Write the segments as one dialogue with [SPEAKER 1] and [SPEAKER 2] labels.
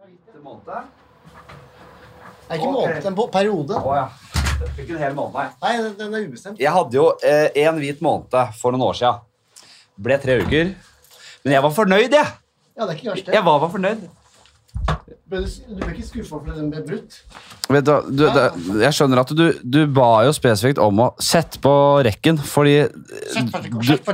[SPEAKER 1] Hvite måned.
[SPEAKER 2] Det er ikke måned, det er en po- periode.
[SPEAKER 1] Å ja. Ikke en hel måned, nei.
[SPEAKER 2] Nei, den- den er ubestemt.
[SPEAKER 1] Jeg hadde jo eh, en hvit måned for noen år siden. Ble tre uker. Men jeg var fornøyd, jeg.
[SPEAKER 2] Ja, det er ikke verst, det.
[SPEAKER 1] Jeg var, var fornøyd.
[SPEAKER 2] Ble Du du ble ikke skuffa fordi den ble brutt?
[SPEAKER 3] Vet du, hva, du, det, jeg skjønner at du, du ba jo spesifikt om å sette på rekken, fordi du,
[SPEAKER 2] Sett på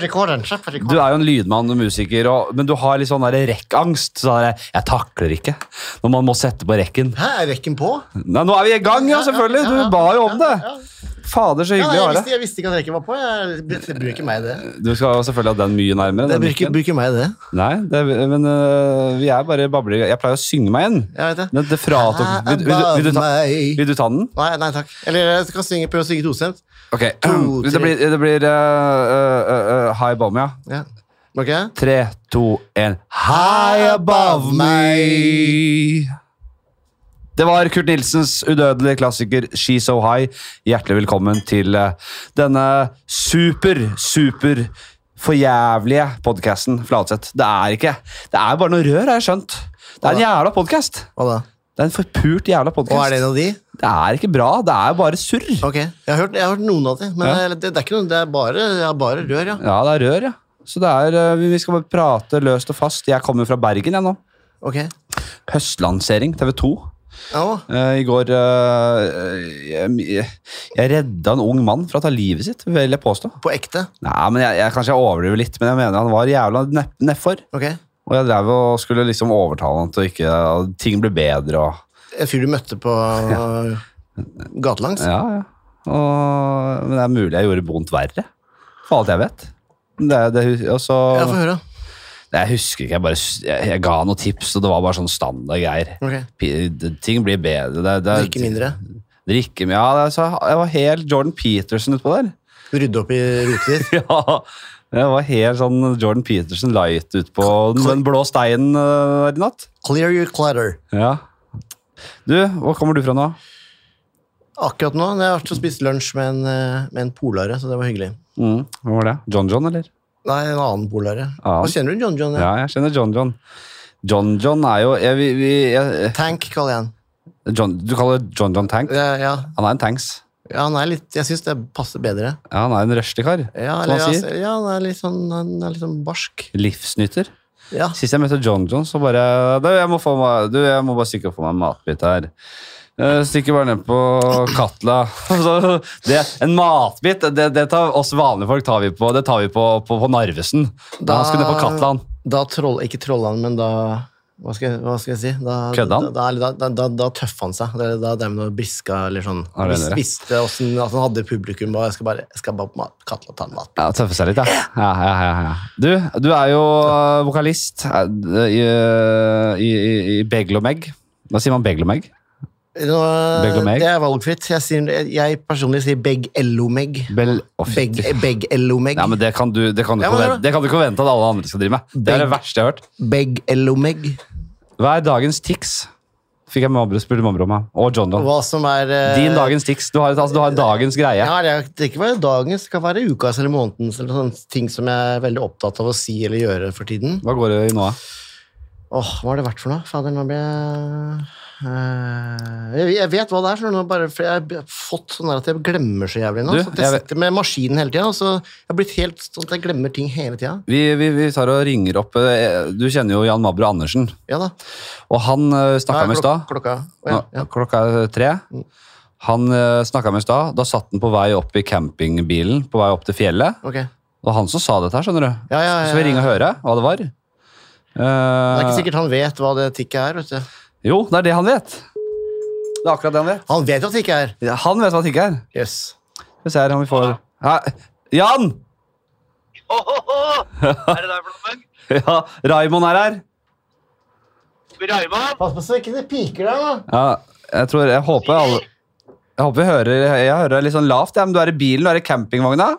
[SPEAKER 2] rekorden. Sett på
[SPEAKER 3] du er jo en lydmann og musiker, og, men du har litt sånn der rekkangst. Så er det, jeg takler ikke når man må sette på rekken.
[SPEAKER 2] Hæ, er rekken på?
[SPEAKER 3] Nei, nå er vi i gang, ja, selvfølgelig! Du ba jo om det.
[SPEAKER 2] Ja, ja.
[SPEAKER 3] Fader, så
[SPEAKER 2] Ja,
[SPEAKER 3] hyggelig
[SPEAKER 2] jeg,
[SPEAKER 3] å ha
[SPEAKER 2] visste,
[SPEAKER 3] det.
[SPEAKER 2] jeg visste ikke at rekken var på. Jeg, det det bryr ikke meg, det.
[SPEAKER 3] Du skal jo selvfølgelig ha den mye nærmere.
[SPEAKER 2] Det
[SPEAKER 3] Den
[SPEAKER 2] bryr ikke,
[SPEAKER 3] mikken.
[SPEAKER 2] bryr ikke meg, det.
[SPEAKER 3] Nei, det, men øh, vi er bare babler. Jeg pleier å synge meg inn.
[SPEAKER 2] Jeg vet det.
[SPEAKER 3] Det, det fratok
[SPEAKER 2] Hæ,
[SPEAKER 3] vil, vil, du- vil, du ta-
[SPEAKER 2] meg.
[SPEAKER 3] vil du ta den?
[SPEAKER 2] Nei, nei takk. Eller jeg skal synge, prøve å synge tostemt.
[SPEAKER 3] Ok.
[SPEAKER 2] To,
[SPEAKER 3] det
[SPEAKER 2] tre.
[SPEAKER 3] blir, det blir øh, øh, øh, high bomb, ja.
[SPEAKER 2] Ja. Ok?
[SPEAKER 3] Tre, to, en High above me Det var Kurt Nilsens udødelige klassiker She's So High Hjertelig velkommen til eh, denne super, super forjævlige podcasten Fladsett Det er ikke, det er bare noe rør, har jeg skjønt Det er en jævla podcast
[SPEAKER 2] Hva da?
[SPEAKER 3] Det er en forpurt jævla
[SPEAKER 2] Og er det
[SPEAKER 3] podcast
[SPEAKER 2] en av de?
[SPEAKER 3] Det er ikke bra, det er bare surr
[SPEAKER 2] Ok. Jeg har hørt, jeg har hørt noen av de, men
[SPEAKER 3] Ja.
[SPEAKER 2] det, det, er ikke noe, det er bare, jeg har bare rør, ja.
[SPEAKER 3] Ja, det er rør, ja Så det er, eh, vi vi skal bare prate løst og fast Jeg kommer fra Bergen, jeg nå
[SPEAKER 2] Ok.
[SPEAKER 3] Høstlansering, TV 2
[SPEAKER 2] Ja,
[SPEAKER 3] Eh, I går eh, jeg, jeg redda en ung mann fra å ta livet sitt, vil jeg påstå.
[SPEAKER 2] på ekte.
[SPEAKER 3] Nei, men jeg, jeg, Kanskje jeg overdriver litt, men jeg mener han var jævla nepp- nedfor.
[SPEAKER 2] Ok.
[SPEAKER 3] Og jeg drev og skulle liksom overtale han til å ikke at Ting ble bedre og
[SPEAKER 2] En fyr du møtte på gatelangs.
[SPEAKER 3] Ja, ja. Og, men det er mulig jeg gjorde vondt verre, for alt jeg vet. Det, det, og så,
[SPEAKER 2] Ja, få høre.
[SPEAKER 3] Nei, jeg husker ikke, jeg bare s- jeg, jeg ga noen tips, og det var bare sånn standard greier.
[SPEAKER 2] Ok.
[SPEAKER 3] Pi- det- Ting blir bedre. Det, det,
[SPEAKER 2] Drikke mindre.
[SPEAKER 3] Drikke, ja, det, så jeg var helt Jordan Peterson utpå der.
[SPEAKER 2] Rydde opp i rotet ditt.
[SPEAKER 3] Ja, jeg var helt sånn Jordan Peterson light ut på
[SPEAKER 2] Kl-
[SPEAKER 3] den blå steinen eh, der i natt.
[SPEAKER 2] Clear your clutter.
[SPEAKER 3] Ja. Du, hvor kommer du fra nå?
[SPEAKER 2] Akkurat nå. Jeg har vært og spist lunsj med en, eh, med en polare, så det var hyggelig.
[SPEAKER 3] Mm. Hvem var det? John John, eller?
[SPEAKER 2] Nei, en annen polare.
[SPEAKER 3] Annen?
[SPEAKER 2] Hva kjenner du John John?
[SPEAKER 3] Ja,
[SPEAKER 2] Ja?
[SPEAKER 3] jeg kjenner John John. John John er jo jeg, vi, vi, jeg, eh,
[SPEAKER 2] Tank kaller jeg han.
[SPEAKER 3] John, Du kaller John John Tank?
[SPEAKER 2] Ja, ja.
[SPEAKER 3] Han er en tanks.
[SPEAKER 2] ja, han er litt Jeg syns det passer bedre.
[SPEAKER 3] Ja, han er en røslig kar,
[SPEAKER 2] Ja,
[SPEAKER 3] som
[SPEAKER 2] eller,
[SPEAKER 3] han
[SPEAKER 2] ja,
[SPEAKER 3] sier.
[SPEAKER 2] ja, han er litt sånn, han er litt sånn barsk.
[SPEAKER 3] Livsnyter.
[SPEAKER 2] Ja.
[SPEAKER 3] Sist jeg møtte John John, så bare du jeg, må få meg, du, jeg må bare stikke og få meg en matbit her. Eh, Stikker bare ned på Katla. Så det, en matbit, det, det tar oss vanlige folk tar vi på, det tar vi på, på, på Narvesen.
[SPEAKER 2] Da-
[SPEAKER 3] Da, han skulle ned på Katla, han.
[SPEAKER 2] Da troll, ikke trolla han, men da hva skal, jeg- hva skal jeg si? Da,
[SPEAKER 3] Kødda han?
[SPEAKER 2] Da, da, da, da, da tøffa han seg. Da, da drev han og briska eller sånn.
[SPEAKER 3] Ja, det er
[SPEAKER 2] Vis,
[SPEAKER 3] det.
[SPEAKER 2] visste åssen at han hadde publikum. Og jeg skal bare, jeg skal bare på mat, Katla ta en mat.
[SPEAKER 3] Ja, Tøffe seg litt, ja. ja, ja, ja, ja. Du, du er jo eh, vokalist eh, i, eh, i, i, i Beglomeg. Hva sier man Beglomeg?
[SPEAKER 2] Nå,
[SPEAKER 3] Begg og meg?
[SPEAKER 2] det er valgfritt. Jeg, sier, jeg, jeg personlig sier Beg Ellomeg.
[SPEAKER 3] Bel... Å, fy,
[SPEAKER 2] Beg,
[SPEAKER 3] du-
[SPEAKER 2] Beg Ellomeg.
[SPEAKER 3] ja, men det kan, du, det, kan du ikke
[SPEAKER 2] Ja, men det er
[SPEAKER 3] forvente- det kan du ikke forvente at alle andre skal drive med. Det er det verste jeg har hørt.
[SPEAKER 2] Beg Ellomeg.
[SPEAKER 3] Hva er dagens tics? Fikk jeg mobber, spurte mamma om meg. Og John Don.
[SPEAKER 2] Hva som er eh,
[SPEAKER 3] Din dagens tics. Du har, altså, du har dagens greie.
[SPEAKER 2] Ja, det er- det kan ikke være dagens, det kan være ukas eller månedens eller sånne ting som jeg er veldig opptatt av å si eller gjøre for tiden.
[SPEAKER 3] Hva går det i nå? da?
[SPEAKER 2] Åh, hva har det vært for noe? Fader, nå ble jeg Eh, jeg- Jeg vet hva det er, skjønner du, nå bare, for jeg har b- fått sånn der at jeg glemmer så jævlig nå.
[SPEAKER 3] Du,
[SPEAKER 2] så at
[SPEAKER 3] jeg
[SPEAKER 2] jeg
[SPEAKER 3] vet-
[SPEAKER 2] sitter med maskinen hele tida, og så jeg har blitt helt sånn at jeg glemmer ting hele tida.
[SPEAKER 3] Vi, vi, vi tar og ringer opp eh, Du kjenner jo Jan Mabro Andersen.
[SPEAKER 2] Ja da.
[SPEAKER 3] Og han eh,
[SPEAKER 2] Hva
[SPEAKER 3] snakka
[SPEAKER 2] er
[SPEAKER 3] med i
[SPEAKER 2] klok-
[SPEAKER 3] stad.
[SPEAKER 2] Klokka. Å, ja,
[SPEAKER 3] Nå-
[SPEAKER 2] ja. Mm.
[SPEAKER 3] Klokka er tre. Han eh, snakka med i stad. Da satt han på vei opp i campingbilen på vei opp til fjellet.
[SPEAKER 2] Ok. Det
[SPEAKER 3] Det var han som sa dette her, skjønner du.
[SPEAKER 2] Ja, ja, ja,
[SPEAKER 3] Så vi ringer og hører hva det var.
[SPEAKER 2] er
[SPEAKER 3] Eh,
[SPEAKER 2] ikke sikkert han vet hva det tikket er, vet du.
[SPEAKER 3] Jo, det er det han vet. Det er akkurat det han vet.
[SPEAKER 2] Han vet jo at det ikke er.
[SPEAKER 3] Ja, Han vet hva tikket er.
[SPEAKER 2] Yes.
[SPEAKER 3] Skal vi se her om vi får Hæ? Jan!
[SPEAKER 4] Åhåhå! Er det deg, Blommen?
[SPEAKER 3] Ja, Raimond er her.
[SPEAKER 4] Raymond?
[SPEAKER 2] Pass på så ikke det piker der, da.
[SPEAKER 3] Ja, jeg tror Jeg håper alle Jeg håper vi hører Jeg hører deg litt sånn lavt, ja, men du er i bilen, du er i campingvogna?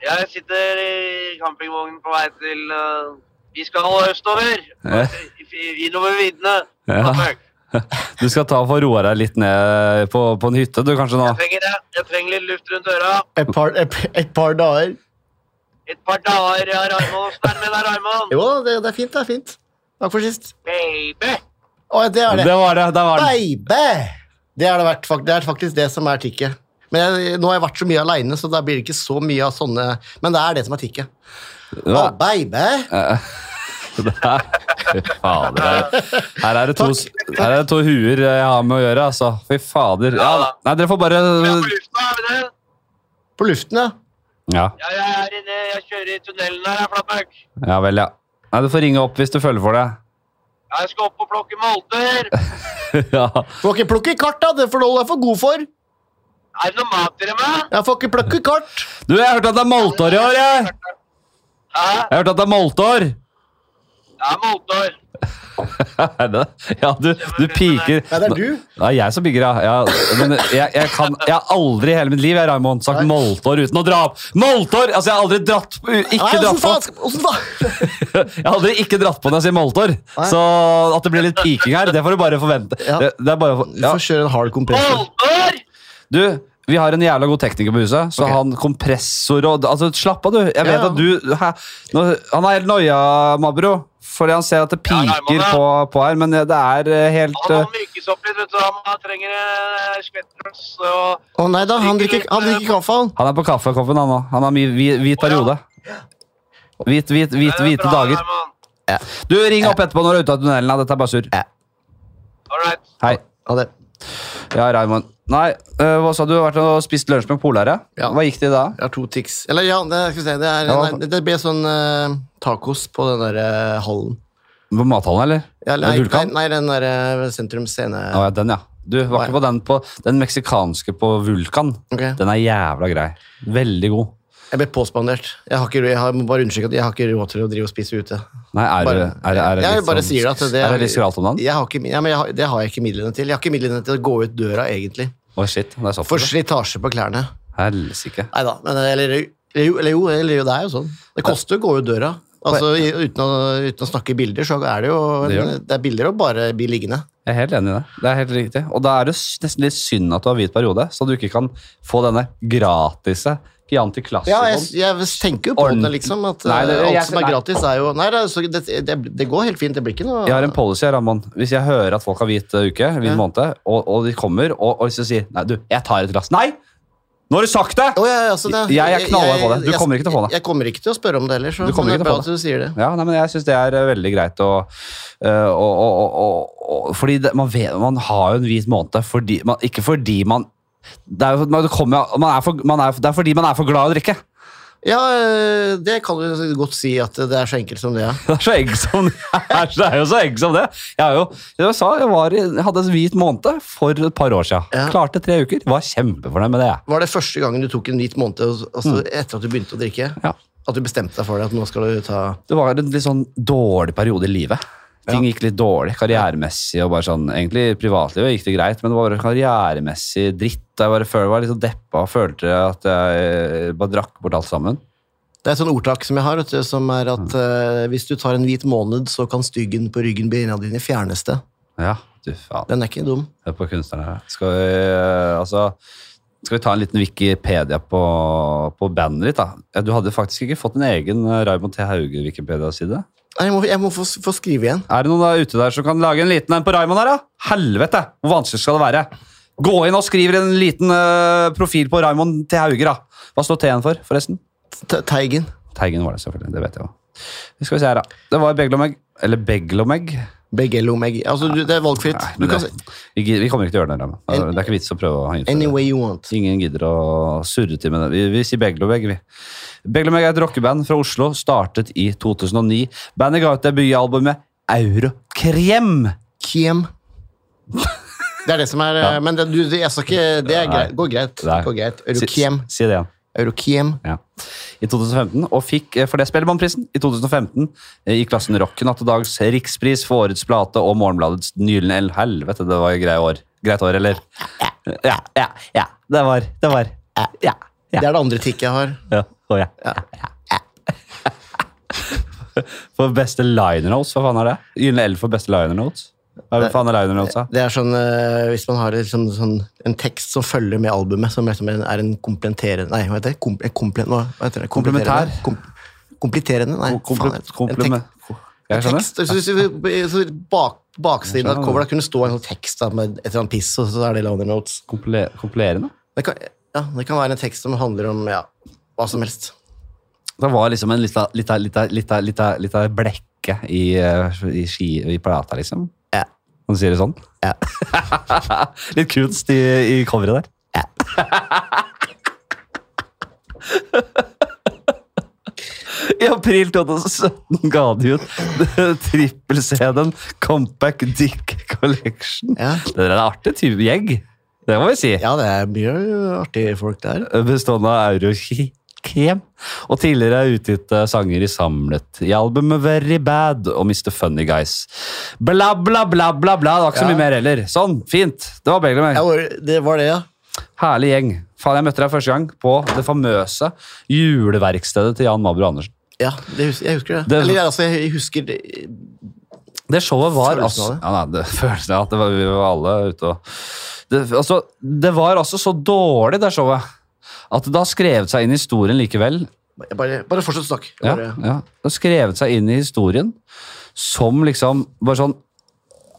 [SPEAKER 4] Jeg sitter i campingvognen på vei til eh, Vi skal østover!
[SPEAKER 3] Ja.
[SPEAKER 4] I- Innover viddene.
[SPEAKER 3] Ja.
[SPEAKER 4] Fuck.
[SPEAKER 3] Du skal ta og få roa deg litt ned på, på en hytte, du, kanskje nå?
[SPEAKER 4] Jeg trenger det. Jeg trenger litt luft rundt øra.
[SPEAKER 2] Et par, et, et par dager.
[SPEAKER 4] Et par dager, ja, Raymond. Åssen er det med deg, Raymond?
[SPEAKER 2] Jo da, det, det er fint, det er fint. Takk for sist.
[SPEAKER 4] Baby!
[SPEAKER 2] Å, det er det.
[SPEAKER 3] Det var det. Der var den.
[SPEAKER 2] Baby! Det er, det, verdt, fak- det er faktisk det som er tikket. Men jeg, nå har jeg vært så mye aleine, så da blir det ikke så mye av sånne Men det er det som er tikket. Å,
[SPEAKER 3] Ja.
[SPEAKER 2] baby!
[SPEAKER 3] Fy fader. her- Her er, det to, her er det to huer jeg har med å gjøre, altså. Fy fader. Ja, nei, dere får bare
[SPEAKER 4] Vi er på lufta, er vi det?
[SPEAKER 2] På luften, ja.
[SPEAKER 3] Ja,
[SPEAKER 4] Ja, jeg er inne. Jeg kjører i tunnelen her, jeg, Flatmark.
[SPEAKER 3] ja vel, ja. Nei, du får ringe opp hvis du føler for det.
[SPEAKER 4] Ja, jeg skal opp og plukke molter.
[SPEAKER 3] Ja.
[SPEAKER 2] Du får ikke plukke kart, da. Det får du holde deg for god for.
[SPEAKER 4] Er det noe mat til meg?
[SPEAKER 2] Jeg får ikke plukke kart.
[SPEAKER 3] Du, jeg har hørt at det er molteår i år, jeg!
[SPEAKER 4] Hæ?
[SPEAKER 3] Jeg har hørt at det er molteår!
[SPEAKER 4] Ja, molter.
[SPEAKER 3] Er det? Ja, du, du piker.
[SPEAKER 2] Nei, det er du.
[SPEAKER 3] Det er jeg som piker, ja. ja men jeg, jeg, kan, jeg har aldri i hele mitt liv jeg, Raimond, sagt molteår uten å dra opp. Molteår! Altså, jeg har aldri dratt
[SPEAKER 2] Nei,
[SPEAKER 3] ikke
[SPEAKER 2] åssen
[SPEAKER 3] dratt på
[SPEAKER 2] faen skal åssen faen-
[SPEAKER 3] Jeg har aldri ikke dratt på når jeg sier molteår.
[SPEAKER 2] Nei.
[SPEAKER 3] Så at det blir litt piking her, det får du bare forvente.
[SPEAKER 2] Ja.
[SPEAKER 3] Det, det er bare, å få-
[SPEAKER 2] Du
[SPEAKER 3] ja.
[SPEAKER 2] får kjøre en hard kompressor.
[SPEAKER 4] Molter!
[SPEAKER 3] Du, vi har en jævla god tekniker på huset, så
[SPEAKER 2] Ok.
[SPEAKER 3] han kompressor og altså, Slapp av, du. Jeg vet
[SPEAKER 2] Ja, ja.
[SPEAKER 3] at du hæ, nå, Han er helt noia, Mabro, fordi han ser at det
[SPEAKER 4] Ja,
[SPEAKER 3] piker
[SPEAKER 4] nei, men det-
[SPEAKER 3] på, på her, men det er eh, helt
[SPEAKER 4] Han må
[SPEAKER 3] eh,
[SPEAKER 4] mykes opp litt, vet du. Han trenger eh, skvetters og
[SPEAKER 2] Å nei da, han drikker, han drikker kaffe, han.
[SPEAKER 3] Han er på kaffekoppen, han òg. Han har mye hvi- hvit
[SPEAKER 4] Å, ja.
[SPEAKER 3] periode. Hvit, hvit, hvit,
[SPEAKER 4] Det er
[SPEAKER 3] hvite
[SPEAKER 4] bra,
[SPEAKER 3] dager.
[SPEAKER 4] Herman.
[SPEAKER 3] Du, Ring opp etterpå når du er ute av tunnelen. da. Dette er bare surr.
[SPEAKER 4] All right.
[SPEAKER 3] Hei.
[SPEAKER 2] Ja, det.
[SPEAKER 3] Ja, Raymond. Nei, øh, hva sa du? Du har vært og spist lunsj med polare?
[SPEAKER 2] Ja.
[SPEAKER 3] Hva gikk det i da?
[SPEAKER 2] Jeg har to tics. Eller ja, det, skal vi se, det, er,
[SPEAKER 3] Ja, hva
[SPEAKER 2] nei, det- det ble sånn eh, tacos på den der eh, hallen.
[SPEAKER 3] På mathallen, eller?
[SPEAKER 2] Ja,
[SPEAKER 3] Ved
[SPEAKER 2] nei, nei,
[SPEAKER 3] Vulkan?
[SPEAKER 2] nei, den der eh, sentrum scene.
[SPEAKER 3] Å, ja, den, ja. Du var ikke
[SPEAKER 2] Nei.
[SPEAKER 3] på den på den meksikanske på Vulkan.
[SPEAKER 2] Ok.
[SPEAKER 3] Den er jævla grei. Veldig god.
[SPEAKER 2] Jeg ble påspandert. Jeg, har ikke, jeg har, må bare understreke at jeg har ikke råd til å drive og spise ute.
[SPEAKER 3] Nei, er,
[SPEAKER 2] Bare-
[SPEAKER 3] det- er, det- er det
[SPEAKER 2] jeg
[SPEAKER 3] litt
[SPEAKER 2] bare
[SPEAKER 3] sånn-
[SPEAKER 2] sier det at det
[SPEAKER 3] Er det litt skralt om den?
[SPEAKER 2] Jeg har ikke, ja, men jeg har, det har jeg ikke midlene til. Jeg har ikke midlene til å gå ut døra, egentlig.
[SPEAKER 3] Å, shit. Det er såpass.
[SPEAKER 2] For slitasje på klærne.
[SPEAKER 3] Helsike.
[SPEAKER 2] Nei da. Men, eh, eller, eller, jo- eller, jo, eller jo, det er jo sånn. Det koster å gå ut døra. Altså, i- uten, å, uten å snakke i bilder, så er det jo
[SPEAKER 3] Det
[SPEAKER 2] det,
[SPEAKER 3] gjør
[SPEAKER 2] er billigere å bare bli liggende.
[SPEAKER 3] Jeg er helt enig i det. Det er helt riktig. Og da er det s- nesten litt synd at du har hvit periode, så du ikke kan få denne gratise Chianti Classico.
[SPEAKER 2] Ja, jeg, jeg tenker jo på det,
[SPEAKER 3] Ordentlig.
[SPEAKER 2] liksom. At
[SPEAKER 3] Nei, det-
[SPEAKER 2] eh,
[SPEAKER 3] jeg-
[SPEAKER 2] alt som er
[SPEAKER 3] nei.
[SPEAKER 2] gratis, er jo Nei, det, er- så det, det, det går helt fint. Det blir ikke noe
[SPEAKER 3] Jeg har en policy, Ramon. Hvis jeg hører at folk har hvit eh, uke, hvit
[SPEAKER 2] Ja.
[SPEAKER 3] måned, og, og de kommer og, og så sier Nei, du, jeg tar et glass. Nei! Nå har du sagt det!
[SPEAKER 2] Å, ja, ja, altså, det-
[SPEAKER 3] Jeg- jeg er knallhard på det. Du
[SPEAKER 2] jeg-
[SPEAKER 3] kommer ikke til å få det.
[SPEAKER 2] Jeg kommer ikke til å spørre om det heller. Så
[SPEAKER 3] Du kommer ikke til å
[SPEAKER 2] men det er
[SPEAKER 3] få
[SPEAKER 2] bra at du sier det.
[SPEAKER 3] Ja, nei, men jeg syns det er eh, veldig greit å, eh, å, å, å, å, å Fordi det, man, vet, man har jo en hvit måned fordi man, Ikke fordi man det er, jo- man, kommer, man er for, man er, det er fordi man er for glad i å drikke.
[SPEAKER 2] Ja, eh, det kan du godt si at det er så enkelt som det er.
[SPEAKER 3] Det er så egg som det er. Det er jo så egg som det. Jeg, har jo, jeg, sa, jeg, var, i- jeg hadde en hvit måned for et par år siden.
[SPEAKER 2] Ja.
[SPEAKER 3] Klarte tre uker. Var kjempefornøyd med det. jeg.
[SPEAKER 2] Var det første gangen du tok en hvit måned altså, etter at du begynte å drikke?
[SPEAKER 3] Mm. Ja.
[SPEAKER 2] At du bestemte deg for det? At nå skal du ta
[SPEAKER 3] Det var en litt sånn dårlig periode i livet. Ting gikk litt dårlig karrieremessig. og bare sånn, Egentlig i privatlivet gikk det greit, men det var bare karrieremessig dritt. Jeg bare følte, var litt sånn deppa og følte at jeg eh, bare drakk bort alt sammen.
[SPEAKER 2] Det er et sånt ordtak som jeg har, vet du, som er at
[SPEAKER 3] Mm.
[SPEAKER 2] eh, hvis du tar en hvit måned, så kan styggen på ryggen beina dine fjernes det.
[SPEAKER 3] Ja, du faen.
[SPEAKER 2] Den er ikke dum.
[SPEAKER 3] Hør på kunstnerne her. Skal vi, eh, altså, skal vi ta en liten Wikipedia på, på bandet ditt, da? Ja, Du hadde faktisk ikke fått en egen eh, Raymond T. Hauge-Wikipedia-side.
[SPEAKER 2] Nei, jeg må, jeg må få, få skrive igjen.
[SPEAKER 3] Er det noen der ute der som kan lage en liten en på Raymond her, da? Helvete! Hvor vanskelig skal det være? Gå inn og skriv en liten eh, profil på Raymond til Hauger, da. Hva står T-en for, forresten?
[SPEAKER 2] Te- Teigen.
[SPEAKER 3] Teigen var det, selvfølgelig. Det vet jeg jo. Vi skal se her, da. Det var Beglomeg. Eller Beglomeg.
[SPEAKER 2] Begelomeg. Altså, du, det er valgfritt.
[SPEAKER 3] Nei,
[SPEAKER 2] Du
[SPEAKER 3] men
[SPEAKER 2] kan
[SPEAKER 3] det,
[SPEAKER 2] si
[SPEAKER 3] vi, gid- vi kommer ikke til å gjøre det. Raymond. Altså, Det er ikke vits å prøve å innføre
[SPEAKER 2] any
[SPEAKER 3] det.
[SPEAKER 2] way you want.
[SPEAKER 3] Ingen gidder å surre til med det. Vi, vi sier Beglomeg, vi. Beglomeg er et rockeband fra Oslo, startet i 2009. Bandet ga ut debutalbumet Eurokrem.
[SPEAKER 2] Kiem. Det er det som er eh, Men det, du, det- jeg skal ikke Det er greit. går greit.
[SPEAKER 3] Nei.
[SPEAKER 2] Det går greit.
[SPEAKER 3] Si-
[SPEAKER 2] Eurokiem.
[SPEAKER 3] Si det igjen.
[SPEAKER 2] Eurokiem.
[SPEAKER 3] Ja. I 2015, og fikk eh, for det Spellemannprisen i 2015 eh, i klassen Rock. Natt og dags rikspris for årets plate og Morgenbladets Nylen L. Helvete, det var greit år. Greit år, eller? Ja, ja, ja. Det var, det var. Ja, ja.
[SPEAKER 2] Det er det andre tikket jeg har.
[SPEAKER 3] ja. Og ja. ja, ja. For beste liner notes, hva faen er det? Gyllen L for beste liner notes? Hva faen er liner notes, da?
[SPEAKER 2] Det er sånn, eh, Hvis man har liksom, sånn, en tekst som følger med albumet, som liksom er en komplementerende Nei, hva heter det? Kom, komple, hva heter det?
[SPEAKER 3] Komplementær.
[SPEAKER 2] Komplementerende? Kom, kompletterende? Nei,
[SPEAKER 3] Komple-
[SPEAKER 2] faen, en
[SPEAKER 3] komplime-
[SPEAKER 2] tekst-
[SPEAKER 3] Jeg Jeg skjønner.
[SPEAKER 2] Tekster, så, så, så bak, baksiden av coveret kunne stå en sånn tekst da, med et eller annet piss, og så er det liner notes.
[SPEAKER 3] Kompule- Kompilerende?
[SPEAKER 2] Det kan, ja, det kan være en tekst som handler om ja, hva som helst.
[SPEAKER 3] Det var liksom en lita, lita, lita, lita, lita, lita blekke i, eh, i, ski, i plata, liksom.
[SPEAKER 2] Ja.
[SPEAKER 3] Man sier det sånn.
[SPEAKER 2] Ja.
[SPEAKER 3] Litt kunst i, i coveret der. I april 2017 ga de ut trippel-CD-en Compact Dick Collection.
[SPEAKER 2] Ja,
[SPEAKER 3] Det der er en artig type gjeng, det må vi si
[SPEAKER 2] ja det er mye artige folk der.
[SPEAKER 3] bestående av Eurokrem, og tidligere utgitt eh, sanger i samlet i albumet Very Bad og Mr. Funny Guys. Bla, bla, bla, bla, bla. Det var ikke så
[SPEAKER 2] Ja.
[SPEAKER 3] mye mer heller. Sånn, fint. Det var begge
[SPEAKER 2] Ja,
[SPEAKER 3] meg.
[SPEAKER 2] hvor- det var det, ja.
[SPEAKER 3] Herlig gjeng. Faen, jeg møtte deg første gang på det famøse juleverkstedet til Jan Mabro Andersen.
[SPEAKER 2] Ja, det hus jeg husker det.
[SPEAKER 3] Det-
[SPEAKER 2] Eller altså, jeg husker det.
[SPEAKER 3] Det showet var altså
[SPEAKER 2] Følelsen av det?
[SPEAKER 3] ja, nei, det, Følelsen av at det var, vi var alle ute og det, altså, det var altså så dårlig, det showet, at det har skrevet seg inn i historien likevel.
[SPEAKER 2] Bare, bare fortsett å snakke. Jeg
[SPEAKER 3] Ja,
[SPEAKER 2] Bare,
[SPEAKER 3] ja. Det har skrevet seg inn i historien som liksom bare sånn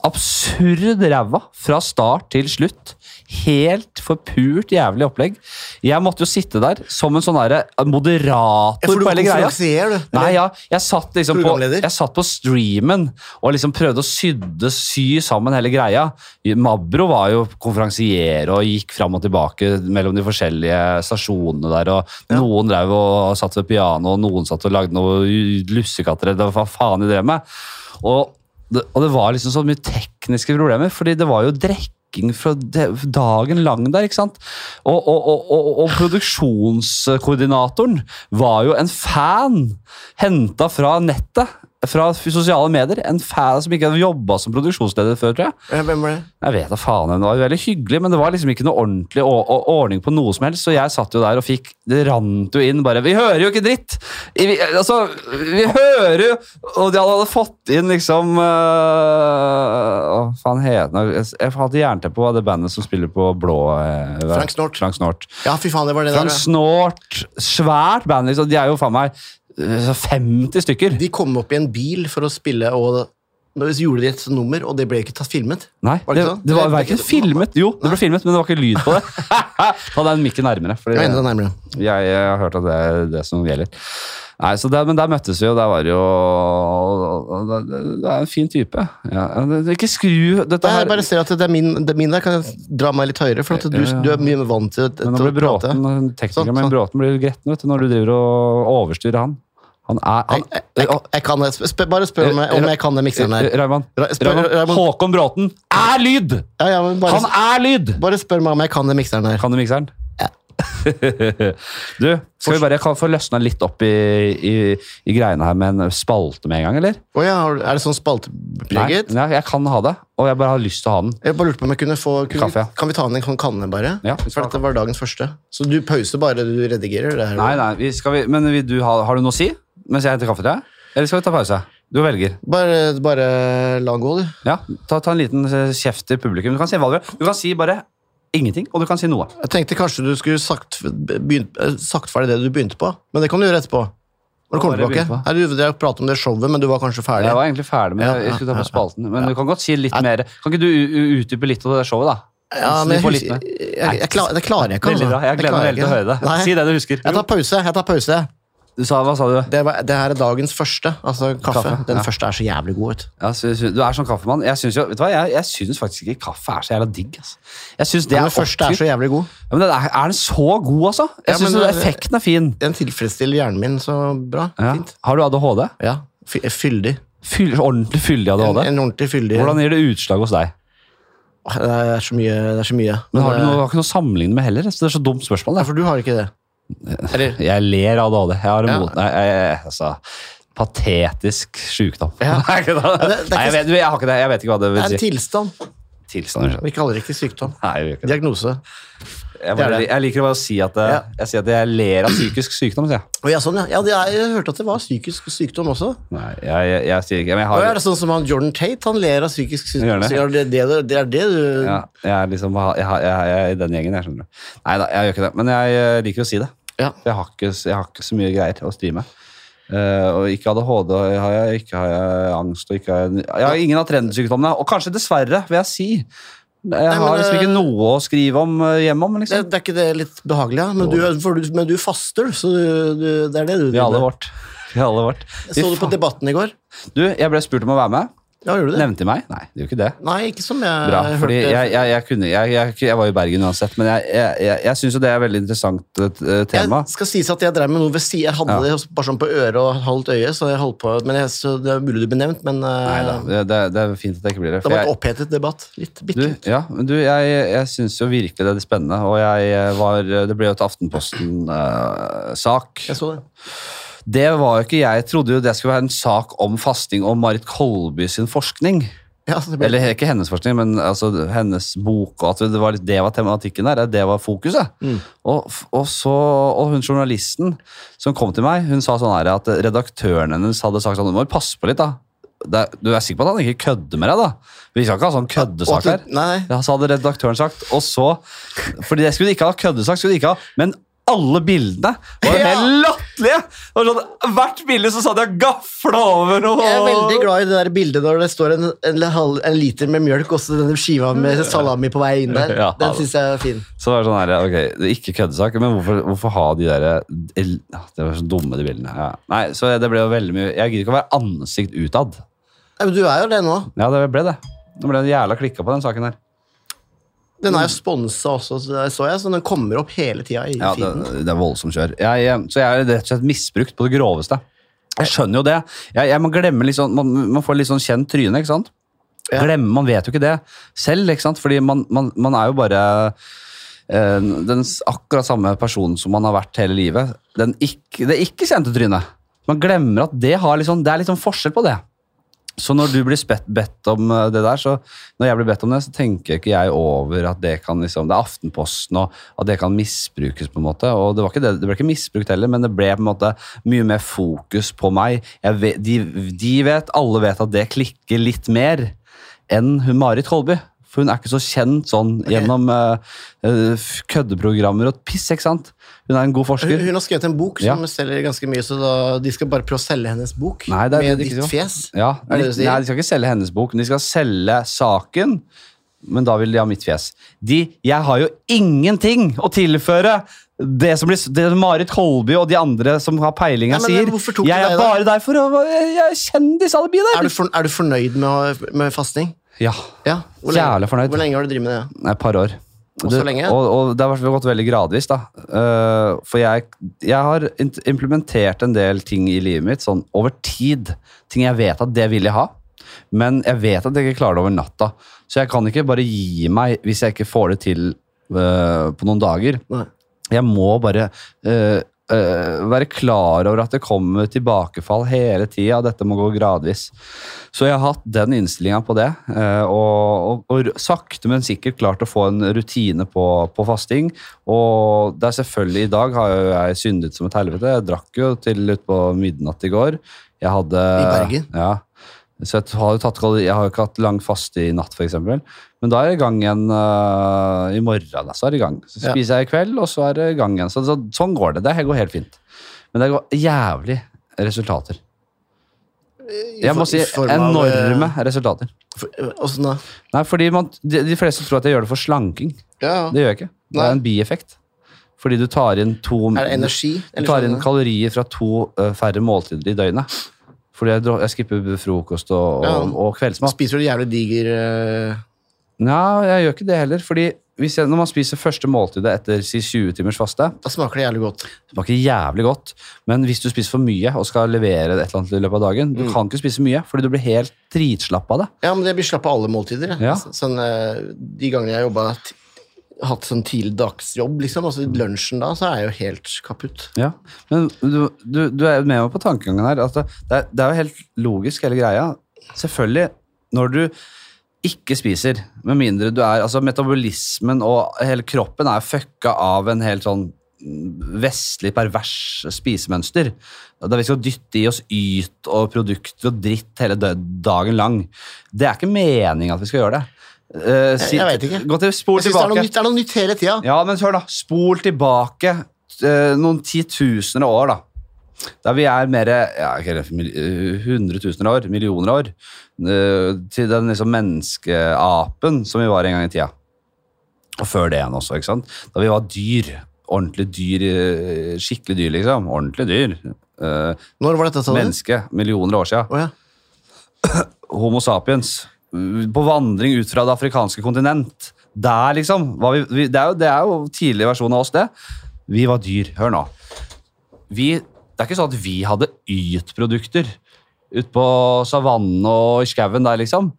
[SPEAKER 3] absurd ræva fra start til slutt. Helt forpult jævlig opplegg. Jeg måtte jo sitte der som en sånn derre
[SPEAKER 2] Jeg
[SPEAKER 3] moderator
[SPEAKER 2] får
[SPEAKER 3] på hele greia.
[SPEAKER 2] konferansier, du.
[SPEAKER 3] Nei, ja. Jeg satt liksom på,
[SPEAKER 2] Programleder?
[SPEAKER 3] jeg satt på streamen og liksom prøvde å sydde, sy sammen hele greia. Mabro var jo konferansier og gikk fram og tilbake mellom de forskjellige stasjonene der. og Noen drev og satt ved piano, og noen satt og lagde noe lussekatter. eller Hva faen de drev med. Og det, og det var liksom så mye tekniske problemer, fordi det var jo drekking fra de- dagen lang der, ikke sant? Og, og, og, og, og produksjonskoordinatoren var jo en fan henta fra nettet, fra sosiale medier. En fan som ikke hadde jobba som produksjonsleder før, tror jeg.
[SPEAKER 2] Ja, Hvem var det?
[SPEAKER 3] Jeg vet da faen, det var veldig hyggelig, men det var liksom ikke noe ordentlig å, å, ordning på noe som helst, så jeg satt jo der og fikk, det rant jo inn bare, vi hører jo ikke dritt! I, vi, altså, vi hører jo, og de hadde fått inn liksom, øh, hva faen heter det? Jeg, jeg hadde jernteppe på hva det bandet som spiller på blå. eh,
[SPEAKER 2] Frank Snort.
[SPEAKER 3] Frank Snort.
[SPEAKER 2] Ja, fy faen, det var det
[SPEAKER 3] Frank
[SPEAKER 2] der. ja.
[SPEAKER 3] Snort, svært band, liksom, de er jo faen meg øh, 50 stykker.
[SPEAKER 2] De kom opp i en bil for å spille, og da gjorde de et nummer, og det ble ikke tatt filmet.
[SPEAKER 3] Nei,
[SPEAKER 2] Var
[SPEAKER 3] det, det,
[SPEAKER 2] det ikke sånn?
[SPEAKER 3] var
[SPEAKER 2] Det- det-
[SPEAKER 3] verken filmet, jo, det ble filmet, men det var ikke lyd på det. Ta den mikken nærmere. fordi-
[SPEAKER 2] Ja, enda nærmere.
[SPEAKER 3] Jeg, jeg har hørt at det er det som gjelder. Nei, så der, Men der møttes vi, og der var det jo og det- det- Det er en fin type. Ja, det- det- ikke skru dette
[SPEAKER 2] Nei,
[SPEAKER 3] her.
[SPEAKER 2] jeg bare ser at det er min, det er min der. Kan jeg dra meg litt høyere? For at du, du er mye mer vant til, til
[SPEAKER 3] Men nå
[SPEAKER 2] å
[SPEAKER 3] blir
[SPEAKER 2] prate.
[SPEAKER 3] Bråten, teknikeren
[SPEAKER 2] Sånn,
[SPEAKER 3] min
[SPEAKER 2] sånn.
[SPEAKER 3] Bråten blir gretten vet du, når du driver og overstyrer han. Han er han,
[SPEAKER 2] Jeg, jeg, jeg kan det. Sp sp- bare spør om jeg, om jeg kan den mikseren her.
[SPEAKER 3] Raymond,
[SPEAKER 2] Ra- spør-
[SPEAKER 3] Raymond,
[SPEAKER 2] Raymond.
[SPEAKER 3] Håkon Bråten er lyd!
[SPEAKER 2] Ja, ja, men
[SPEAKER 3] Han
[SPEAKER 2] bare,
[SPEAKER 3] er lyd!
[SPEAKER 2] bare spør meg om jeg kan den mikseren her.
[SPEAKER 3] Kan du mikseren? du, skal vi bare få løsna litt opp i, i, i greiene her med en spalte med en gang, eller?
[SPEAKER 2] Å ja, har du- er det sånn
[SPEAKER 3] Nei,
[SPEAKER 2] spaltepreget?
[SPEAKER 3] nei, jeg kan ha det, og jeg bare har lyst til å ha den.
[SPEAKER 2] Jeg bare lurte på om jeg kunne få kunne,
[SPEAKER 3] Kaffe, ja.
[SPEAKER 2] Kan vi ta ned en sånn kanne, bare?
[SPEAKER 3] Ja, vi skal
[SPEAKER 2] for
[SPEAKER 3] ha
[SPEAKER 2] dette var dagens første. Så du pauser bare, du redigerer? Det her.
[SPEAKER 3] Nei, nei, vi skal vi, men vil du ha, har du noe å si mens jeg henter kaffe til deg? Eller skal vi ta pause? Du velger.
[SPEAKER 2] Bare, bare la den gå, du.
[SPEAKER 3] Ja, ta, ta en liten eh, kjeft til publikum. Du kan si hva du vil. Du kan si bare ingenting, og du kan si noe.
[SPEAKER 2] Jeg tenkte kanskje du skulle sagt, begynt, eh, sagt ferdig det du begynte på, men det kan du gjøre etterpå. Når du kommer
[SPEAKER 3] Hva var det jeg
[SPEAKER 2] tilbake. Her, du drev og pratet om det showet, men du var kanskje ferdig.
[SPEAKER 3] Jeg var egentlig ferdig med
[SPEAKER 2] Ja,
[SPEAKER 3] det. Jeg skulle ta
[SPEAKER 2] ja,
[SPEAKER 3] på spalten, men du kan godt si litt mer. Kan ikke du u- u- utdype litt av det showet, da?
[SPEAKER 2] ja,
[SPEAKER 3] Så
[SPEAKER 2] men
[SPEAKER 3] du
[SPEAKER 2] jeg,
[SPEAKER 3] får
[SPEAKER 2] husker-
[SPEAKER 3] litt med.
[SPEAKER 2] jeg, jeg, jeg, klar, det klarer jeg ikke. altså.
[SPEAKER 3] Veldig bra. Jeg
[SPEAKER 2] Det
[SPEAKER 3] gleder
[SPEAKER 2] klarer
[SPEAKER 3] meg veldig til å høre det.
[SPEAKER 2] Nei.
[SPEAKER 3] Si det du husker.
[SPEAKER 2] Jeg tar pause. jeg tar pause.
[SPEAKER 3] Du sa, hva sa du?
[SPEAKER 2] Det, var, det her er dagens første. Altså kaffe.
[SPEAKER 3] Kaffe,
[SPEAKER 2] Den
[SPEAKER 3] ja.
[SPEAKER 2] første er så jævlig god. Vet. du.
[SPEAKER 3] Ja, sy- sy- du er sånn kaffemann. Jeg syns jo, vet du hva, jeg, jeg syns faktisk ikke kaffe er så jævla digg. Altså. Jeg synes det
[SPEAKER 2] Den
[SPEAKER 3] er
[SPEAKER 2] første er
[SPEAKER 3] oppskrytt.
[SPEAKER 2] så jævlig god.
[SPEAKER 3] Ja, men den er, er den så god, altså? Jeg
[SPEAKER 2] Ja,
[SPEAKER 3] synes
[SPEAKER 2] men
[SPEAKER 3] syns
[SPEAKER 2] det-
[SPEAKER 3] effekten er fin.
[SPEAKER 2] Den tilfredsstiller hjernen min så bra.
[SPEAKER 3] Ja.
[SPEAKER 2] Fint.
[SPEAKER 3] Har du ADHD?
[SPEAKER 2] Ja. Fy- Fyldig.
[SPEAKER 3] Fyll, ordentlig fyldig
[SPEAKER 2] En,
[SPEAKER 3] ADHD?
[SPEAKER 2] en ordentlig fyldig
[SPEAKER 3] Hvordan gir det utslag hos deg?
[SPEAKER 2] Åh, Det er så mye. Det er så mye.
[SPEAKER 3] Men har du noe, har ikke noe å sammenligne med heller? Så det er så dumt spørsmål.
[SPEAKER 2] Nei,
[SPEAKER 3] Det.
[SPEAKER 2] for du har ikke det. Eller
[SPEAKER 3] Jeg ler av ADHD. Jeg har en
[SPEAKER 2] Ja.
[SPEAKER 3] mot... Nei, jeg, jeg, altså, patetisk sjukdom.
[SPEAKER 2] Ja.
[SPEAKER 3] Nei, ikke det?
[SPEAKER 2] det- det er
[SPEAKER 3] Nei, jeg, vet, jeg har ikke det. Jeg vet ikke hva det
[SPEAKER 2] det er
[SPEAKER 3] vil
[SPEAKER 2] en
[SPEAKER 3] si.
[SPEAKER 2] tilstand.
[SPEAKER 3] Tilstand, unnskyld.
[SPEAKER 2] Vi kaller det ikke sykdom.
[SPEAKER 3] Nei, jeg, gjør ikke det.
[SPEAKER 2] Diagnose.
[SPEAKER 3] jeg, bare,
[SPEAKER 2] det er det.
[SPEAKER 3] jeg liker bare å si at eh,
[SPEAKER 2] Ja.
[SPEAKER 3] jeg, sier at jeg ler av psykisk sykdom. Sier jeg.
[SPEAKER 2] Å, ja, sånn, ja. ja det er, jeg hørte at det var psykisk sykdom også.
[SPEAKER 3] Nei, jeg, jeg, jeg sier ikke men jeg
[SPEAKER 2] Og
[SPEAKER 3] har,
[SPEAKER 2] er det sånn som han Jordan Tate? Han ler av psykisk
[SPEAKER 3] Gjør
[SPEAKER 2] sykdom.
[SPEAKER 3] det.
[SPEAKER 2] Så er det, det, du- det er det du
[SPEAKER 3] ja,
[SPEAKER 2] ja.
[SPEAKER 3] jeg er liksom jeg, har- jeg, jeg er i den gjengen, jeg skjønner du. Nei da, jeg gjør ikke det. Men jeg eh, liker å si det. Jeg har ikke, jeg har ikke så mye greier å stri med. Eh, og ikke ADHD har jeg, ikke har jeg angst og ikke har jeg, jeg har ingen av trendsykdommene. Og kanskje dessverre, vil jeg si. Jeg
[SPEAKER 2] men,
[SPEAKER 3] har liksom
[SPEAKER 2] eh,
[SPEAKER 3] ikke noe å skrive om eh, hjemme om,
[SPEAKER 2] Det,
[SPEAKER 3] liksom.
[SPEAKER 2] det er ikke det litt behagelig, ja? Men du, for du, men du faster, så du, du, det er det du
[SPEAKER 3] Vi har alle
[SPEAKER 2] med.
[SPEAKER 3] vårt. Vi har alle vårt. Fy
[SPEAKER 2] Så du på
[SPEAKER 3] faen.
[SPEAKER 2] Debatten i går?
[SPEAKER 3] Du, jeg ble spurt om å være med.
[SPEAKER 2] Ja, gjorde du det?
[SPEAKER 3] Nevnte de meg? Nei, det gjorde ikke det.
[SPEAKER 2] Nei, ikke som jeg
[SPEAKER 3] Bra, fordi
[SPEAKER 2] hørte.
[SPEAKER 3] jeg, jeg, jeg, kunne, jeg, jeg, jeg var i Bergen uansett, men jeg, jeg, jeg, jeg syns jo det er et veldig interessant eh, tema.
[SPEAKER 2] Jeg skal sies at jeg drev med noe ved siden. Jeg hadde
[SPEAKER 3] Ja.
[SPEAKER 2] det bare sånn på øret og halvt øye, så jeg holdt på Men jeg, så det er mulig du ble nevnt, men eh,
[SPEAKER 3] Neida, det, det, det er fint at jeg ikke blir det.
[SPEAKER 2] det
[SPEAKER 3] for
[SPEAKER 2] var et
[SPEAKER 3] jeg-
[SPEAKER 2] opphetet debatt. Litt, bitte
[SPEAKER 3] Du,
[SPEAKER 2] litt.
[SPEAKER 3] ja, men du, jeg, jeg syns jo virkelig det er spennende, og jeg eh, var Det ble jo et Aftenposten-sak.
[SPEAKER 2] Jeg så det.
[SPEAKER 3] det var jo ikke Jeg trodde jo det skulle være en sak om fasting og Marit Kolby sin forskning.
[SPEAKER 2] Ja, så det ble,
[SPEAKER 3] Eller ikke hennes forskning, men altså hennes bok, og at det var, det var tematikken der. Det var fokuset.
[SPEAKER 2] Mm.
[SPEAKER 3] Og, f- og, så, og hun journalisten som kom til meg, hun sa sånn her at redaktøren hennes hadde sagt sånn Du må jo passe på litt, da. Det, er- du er sikker på at han ikke kødder med deg, da? Vi skal ikke ha sånn
[SPEAKER 2] og
[SPEAKER 3] køddesak
[SPEAKER 2] at
[SPEAKER 3] her.
[SPEAKER 2] du, nei, nei.
[SPEAKER 3] Ja, så hadde redaktøren sagt, og så Fordi det skulle de ikke ha køddesagt, skulle de ikke ha. Men alle bildene var jo
[SPEAKER 2] Ja.
[SPEAKER 3] helt latterlige! Det var Sånn, hvert bilde så satt jeg og gafla over noe.
[SPEAKER 2] Jeg er veldig glad i det der bildet når det står en, en, halv- en liter med mjølk og så denne skiva med salami på vei inn der.
[SPEAKER 3] Ja.
[SPEAKER 2] Den syns jeg er fin.
[SPEAKER 3] Så var det sånn her, ok, det er ikke køddesak, men hvorfor, hvorfor ha de der el- ja, Det var så dumme, de bildene. Ja. Nei, så det ble jo veldig mye Jeg gidder ikke å være ansikt utad.
[SPEAKER 2] Nei, men du er jo det nå.
[SPEAKER 3] Ja, det ble det. Nå ble det jævla klikka på den saken her.
[SPEAKER 2] Den er jo sponsa også, så det så jeg, så den kommer opp hele tida i
[SPEAKER 3] Ja, det,
[SPEAKER 2] feeden.
[SPEAKER 3] det er voldsomt kjør. Jeg, eh, så jeg er rett og slett misbrukt på det groveste. Jeg skjønner jo det. Jeg, jeg, man glemmer litt sånn, man, man får litt sånn kjent tryne, ikke sant?
[SPEAKER 2] Ja.
[SPEAKER 3] Glemmer, man vet jo ikke det selv, ikke sant? Fordi man, man, man er jo bare eh, den s- akkurat samme personen som man har vært hele livet. Den ikke, det ikke kjente trynet. Man glemmer at det, har litt sånn- det er litt sånn forskjell på det. Så når du blir spett, bedt om eh, det der, så når jeg blir bedt om det, så tenker ikke jeg over at det kan liksom, det er Aftenposten og at det kan misbrukes på en måte. Og det, var ikke det, det ble ikke misbrukt heller, men det ble på en måte mye mer fokus på meg. Jeg vet, de, de vet, alle vet at det klikker litt mer enn hun Marit Kolby. For hun er ikke så kjent sånn gjennom eh, eh, f- køddeprogrammer og piss, ikke sant? Hun er en god
[SPEAKER 2] Hun,
[SPEAKER 3] forsker.
[SPEAKER 2] hun har skrevet en bok som selger ganske mye, så da, de skal bare prøve å selge hennes bok
[SPEAKER 3] Nei, det er
[SPEAKER 2] med
[SPEAKER 3] det de ikke
[SPEAKER 2] ditt
[SPEAKER 3] gjør.
[SPEAKER 2] fjes.
[SPEAKER 3] Ja,
[SPEAKER 2] Er
[SPEAKER 3] nei,
[SPEAKER 2] det det du sier?
[SPEAKER 3] nei, de skal ikke selge hennes bok, men de skal selge saken. Men da vil de ha mitt fjes. De, jeg har jo ingenting å tilføre det som blir, det Marit Kolby og de andre som har peilinga,
[SPEAKER 2] Ja, men
[SPEAKER 3] sier.
[SPEAKER 2] hvorfor tok du
[SPEAKER 3] Jeg
[SPEAKER 2] deg
[SPEAKER 3] er
[SPEAKER 2] i
[SPEAKER 3] bare der for å Jeg er kjendisalibi
[SPEAKER 2] Er
[SPEAKER 3] der!
[SPEAKER 2] du, for, er du fornøyd med, å- med fasting?
[SPEAKER 3] Ja.
[SPEAKER 2] Ja.
[SPEAKER 3] Jævlig fornøyd.
[SPEAKER 2] Hvor lenge har du drevet med det?
[SPEAKER 3] Nei, Et par år.
[SPEAKER 2] Og så lenge?
[SPEAKER 3] og, og det har vært- gått veldig gradvis, da. Eh, for jeg, jeg har int- implementert en del ting i livet mitt sånn over tid. Ting jeg vet at det vil jeg ha, men jeg vet at jeg ikke klarer det over natta. Så jeg kan ikke bare gi meg hvis jeg ikke får det til eh, på noen dager.
[SPEAKER 2] Nei.
[SPEAKER 3] Jeg må bare eh, eh, være klar over at det kommer tilbakefall hele tida. Dette må gå gradvis. Så jeg har hatt den innstillinga på det, eh, og, og, og sakte, men sikkert klart å få en rutine på, på fasting. Og det er selvfølgelig i dag har jo jeg syndet som et helvete. Jeg drakk jo til utpå midnatt i går. Jeg hadde
[SPEAKER 2] I Bergen?
[SPEAKER 3] Ja. Så jeg har jo tatt, jeg har jo ikke hatt lang faste i natt, f.eks. Men da er jeg i gang igjen øh, i morgen. Da, så er jeg i gang. Så
[SPEAKER 2] Ja.
[SPEAKER 3] spiser jeg i kveld, og så er jeg i gang igjen. Så, så, sånn går det. Det går helt fint. Men det går jævlig resultater.
[SPEAKER 2] I
[SPEAKER 3] Jeg
[SPEAKER 2] for-
[SPEAKER 3] må si
[SPEAKER 2] i form av,
[SPEAKER 3] enorme resultater.
[SPEAKER 2] eh, for- eh, Åssen da?
[SPEAKER 3] Nei, fordi man, de, de fleste tror at jeg gjør det for slanking.
[SPEAKER 2] Ja, ja.
[SPEAKER 3] Det gjør jeg ikke. Det
[SPEAKER 2] Nei.
[SPEAKER 3] er en bieffekt. Fordi du tar inn to
[SPEAKER 2] Er det energi?
[SPEAKER 3] Du
[SPEAKER 2] eller
[SPEAKER 3] tar inn
[SPEAKER 2] sånn?
[SPEAKER 3] kalorier fra to øh, færre måltider i døgnet. Fordi jeg, dro- jeg skipper frokost og,
[SPEAKER 2] Ja.
[SPEAKER 3] og, og kveldsmat.
[SPEAKER 2] Spiser du jævlig diger eh,
[SPEAKER 3] Nei, jeg gjør ikke det heller. Fordi hvis jeg, når man spiser første måltidet etter si 20 timers faste,
[SPEAKER 2] Da smaker det jævlig godt.
[SPEAKER 3] det smaker jævlig godt, men hvis du spiser for mye og skal levere et eller annet i løpet av dagen, du kan ikke spise mye, fordi du blir helt dritslapp av det.
[SPEAKER 2] Ja, men jeg blir slapp av alle måltider. jeg.
[SPEAKER 3] Ja.
[SPEAKER 2] Så- Sånn, eh, de gangene jeg jobba Hatt sånn tidlig dagsjobb, liksom. Altså lunsjen da, så er jeg jo helt kaputt.
[SPEAKER 3] Ja, Men du, du, du er med meg på tankegangen her. at det, det, er, det er jo helt logisk, hele greia. Selvfølgelig, når du ikke spiser, med mindre du er Altså, metabolismen og hele kroppen er fucka av en helt sånn mm, vestlig, pervers spisemønster. Der vi skal dytte i oss yt og produkter og dritt hele dø- dagen lang. Det er ikke meninga at vi skal gjøre det. Eh, si-
[SPEAKER 2] jeg vet ikke.
[SPEAKER 3] Gå til spol
[SPEAKER 2] Jeg synes det er noe
[SPEAKER 3] tilbake.
[SPEAKER 2] nytt, det er noe nytt hele tida.
[SPEAKER 3] Ja, men hør da, spol tilbake eh, noen titusener år da. Da vi er mer ja, ikke helt, mil- eh, hundretusener år, millioner år, eh, til den liksom menneskeapen som vi var en gang i tida. Og før det igjen også, ikke sant? Da vi var dyr. Ordentlig dyr. eh, Skikkelig dyr, liksom. Ordentlig dyr. Eh,
[SPEAKER 2] Når var dette, sa du?
[SPEAKER 3] menneske. Millioner år sia.
[SPEAKER 2] Å ja.
[SPEAKER 3] Homo sapiens. På vandring ut fra det afrikanske kontinent. Der, liksom. Var vi, vi, det, er jo, det er jo tidlig versjon av oss, det. Vi var dyr. Hør nå. Vi, det er ikke sånn at vi hadde yt-produkter ute på savannen og i skauen der, liksom.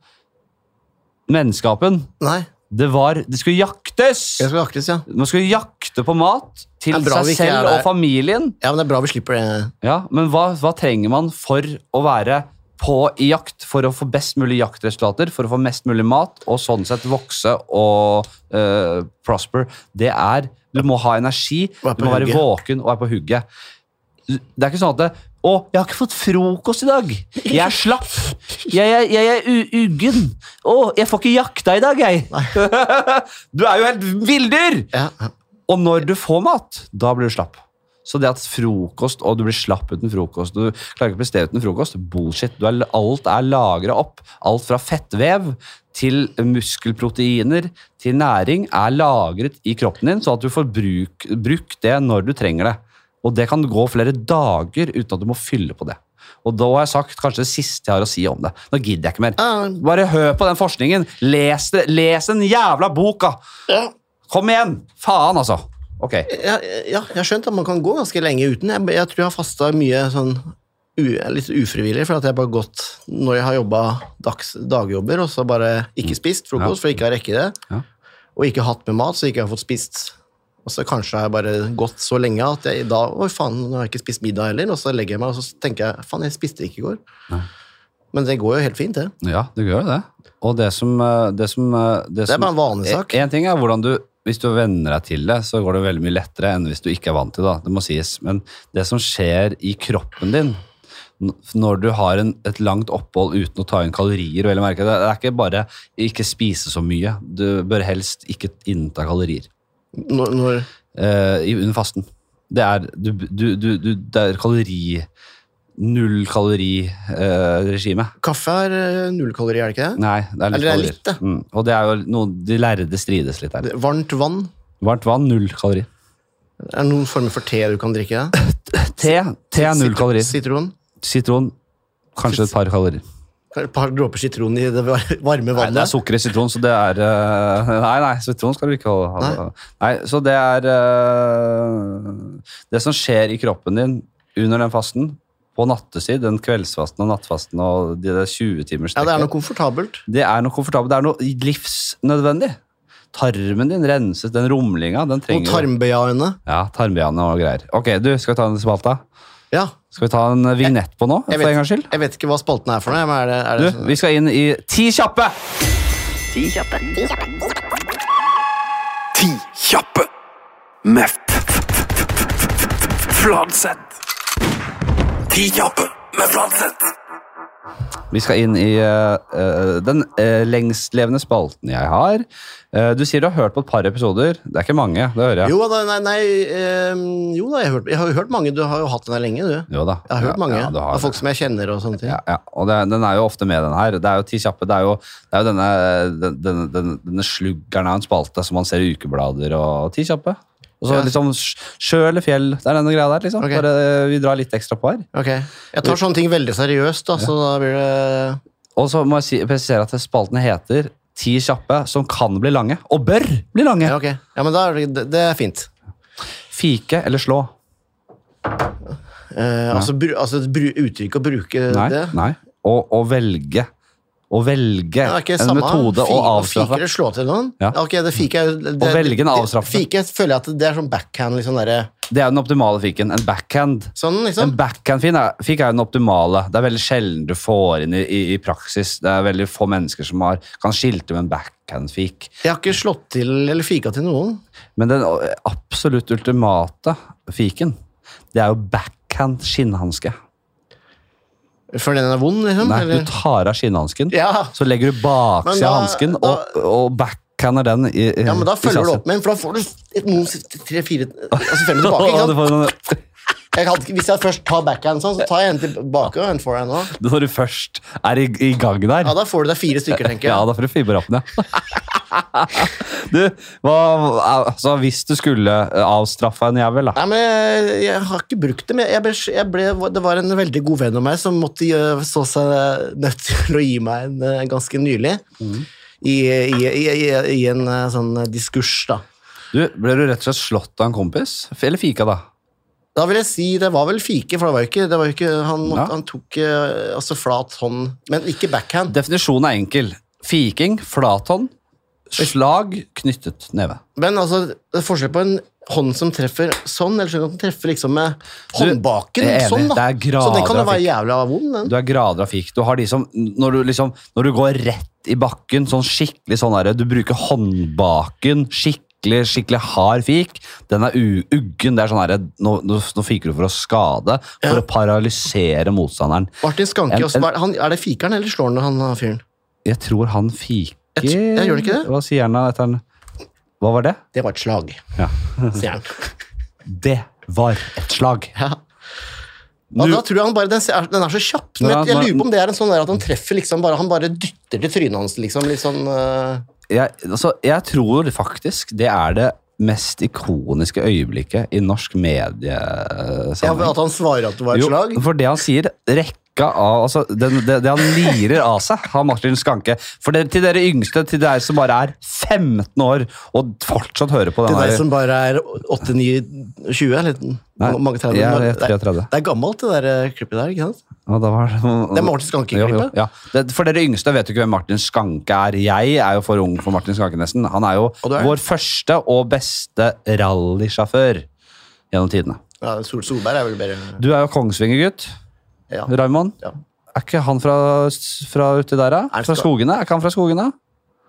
[SPEAKER 3] Menneskeapen,
[SPEAKER 2] Nei.
[SPEAKER 3] det var Det skulle jaktes!
[SPEAKER 2] Jeg skal aktes, ja.
[SPEAKER 3] Man skulle jakte på mat til
[SPEAKER 2] Det er bra vi
[SPEAKER 3] seg
[SPEAKER 2] ikke er
[SPEAKER 3] selv og
[SPEAKER 2] der.
[SPEAKER 3] familien.
[SPEAKER 2] Ja, men det er bra vi slipper det.
[SPEAKER 3] Ja, men hva, hva trenger man for å være på i jakt for å få best mulig jaktresultater, for å få mest mulig mat, og sånn sett vokse og eh, prosper? Det er Du må ha energi,
[SPEAKER 2] Og er
[SPEAKER 3] du
[SPEAKER 2] på
[SPEAKER 3] må være
[SPEAKER 2] hugget.
[SPEAKER 3] våken og er på hugget. Det er ikke sånn at det, 'Å, jeg har ikke fått frokost i dag. Jeg er slapp. Jeg, er- jeg er u- uggen. Å, jeg får ikke jakta i dag, jeg.' du er jo helt villdyr!
[SPEAKER 2] Ja. ja.
[SPEAKER 3] Og når du får mat, da blir du slapp. Så det at frokost, og du blir slapp uten frokost, du klarer ikke å prestere uten frokost, bullshit. Du er, alt er lagra opp. Alt fra fettvev til muskelproteiner til næring er lagret i kroppen din, sånn at du får bruk, bruk det når du trenger det. Og det kan gå flere dager uten at du må fylle på det. Og da har jeg sagt kanskje det siste jeg har å si om det. Nå gidder jeg ikke mer.
[SPEAKER 2] Ja,
[SPEAKER 3] Bare hør på den forskningen. Les, det- les en jævla bok, da!
[SPEAKER 2] ja.
[SPEAKER 3] Kom igjen! Faen, altså. Ok.
[SPEAKER 2] ja, ja, jeg har skjønt at man kan gå ganske lenge uten. Jeg, jeg tror jeg har fasta mye sånn u, litt ufrivillig, for at jeg bare gått når jeg har jobba dags, dagjobber, og så bare ikke spist frokost, for ikke å rekke det,
[SPEAKER 3] Mm. Ja.
[SPEAKER 2] og ikke hatt med mat, så ikke jeg har fått spist. Og så kanskje har jeg bare gått så lenge at jeg da Oi, faen, nå har jeg ikke spist middag heller. Og så legger jeg meg, og så tenker jeg faen, jeg spiste ikke i går. Men det går jo helt fint, det.
[SPEAKER 3] Ja, det gjør jo det. Og det som eh, Det, som, eh,
[SPEAKER 2] Det er bare en vanlig sak.
[SPEAKER 3] En ting er hvordan du Hvis du venner deg til det, så går det veldig mye lettere enn hvis du ikke er vant til det. da. Det må sies. Men det som skjer i kroppen din n- når du har en, et langt opphold uten å ta inn kalorier, vel å merke, det det er ikke bare ikke spise så mye. Du bør helst ikke innta kalorier
[SPEAKER 2] Når, når
[SPEAKER 3] eh, i- under fasten. Det er, du, du, du, du, det er kalori Null eh, kalori-regime.
[SPEAKER 2] Kaffe er eh, null kalori, er det ikke det?
[SPEAKER 3] Nei, det er litt
[SPEAKER 2] Eller det er
[SPEAKER 3] kalorier.
[SPEAKER 2] litt, det.
[SPEAKER 3] Mm. Og det er jo noe, de lærde strides litt her.
[SPEAKER 2] Det- Varmt vann?
[SPEAKER 3] Varmt vann, null kalori.
[SPEAKER 2] Er det noen former for te du kan drikke?
[SPEAKER 3] Te, te er null
[SPEAKER 2] Sitron-
[SPEAKER 3] kalori.
[SPEAKER 2] Sitron?
[SPEAKER 3] Sitron, kanskje et par kalorier.
[SPEAKER 2] Et par dråper sitron i det var- varme
[SPEAKER 3] Nei,
[SPEAKER 2] vannet.
[SPEAKER 3] det er sukker i sitron, så det er eh, Nei, nei, sitron skal du ikke ha. ha- Nei, så det er eh, Det som skjer i kroppen din under den fasten, på nattestid, den kveldsfasten og nattfasten og de der 20 timers
[SPEAKER 2] ja, det er noe komfortabelt.
[SPEAKER 3] Det er noe komfortabelt. Det er noe livsnødvendig. Tarmen din renses, den rumlinga, den
[SPEAKER 2] Og
[SPEAKER 3] trenger
[SPEAKER 2] tarmbøyene.
[SPEAKER 3] Ja, tarmbeiane og greier. Ok, du, skal vi ta en spalta?
[SPEAKER 2] Ja,
[SPEAKER 3] Skal vi ta en eh, vignett på nå,
[SPEAKER 2] jeg
[SPEAKER 3] for en gangs
[SPEAKER 2] vet,
[SPEAKER 3] skyld?
[SPEAKER 2] jeg vet ikke hva spalten er for noe. Men er det, er
[SPEAKER 3] Du,
[SPEAKER 2] det sånn-
[SPEAKER 3] vi skal inn i Ti kjappe!
[SPEAKER 5] Ti kjappe.
[SPEAKER 6] Ti kjappe med f- f- f- f- f- f- f- Fladseth. Ti kjappe med Fladseth.
[SPEAKER 3] Vi skal inn i eh, eh, den eh, lengstlevende spalten jeg har. Eh, du sier du har hørt på et par episoder. Det er ikke mange, det hører jeg.
[SPEAKER 2] Jo da, nei, nei ehm, Jo da, jeg har, hørt, jeg har jo hørt mange. Du har jo hatt den her lenge, du.
[SPEAKER 3] Jo da.
[SPEAKER 2] Jeg har hørt
[SPEAKER 3] Ja,
[SPEAKER 2] mange
[SPEAKER 3] ja, du har
[SPEAKER 2] av
[SPEAKER 3] det.
[SPEAKER 2] folk som jeg kjenner og sånne ting.
[SPEAKER 3] Ja, ja. og det, den er jo ofte med, den her. Det er jo ti kjappe. Det er jo, det er jo denne, den, den, den, denne sluggeren av en spalte som man ser i ukeblader og ti kjappe. Og så
[SPEAKER 2] Ja.
[SPEAKER 3] liksom sj- sjø eller fjell. Det er denne greia der, liksom.
[SPEAKER 2] Ok.
[SPEAKER 3] Bare, vi drar litt ekstra på her.
[SPEAKER 2] Ok, Jeg tar sånne ting veldig seriøst, da, så da blir det
[SPEAKER 3] Og så må jeg si, presisere at spaltene heter ti kjappe som kan bli lange, og bør bli lange.
[SPEAKER 2] Ja, ok. Ja, men da er det, det- det er fint.
[SPEAKER 3] Fike eller slå.
[SPEAKER 2] Eh, altså, bru, altså bru, uttrykk å bruke
[SPEAKER 3] Nei.
[SPEAKER 2] det.
[SPEAKER 3] nei. Og, og velge. Å velge
[SPEAKER 2] Ja, det er ikke
[SPEAKER 3] en
[SPEAKER 2] samme.
[SPEAKER 3] metode
[SPEAKER 2] Fi-
[SPEAKER 3] å
[SPEAKER 2] Fiker
[SPEAKER 3] avstraffe.
[SPEAKER 2] eller slå til noen?
[SPEAKER 3] Ja.
[SPEAKER 2] Ok, det fiker er jo... det- det-
[SPEAKER 3] velge en
[SPEAKER 2] det-
[SPEAKER 3] avstraffe.
[SPEAKER 2] Fiker føler jeg at det er sånn backhand, liksom derre...
[SPEAKER 3] Det er jo den optimale fiken. En backhand.
[SPEAKER 2] Sånn,
[SPEAKER 3] En
[SPEAKER 2] liksom.
[SPEAKER 3] backhand-fik er, fik er jo den optimale. Det er veldig sjelden du får inn i, i, i praksis. Det er veldig få mennesker som har, kan skilte med en backhand-fik.
[SPEAKER 2] Jeg har ikke slått til eller fika til noen.
[SPEAKER 3] Men den ø, absolutt ultimate fiken, det er jo backhand-skinnhanske.
[SPEAKER 2] Før den er vond, liksom.
[SPEAKER 3] Nei,
[SPEAKER 2] eller?
[SPEAKER 3] du tar av skinnhansken,
[SPEAKER 2] Ja.
[SPEAKER 3] så legger du
[SPEAKER 2] Men
[SPEAKER 3] baksida
[SPEAKER 2] da-
[SPEAKER 3] av hansken og, og backhander den i, i
[SPEAKER 2] ja, men da
[SPEAKER 3] i
[SPEAKER 2] følger du
[SPEAKER 3] sassen.
[SPEAKER 2] opp med en, for da får du et- noen tre-fire Altså fem tilbake,
[SPEAKER 3] Å, du får noen-
[SPEAKER 2] ikke sant? Jeg hadde, hvis jeg først tar backhand sånn, så tar jeg en tilbake og en forehand òg.
[SPEAKER 3] Når du først er i, i gang der.
[SPEAKER 2] Ja, da får du deg fire stykker, tenker
[SPEAKER 3] Ja,
[SPEAKER 2] jeg.
[SPEAKER 3] da får du fiberrappen, ja. du, hva, altså, hvis du skulle avstraffa en jævel, da
[SPEAKER 2] Nei, men jeg, jeg har ikke brukt det, men jeg ble, jeg ble, det var en veldig god venn av meg som måtte gjø- så seg nødt til å gi meg en eh, ganske nylig.
[SPEAKER 3] Mm.
[SPEAKER 2] I, i, i, i, I en eh, sånn diskurs, da.
[SPEAKER 3] du, Ble du rett og slett slått av en kompis? F- Eller fika, da?
[SPEAKER 2] Da vil jeg si det var vel fike, for det var jo ikke, det var jo ikke han, måtte,
[SPEAKER 3] Ja.
[SPEAKER 2] han tok eh, altså flat hånd, men ikke backhand.
[SPEAKER 3] Definisjonen er enkel. Fiking, flathånd, slag, knyttet neve.
[SPEAKER 2] Men altså, det er forskjell på en hånd som treffer sånn, eller sånn at den treffer liksom med håndbaken.
[SPEAKER 3] jeg er enig.
[SPEAKER 2] sånn, da.
[SPEAKER 3] Det er grader
[SPEAKER 2] så den kan jo
[SPEAKER 3] av
[SPEAKER 2] være
[SPEAKER 3] fik.
[SPEAKER 2] jævla vond, den.
[SPEAKER 3] Du er grader av fik. Du har de som Når du, liksom, når du går rett i bakken, sånn skikkelig sånn derre Du bruker håndbaken, skikkelig, skikkelig hard fik. Den er u uggen. Det er sånn herre nå, nå, nå fiker du for å skade, for
[SPEAKER 2] Ja.
[SPEAKER 3] å paralysere motstanderen.
[SPEAKER 2] Martin Skanke,
[SPEAKER 3] En-
[SPEAKER 2] også, hva er- han, er det fikeren eller slår han han han fyren?
[SPEAKER 3] Jeg tror han fiker
[SPEAKER 2] Jeg tr- jeg gjør det ikke det?
[SPEAKER 3] Hva sier han da etter han Hva var det?
[SPEAKER 2] Det var et slag,
[SPEAKER 3] Ja.
[SPEAKER 2] sier han.
[SPEAKER 3] Det var et slag.
[SPEAKER 2] Ja. Og
[SPEAKER 3] Nu-
[SPEAKER 2] da tror jeg han bare, den, er, den er så kjapp. Men
[SPEAKER 3] Ja,
[SPEAKER 2] jeg, jeg
[SPEAKER 3] men-
[SPEAKER 2] lurer på om det er en sånn der at han treffer liksom bare, han bare dytter til trynet hans, liksom. Litt sånn eh,
[SPEAKER 3] jeg, altså, jeg tror faktisk det er det mest ikoniske øyeblikket i norsk
[SPEAKER 2] ja, men
[SPEAKER 3] mediesammenheng.
[SPEAKER 2] At han svarer at det var et
[SPEAKER 3] Jo,
[SPEAKER 2] slag.
[SPEAKER 3] for det han sier, rekka av altså, det, det, det han lirer av seg, har Martin Skanke. For det, til dere yngste, til dere som bare er 15 år og fortsatt hører på
[SPEAKER 2] Til
[SPEAKER 3] den
[SPEAKER 2] deg
[SPEAKER 3] her-
[SPEAKER 2] som bare er 8-9-20, eller
[SPEAKER 3] Nei,
[SPEAKER 2] mange 30
[SPEAKER 3] jeg er
[SPEAKER 2] mange-
[SPEAKER 3] 33.
[SPEAKER 2] Det, det er gammelt, det der eh, klippet der. ikke sant?
[SPEAKER 3] Ja, da var
[SPEAKER 2] Det er Martin Skanke-klippet.
[SPEAKER 3] Jo, jo, Ja. Det- For dere yngste vet jo ikke hvem Martin Skanke er. Jeg er jo for ung for Martin Skanke, nesten. Han er jo
[SPEAKER 2] Og du er?
[SPEAKER 3] vår første og beste rallysjåfør gjennom tidene.
[SPEAKER 2] Ja, Sol Solberg er vel bedre
[SPEAKER 3] Du er jo Kongsvinger-gutt,
[SPEAKER 2] ja.
[SPEAKER 3] Raymond.
[SPEAKER 2] Ja.
[SPEAKER 3] Er ikke han fra, fra uti der, da?
[SPEAKER 2] Er det
[SPEAKER 3] Fra
[SPEAKER 2] Ska-
[SPEAKER 3] Skogene? Er ikke han fra Skogene?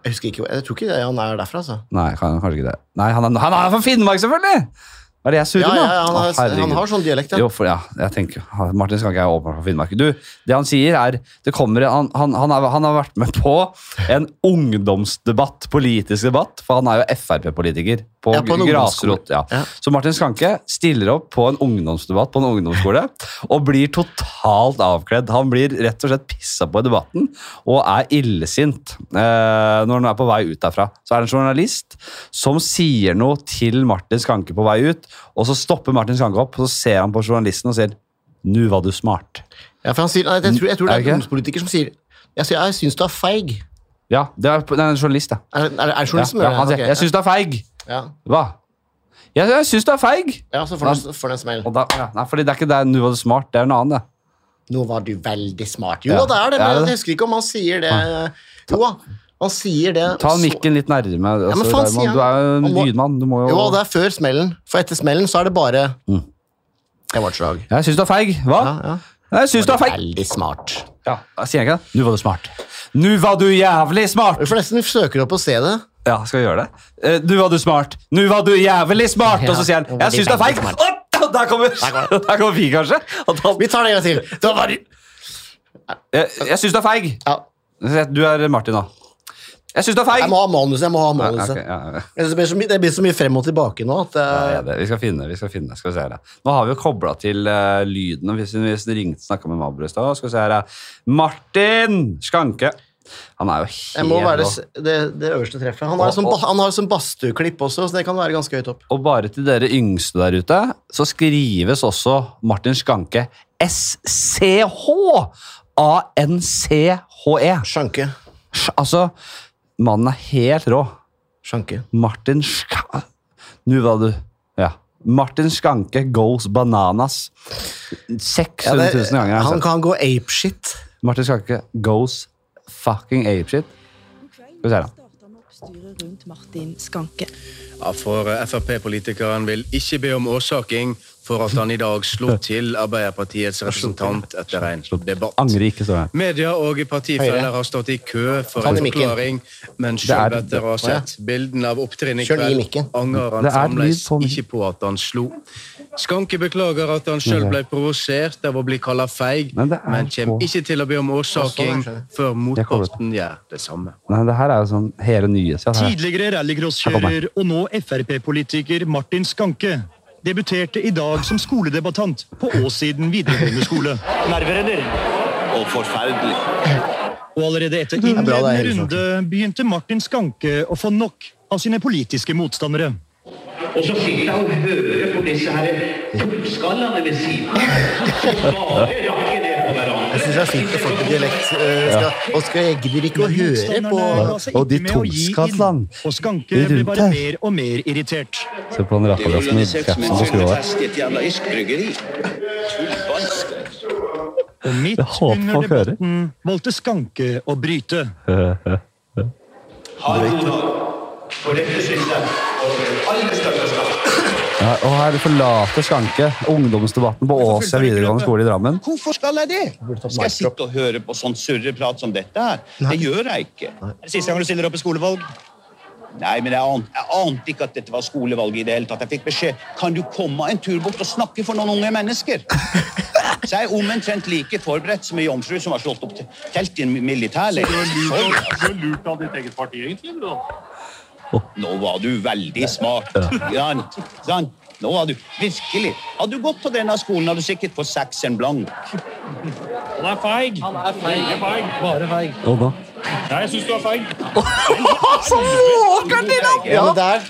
[SPEAKER 2] Jeg husker ikke, jeg tror ikke det, han er derfra, altså.
[SPEAKER 3] Nei, kan, kanskje ikke det. Nei, han er, han er fra Finnmark, selvfølgelig! Er det jeg surrer nå?
[SPEAKER 2] Ja, ja, ja, han,
[SPEAKER 3] Å,
[SPEAKER 2] har,
[SPEAKER 3] herregud.
[SPEAKER 2] han har sånn dialekt, ja.
[SPEAKER 3] Jo, for, ja, jeg tenker Martin Skanke er åpenbart fra Finnmark. Du, det han sier er det kommer, han, han, han, er, han har vært med på en ungdomsdebatt, politisk debatt, for han er jo Frp-politiker på,
[SPEAKER 2] Ja, på en
[SPEAKER 3] grasrot. Ja.
[SPEAKER 2] Ja.
[SPEAKER 3] Så Martin Skanke stiller opp på en ungdomsdebatt på en ungdomsskole og blir totalt avkledd. Han blir rett og slett pissa på i debatten og er illesint eh, når han er på vei ut derfra. Så er det en journalist som sier noe til Martin Skanke på vei ut, og så stopper Martin Skanke opp, og så ser han på journalisten og sier «Nu var du smart».
[SPEAKER 2] ja for han sier, nei, jeg, tror, jeg tror det
[SPEAKER 3] Er det
[SPEAKER 2] er
[SPEAKER 3] ikke?
[SPEAKER 2] en ungdomspolitiker som sier Jeg, sier, jeg syns du er feig.
[SPEAKER 3] Ja, det er, det er en journalist, da.
[SPEAKER 2] Er, er, er
[SPEAKER 3] Ja,
[SPEAKER 2] journalisten
[SPEAKER 3] ja, han sier «Jeg synes du er feig».
[SPEAKER 2] ja.
[SPEAKER 3] Hva? «Jeg, jeg synes du er feig».
[SPEAKER 2] ja, så får den- får den en smell.
[SPEAKER 3] Og da, ja, nei, fordi det er ikke det «Nu var du smart», det er en annen, det.
[SPEAKER 2] Nå var du veldig smart. Jo
[SPEAKER 3] Ja.
[SPEAKER 2] da, det er det,
[SPEAKER 3] Er det
[SPEAKER 2] men
[SPEAKER 3] det?
[SPEAKER 2] jeg husker ikke om han sier det. Jo da, han sier det.
[SPEAKER 3] Ta
[SPEAKER 2] så-
[SPEAKER 3] mikken litt nærme. Altså,
[SPEAKER 2] men faen,
[SPEAKER 3] Raymond,
[SPEAKER 2] sier han.
[SPEAKER 3] du er jo en
[SPEAKER 2] Han må-
[SPEAKER 3] lydmann. Du må jo,
[SPEAKER 2] Jo, det er før smellen. For etter smellen så er det bare
[SPEAKER 3] Mm.
[SPEAKER 2] Det var et slag.
[SPEAKER 3] Jeg syns du er feig. Hva?
[SPEAKER 2] Ja, ja.
[SPEAKER 3] Jeg syns du er feig.
[SPEAKER 2] Veldig smart.
[SPEAKER 3] Ja, jeg sier ikke det? Nå var du smart. Nå var du jævlig smart!
[SPEAKER 2] Vi får nesten søke opp og se det.
[SPEAKER 3] Ja, skal vi gjøre det? Eh, Nå var du smart. Nå var du jævlig smart! Og så sier han
[SPEAKER 2] Ja,
[SPEAKER 3] jeg syns du er feig.
[SPEAKER 2] veldig
[SPEAKER 3] Å, da- Der kommer, der kommer vi, kanskje. At han,
[SPEAKER 2] Vi tar det en gang til. Det var bare...
[SPEAKER 3] jeg jeg syns du er feig.
[SPEAKER 2] ja.
[SPEAKER 3] Du er Martin, da. Jeg syns du er feig.
[SPEAKER 2] Jeg må ha manuset. Jeg må ha
[SPEAKER 3] Ja,
[SPEAKER 2] manuset.
[SPEAKER 3] ok, ja, ja.
[SPEAKER 2] Ellers blir det så mye- Det blir så mye frem og tilbake nå at
[SPEAKER 3] Ja,
[SPEAKER 2] eh,
[SPEAKER 3] det er det. Vi skal finne, vi skal finne. Skal vi se her. ja. Nå har vi jo kobla til eh, lyden. og Hvis vi hvis vi ringte snakka med Mabro i stad. Skal vi se her. ja. Martin Skanke. Han er jo helt
[SPEAKER 2] jeg må være
[SPEAKER 3] rå.
[SPEAKER 2] det, s- det, det øverste treffet. Han har
[SPEAKER 3] Og-
[SPEAKER 2] sånn,
[SPEAKER 3] og-
[SPEAKER 2] ba- han har sånn badstueklipp også, så det kan være ganske høyt opp.
[SPEAKER 3] Og bare til dere yngste der ute, så skrives også Martin Skanke S-C-H-A-N-C-H-E.
[SPEAKER 2] Sjanke.
[SPEAKER 3] Sj- E. Altså, mannen er helt rå.
[SPEAKER 2] Sjanke.
[SPEAKER 3] Martin Skanke Nå var du Ja. Martin Skanke goes bananas 600 000
[SPEAKER 2] det-
[SPEAKER 3] ganger. har jeg
[SPEAKER 2] han
[SPEAKER 3] sett.
[SPEAKER 2] kan gå apeshit.
[SPEAKER 3] Martin Skanke goes fucking apeshit. Skal vi se her, da.
[SPEAKER 7] Starta med oppstyret rundt Martin Skanke.
[SPEAKER 8] Ja, for eh, Frp-politikeren vil ikke be om årsaking for at han i dag slo til Arbeiderpartiets representant etter en debatt.
[SPEAKER 3] Angrer ikke, står det.
[SPEAKER 8] Media og partifeller
[SPEAKER 2] Høyre.
[SPEAKER 8] har stått i kø for
[SPEAKER 2] Ta
[SPEAKER 8] en
[SPEAKER 2] den i mikken.
[SPEAKER 8] forklaring, men
[SPEAKER 3] er-
[SPEAKER 8] selv etter å ha sett bildene av opptrinnet i
[SPEAKER 2] Kjør den i
[SPEAKER 8] kveld,
[SPEAKER 2] mikken.
[SPEAKER 8] angrer han
[SPEAKER 3] Det er lyd
[SPEAKER 8] fremdeles
[SPEAKER 3] på mikken.
[SPEAKER 8] ikke på at han slo. Skanke beklager at han selv ble provosert av å bli kalla feig,
[SPEAKER 3] Men det er
[SPEAKER 8] men
[SPEAKER 3] på.
[SPEAKER 8] kommer ikke til å be om årsaking før motparten gjør det samme.
[SPEAKER 3] Nei, det her er jo sånn hele nyhetssida.
[SPEAKER 9] Tidligere rallycrosskjører og nå Frp-politiker Martin Skanke. debuterte i dag som skoledebattant på Åssiden videregående skole.
[SPEAKER 10] Nerverenner. Og forferdelig.
[SPEAKER 9] Og allerede etter
[SPEAKER 2] er bra, det er
[SPEAKER 9] innledende
[SPEAKER 2] hele
[SPEAKER 9] runde begynte Martin Skanke å få nok av sine politiske motstandere.
[SPEAKER 10] Og så sitter han og hører på disse her portskallene ved siden av. Så bare rakker ned på
[SPEAKER 2] Jeg syns det er fint at folk med dialekt eh, skal, og skal jeg gidder ikke å høre på
[SPEAKER 9] Motstanderne ga seg
[SPEAKER 3] Og de
[SPEAKER 9] ikke med å gi inn,
[SPEAKER 3] tomskatland
[SPEAKER 9] Og Skanke ble
[SPEAKER 3] rundt
[SPEAKER 9] bare
[SPEAKER 3] her.
[SPEAKER 9] mer og mer irritert.
[SPEAKER 3] Se på den rakkerdassen i kjeften på skrua.
[SPEAKER 10] i et jævla iskbryggeri. Tullvanskelig.
[SPEAKER 9] Og midt
[SPEAKER 3] Jeg håper
[SPEAKER 9] under
[SPEAKER 3] folk hører.
[SPEAKER 9] debatten valgte Skanke å bryte.
[SPEAKER 10] Ha en god dag. For dette synes jeg over alle større skatt.
[SPEAKER 3] Ja, og her forlater Skanke ungdomsdebatten på Åsia videregående skole i Drammen.
[SPEAKER 10] Hvorfor skal jeg det? Skal jeg sitte og høre på sånn surreprat som dette her? Det gjør jeg ikke.
[SPEAKER 9] Er det siste gang du stiller opp i skolevalg?
[SPEAKER 10] Nei, men jeg ante, jeg ante ikke at dette var skolevalget i det hele tatt. Jeg fikk beskjed kan du komme en tur bort og snakke for noen unge mennesker. Så jeg er omtrent like forberedt som ei jomfru som har slått opp til- telt i en militærleir. altså.
[SPEAKER 9] lurt av ditt eget parti, egentlig.
[SPEAKER 10] Nå var du veldig smart. Sant? Sant? Nå var du virkelig. Hadde du gått på denne skolen, hadde du sikkert fått seks en blank.
[SPEAKER 9] Han er feig. Han er feig. Bare feig.
[SPEAKER 3] Og da?
[SPEAKER 9] Nei, jeg syns du er feig.
[SPEAKER 2] Ja, men der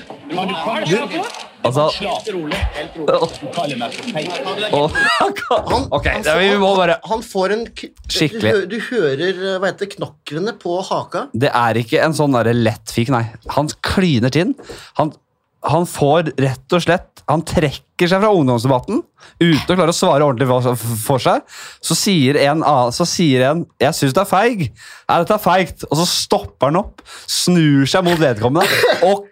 [SPEAKER 3] Altså,
[SPEAKER 10] Du kaller meg for feig.
[SPEAKER 3] og,
[SPEAKER 2] han,
[SPEAKER 3] Ok,
[SPEAKER 2] han
[SPEAKER 3] det-
[SPEAKER 2] får-
[SPEAKER 3] vi må bare-
[SPEAKER 2] Han får en k-
[SPEAKER 3] Skikkelig.
[SPEAKER 2] Du, hø- du hører eh, hva heter det, knoklene på haka.
[SPEAKER 3] det er ikke en sånn derre lett fik, nei. Han kliner til. Han, han får rett og slett Han trekker seg fra ungdomsdebatten uten å klare å svare ordentlig for- for seg. Så sier en, annen- så sier en 'Jeg syns det er feig'. Er dette er feigt? Og så stopper han opp, snur seg mot vedkommende og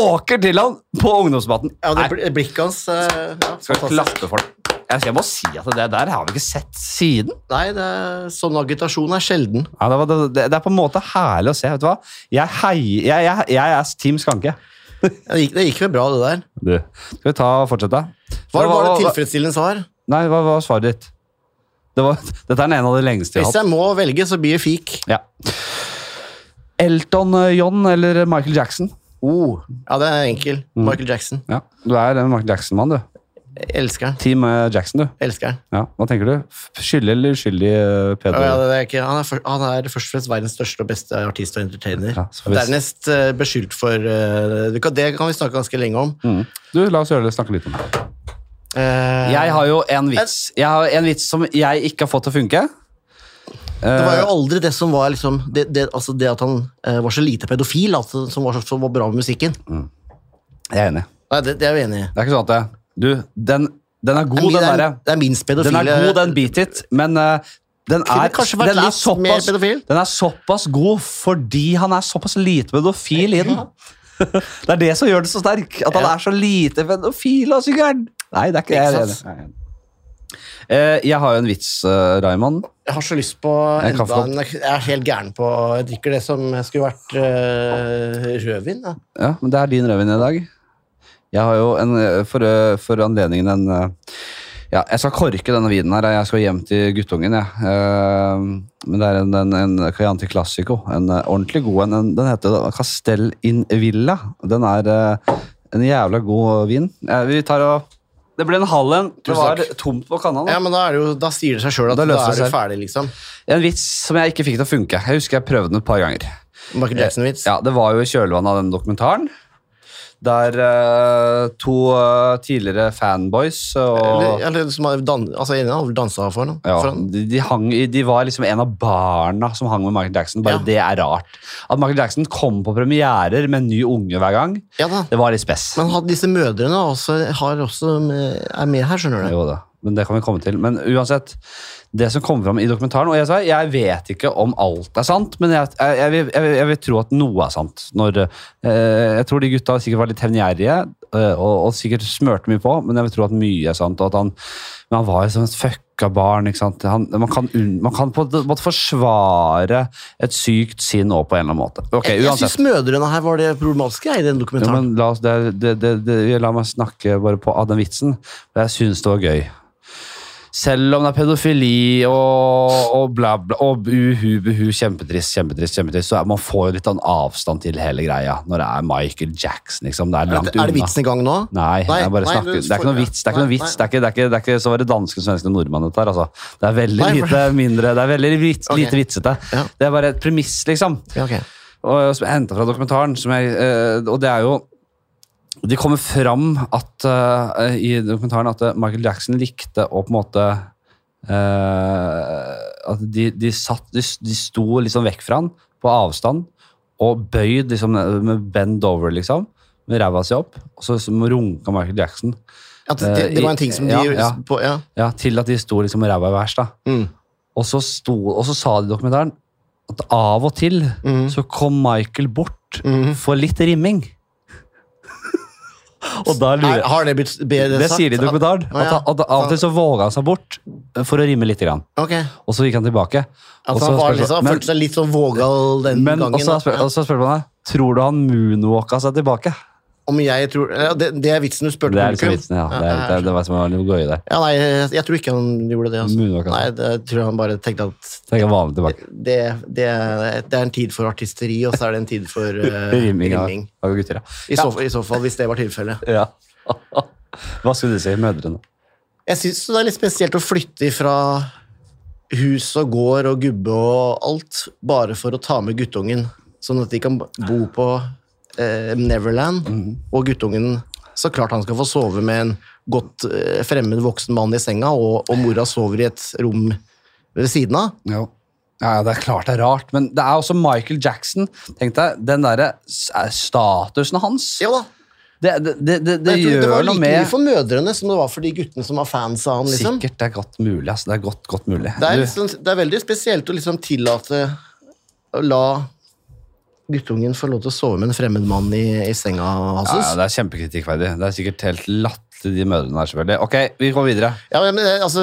[SPEAKER 3] måker til han på ungdomsdebatten.
[SPEAKER 2] Ja, det
[SPEAKER 3] Nei,
[SPEAKER 2] bl- blikket hans eh, ja,
[SPEAKER 3] skal
[SPEAKER 2] fantastisk.
[SPEAKER 3] vi klappe for det. Jeg jeg må si at det der har vi ikke sett siden.
[SPEAKER 2] Nei, det er, sånn agitasjon er sjelden.
[SPEAKER 3] Ja, det, var, det, det er på en måte herlig å se. vet du hva? Jeg, heier, jeg, jeg, jeg er Team Skanke.
[SPEAKER 2] Ja, Det gikk, det gikk vel bra, det der.
[SPEAKER 3] Skal vi ta og fortsette?
[SPEAKER 2] Hva
[SPEAKER 3] Hva-
[SPEAKER 2] var det
[SPEAKER 3] hva-
[SPEAKER 2] tilfredsstillende svar?
[SPEAKER 3] Nei, hva var svaret ditt? Det var, dette er den ene av de lengste jeg
[SPEAKER 2] Hvis
[SPEAKER 3] har hatt.
[SPEAKER 2] jeg må velge, så blir det fik.
[SPEAKER 3] Ja. Elton eh, John eller Michael Jackson?
[SPEAKER 2] Oh, ja, det er enkel. Michael Jackson.
[SPEAKER 3] Ja, Du er en Michael Jackson-mann, du.
[SPEAKER 2] Jeg Elsker han.
[SPEAKER 3] Team eh, Jackson, du.
[SPEAKER 2] Elsker han.
[SPEAKER 3] Ja, Hva tenker du? F- Skyldig eller uskyldig, eh,
[SPEAKER 2] Ja,
[SPEAKER 3] Peder?
[SPEAKER 2] ja, det er ikke, han, er for, han er først og fremst verdens største og beste artist og entertainer.
[SPEAKER 3] Ja, så hvis-
[SPEAKER 2] Dernest eh, beskyldt for eh, det kan- Det kan vi snakke ganske lenge om.
[SPEAKER 3] Mm. Du, La oss gjøre det, snakke litt om det.
[SPEAKER 2] Eh,
[SPEAKER 3] Jeg har jo en vits Jeg har en vits som jeg ikke har fått til å funke.
[SPEAKER 2] Det var jo aldri det som var liksom Det, det, altså det at han eh, var så lite pedofil, altså, som, var så, som var bra med musikken.
[SPEAKER 3] Jeg er enig.
[SPEAKER 2] Nei, det, det er jeg enig i.
[SPEAKER 3] Det er ikke sånn at jeg, Du, den, den er
[SPEAKER 2] Det
[SPEAKER 3] god,
[SPEAKER 2] er
[SPEAKER 3] den
[SPEAKER 2] min- det er-
[SPEAKER 3] derre.
[SPEAKER 2] Det er minst pedofile
[SPEAKER 3] Den er god, den Beat It, men eh, den
[SPEAKER 2] Kunne
[SPEAKER 3] er,
[SPEAKER 2] kanskje vært
[SPEAKER 3] den, er
[SPEAKER 2] litt mer
[SPEAKER 3] såpass,
[SPEAKER 2] pedofil.
[SPEAKER 3] den er såpass god fordi han er såpass lite pedofil i den. Det er det som gjør det så sterk. At han
[SPEAKER 2] Ja.
[SPEAKER 3] er så lite pedofil og sykkelen. Nei, det er ikke,
[SPEAKER 2] Ikke
[SPEAKER 3] jeg er
[SPEAKER 2] sant?
[SPEAKER 3] enig. Eh, jeg har jo en vits, uh, Raymond.
[SPEAKER 2] Jeg har så lyst på
[SPEAKER 3] En
[SPEAKER 2] enda
[SPEAKER 3] kaffekopp.
[SPEAKER 2] en Jeg er helt gæren på Jeg drikker det som skulle vært eh, rødvin. Da.
[SPEAKER 3] Ja, men det er din rødvin i dag. Jeg har jo en, eh, for, eh, for anledningen en eh, ja, Jeg skal korke denne vinen her. Jeg skal hjem til guttungen. jeg. Eh, Men det er en, en, en Cayante Classico. En eh, ordentlig god en. En- Den heter Castel in Villa. Den er eh, en jævla god vin. Eh, Vi tar og Det ble en halv en. Det
[SPEAKER 2] Tusen
[SPEAKER 3] var
[SPEAKER 2] takk.
[SPEAKER 3] tomt på kanalen.
[SPEAKER 2] Ja, men da, er det jo, da sier det seg sjøl at
[SPEAKER 3] Da
[SPEAKER 2] da,
[SPEAKER 3] løser det
[SPEAKER 2] er du
[SPEAKER 3] seg.
[SPEAKER 2] ferdig, liksom.
[SPEAKER 3] En vits som jeg ikke fikk til å funke. Jeg husker jeg prøvde den et par ganger.
[SPEAKER 2] Michael Jackson-vits.
[SPEAKER 3] Ja, det var jo i kjølvannet av den dokumentaren. Der eh, to eh, tidligere fanboys og
[SPEAKER 2] Eller, eller som har dan, altså, en har vel dansa for ham.
[SPEAKER 3] ja,
[SPEAKER 2] For han.
[SPEAKER 3] de, de, hang, i- de var liksom en av barna som hang med Michael Jackson. Bare
[SPEAKER 2] Ja.
[SPEAKER 3] det er rart. At Michael Jackson kom på premierer med en ny unge hver gang,
[SPEAKER 2] Ja da.
[SPEAKER 3] det var litt spess.
[SPEAKER 2] Men han- disse mødrene også, har også med, er med her, skjønner du.
[SPEAKER 3] Jo da, men det kan vi komme til. Men uansett, det som kommer fram i dokumentaren Og jeg, sa, jeg vet ikke om alt er sant, men jeg, jeg, jeg, vil- jeg, vil- jeg vil tro at noe er sant. Når, eh, jeg tror de gutta sikkert var litt hevngjerrige eh, og, og sikkert smørte mye på, men jeg vil tro at mye er sant. Og at han, men han var jo som et fucka barn. ikke sant? Han, man, kan unn, man kan på en måte forsvare et sykt sinn òg, på en eller annen måte. Ok,
[SPEAKER 2] Jeg, jeg
[SPEAKER 3] uansett.
[SPEAKER 2] syns mødrene her var det problematiske jeg, i den
[SPEAKER 3] Jo,
[SPEAKER 2] dokumentaren.
[SPEAKER 3] men la, oss, det, er- det, det, det, la meg snakke bare på av den vitsen. for Jeg syns det var gøy. Selv om det er pedofili og, og bla, bla og uhu, buhu, kjempetrist, kjempetrist, kjempetrist, så er, man får litt sånn avstand til hele greia når det er Michael Jackson, liksom. Det er
[SPEAKER 2] Er
[SPEAKER 3] langt
[SPEAKER 2] det, er det vitsen i gang nå?
[SPEAKER 3] Nei,
[SPEAKER 2] Nei,
[SPEAKER 3] jeg bare
[SPEAKER 2] nei,
[SPEAKER 3] snakker.
[SPEAKER 2] du-
[SPEAKER 3] det er ikke noe vits. Det er ikke noe
[SPEAKER 2] Nei,
[SPEAKER 3] vits. Det er ikke, det er ikke, det er ikke så var det danske, svenske og nordmannen dette her, altså. Det er veldig
[SPEAKER 2] Nei, for-
[SPEAKER 3] lite mindre, det er veldig vits,
[SPEAKER 2] Ok.
[SPEAKER 3] lite vitsete.
[SPEAKER 2] Ja.
[SPEAKER 3] Det er bare et premiss, liksom.
[SPEAKER 2] Ja, ok.
[SPEAKER 3] Og, som jeg hentet fra dokumentaren, som jeg, eh, og det er jo De kommer fram at, eh, i dokumentaren at eh, Michael Jackson likte å på en måte eh, At de, de satt de, s- de sto liksom vekk fra han, på avstand, og bøyd liksom ned- med bend over, liksom. Med ræva si opp, og så, så runka Michael Jackson.
[SPEAKER 2] At det, det var en ting som de
[SPEAKER 3] Eh, Ja, ja.
[SPEAKER 2] På, ja.
[SPEAKER 3] Ja, Til at de sto liksom med ræva i værs. da.
[SPEAKER 2] Mm.
[SPEAKER 3] Og så, sto, og så sa de i dokumentaren at av og til
[SPEAKER 2] Mhm.
[SPEAKER 3] så kom Michael bort
[SPEAKER 2] Mhm.
[SPEAKER 3] for litt rimming. og da lurer
[SPEAKER 2] Er,
[SPEAKER 3] jeg
[SPEAKER 2] har det blitt bedre
[SPEAKER 3] Det
[SPEAKER 2] sagt?
[SPEAKER 3] sier de i dokumentaren.
[SPEAKER 2] Å, ja.
[SPEAKER 3] At, at, av og til så våga han seg bort eh, for å rimme litt. Grann.
[SPEAKER 2] Ok.
[SPEAKER 3] Og så gikk han tilbake. Og
[SPEAKER 2] At han
[SPEAKER 3] så
[SPEAKER 2] var
[SPEAKER 3] spørs-
[SPEAKER 2] liksom,
[SPEAKER 3] men-
[SPEAKER 2] følte seg litt sånn vågal den
[SPEAKER 3] men,
[SPEAKER 2] gangen.
[SPEAKER 3] og så
[SPEAKER 2] da.
[SPEAKER 3] spør,
[SPEAKER 2] Ja.
[SPEAKER 3] og så spør man deg Tror du han moonwalka seg tilbake.
[SPEAKER 2] Om jeg tror ja, det, det er vitsen du spurte
[SPEAKER 3] Det er liksom vitsen, ja.
[SPEAKER 2] Ja,
[SPEAKER 3] Det, er, det, er, det var som å gøye der.
[SPEAKER 2] Ja, nei, jeg, jeg tror ikke han gjorde det. Altså.
[SPEAKER 3] Moonwalka
[SPEAKER 2] Nei,
[SPEAKER 3] seg.
[SPEAKER 2] det, jeg tror han bare tenkte at
[SPEAKER 3] Tenk han var med tilbake.
[SPEAKER 2] det, det, det er en tid for artisteri, og så er det en tid for eh,
[SPEAKER 3] Rimming av,
[SPEAKER 2] rimming.
[SPEAKER 3] av gutter, ja.
[SPEAKER 2] I så, I så fall, hvis det var tilfellet.
[SPEAKER 3] ja. Hva skulle du si? Mødrene.
[SPEAKER 2] Jeg syns det er litt spesielt å flytte ifra hus og gård og gubbe og alt bare for å ta med guttungen, sånn at de kan bo på eh, Neverland,
[SPEAKER 3] Mhm.
[SPEAKER 2] og guttungen så klart han skal få sove med en godt eh, fremmed voksen mann i senga, og, og mora sover i et rom ved siden av.
[SPEAKER 3] Jo. Ja, ja, det er klart det er rart, men det er også Michael Jackson. Tenk deg, Den derre s- er statusen hans
[SPEAKER 2] Ja da.
[SPEAKER 3] Det, det, det, det, det
[SPEAKER 2] Men jeg tror det
[SPEAKER 3] gjør
[SPEAKER 2] var
[SPEAKER 3] noe
[SPEAKER 2] like
[SPEAKER 3] med
[SPEAKER 2] mye for mødrene som det var for de guttene som var fans av han. liksom.
[SPEAKER 3] Sikkert. Det er godt mulig. ass. Det er godt, godt mulig.
[SPEAKER 2] Det er,
[SPEAKER 3] Du-
[SPEAKER 2] liksom, det er veldig spesielt å liksom tillate å la guttungen få lov til å sove med en fremmed mann i, i senga
[SPEAKER 3] ja, ja,
[SPEAKER 2] hans. Ja,
[SPEAKER 3] det er kjempekritikkverdig. Det er sikkert helt latterlig, de mødrene her, selvfølgelig. Ok, vi går videre.
[SPEAKER 2] men det- altså,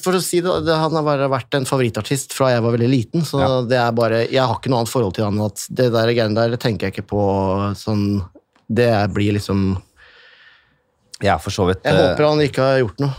[SPEAKER 2] for å si det, det, Han har bare vært en favorittartist fra jeg var veldig liten. så
[SPEAKER 3] Ja.
[SPEAKER 2] det er bare, Jeg har ikke noe annet forhold til han enn at det der greiene der det tenker jeg ikke på sånn Det er- blir liksom
[SPEAKER 3] Jeg er for så vidt
[SPEAKER 2] Jeg
[SPEAKER 3] eh,
[SPEAKER 2] håper han ikke har gjort noe.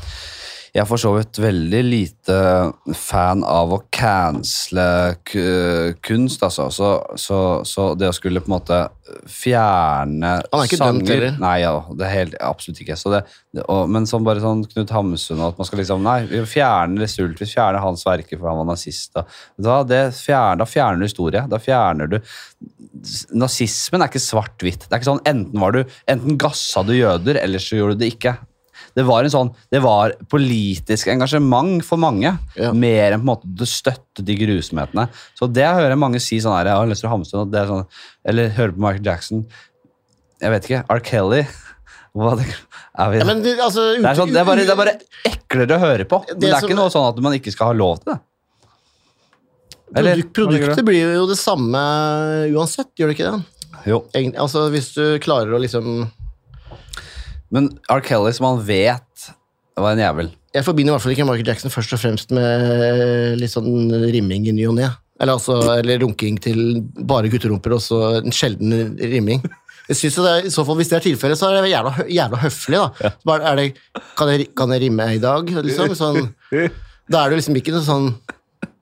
[SPEAKER 3] Jeg er for så vidt veldig lite fan av å cancele ku- kunst, altså. Så, så, så det å skulle på en måte fjerne
[SPEAKER 2] Han er ikke
[SPEAKER 3] sanger
[SPEAKER 2] dømt heller.
[SPEAKER 3] Nei, ja, det er helt, absolutt ikke. Så det, det, og, men sånn bare sånn Knut Hamsun og at man skal liksom Nei, vi fjerner Sultvis, fjerner hans verker fordi han var nazist. Da, da, det fjerner, da fjerner du historie. Da fjerner du Nazismen er ikke svart-hvitt. Det er ikke sånn enten, var du, enten gassa du jøder, eller så gjorde du det ikke. Det var, en sånn, det var politisk engasjement for mange,
[SPEAKER 2] Ja.
[SPEAKER 3] mer enn på en måte du støtte de grusomhetene. Så det jeg hører mange si sånn her, jeg har lyst til å hamstre, det er sånn, eller hører på Michael Jackson, jeg vet ikke, R. Kelly, hva det, er vi,
[SPEAKER 2] Ja, men, det- altså,
[SPEAKER 3] det, er sånn, det, er bare, det er bare eklere å høre på.
[SPEAKER 2] Det
[SPEAKER 3] Men det er
[SPEAKER 2] som-
[SPEAKER 3] ikke noe sånn at man ikke skal ha lov til det.
[SPEAKER 2] Produkt, produktet blir jo det samme uansett, gjør det ikke det?
[SPEAKER 3] Jo.
[SPEAKER 2] Egentlig, altså, hvis du klarer å liksom
[SPEAKER 3] Men R. Kelly, som han vet var en jævel
[SPEAKER 2] Jeg forbinder i hvert fall ikke Michael Jackson først og fremst med litt sånn rimming i ny og ne. Eller, altså, eller runking til bare gutterumper og så en sjelden rimming. Jeg synes jo det er, i så fall, Hvis det er tilfellet, så er det jævla, hø- jævla høflig. da. Så bare, er det, kan, jeg, kan jeg rimme i dag? Liksom, sånn, da er det liksom ikke noe sånn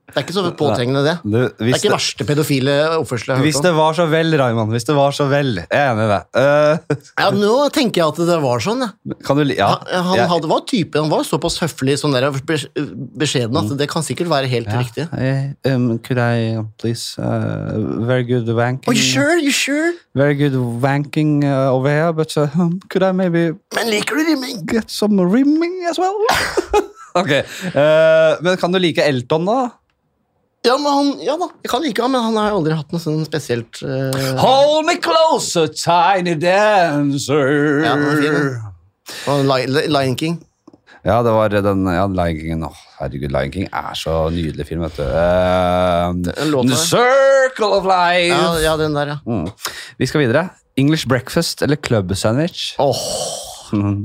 [SPEAKER 2] Det er ikke så påtrengende, det.
[SPEAKER 3] Du,
[SPEAKER 2] Det
[SPEAKER 3] hvis
[SPEAKER 2] er ikke verste pedofile oppførsel jeg har
[SPEAKER 3] Hvis
[SPEAKER 2] hørt om.
[SPEAKER 3] det var så vel, Raymond. Hvis det var så vel. Jeg er enig i det. Eh,
[SPEAKER 2] Ja, Nå tenker jeg at det var sånn. Ja.
[SPEAKER 3] kan du li- Ja.
[SPEAKER 2] Han, han
[SPEAKER 3] jeg-
[SPEAKER 2] hadde, var typen, han var såpass høflig sånn der, besk- beskjeden at det kan sikkert være helt
[SPEAKER 3] Mm. ja.
[SPEAKER 2] riktig.
[SPEAKER 3] Eh, um, could I uh, please uh, Very good wanking.
[SPEAKER 2] Are you sure? You sure?
[SPEAKER 3] Very good wanking uh, over here, but uh, um, could I maybe
[SPEAKER 2] Men liker du rimming?
[SPEAKER 3] get some rimming as well? ok. eh, men kan du like Elton, da?
[SPEAKER 2] Ja, men han, ja da, jeg kan like han, men han har aldri hatt noe sånn spesielt eh,
[SPEAKER 3] Hold me closer, tiny dancer.
[SPEAKER 2] Ja, den er fin, den. han Li- Li- Lion King.
[SPEAKER 3] Ja, det var den ja, Lion King. Åh, herregud, Lion King er så nydelig film, vet du. Ehm,
[SPEAKER 2] Den låten
[SPEAKER 3] The
[SPEAKER 2] der.
[SPEAKER 3] Circle of Life.
[SPEAKER 2] Ja, ja, den der, ja.
[SPEAKER 3] Mm. Vi skal videre. English breakfast eller club sandwich?
[SPEAKER 2] Åh,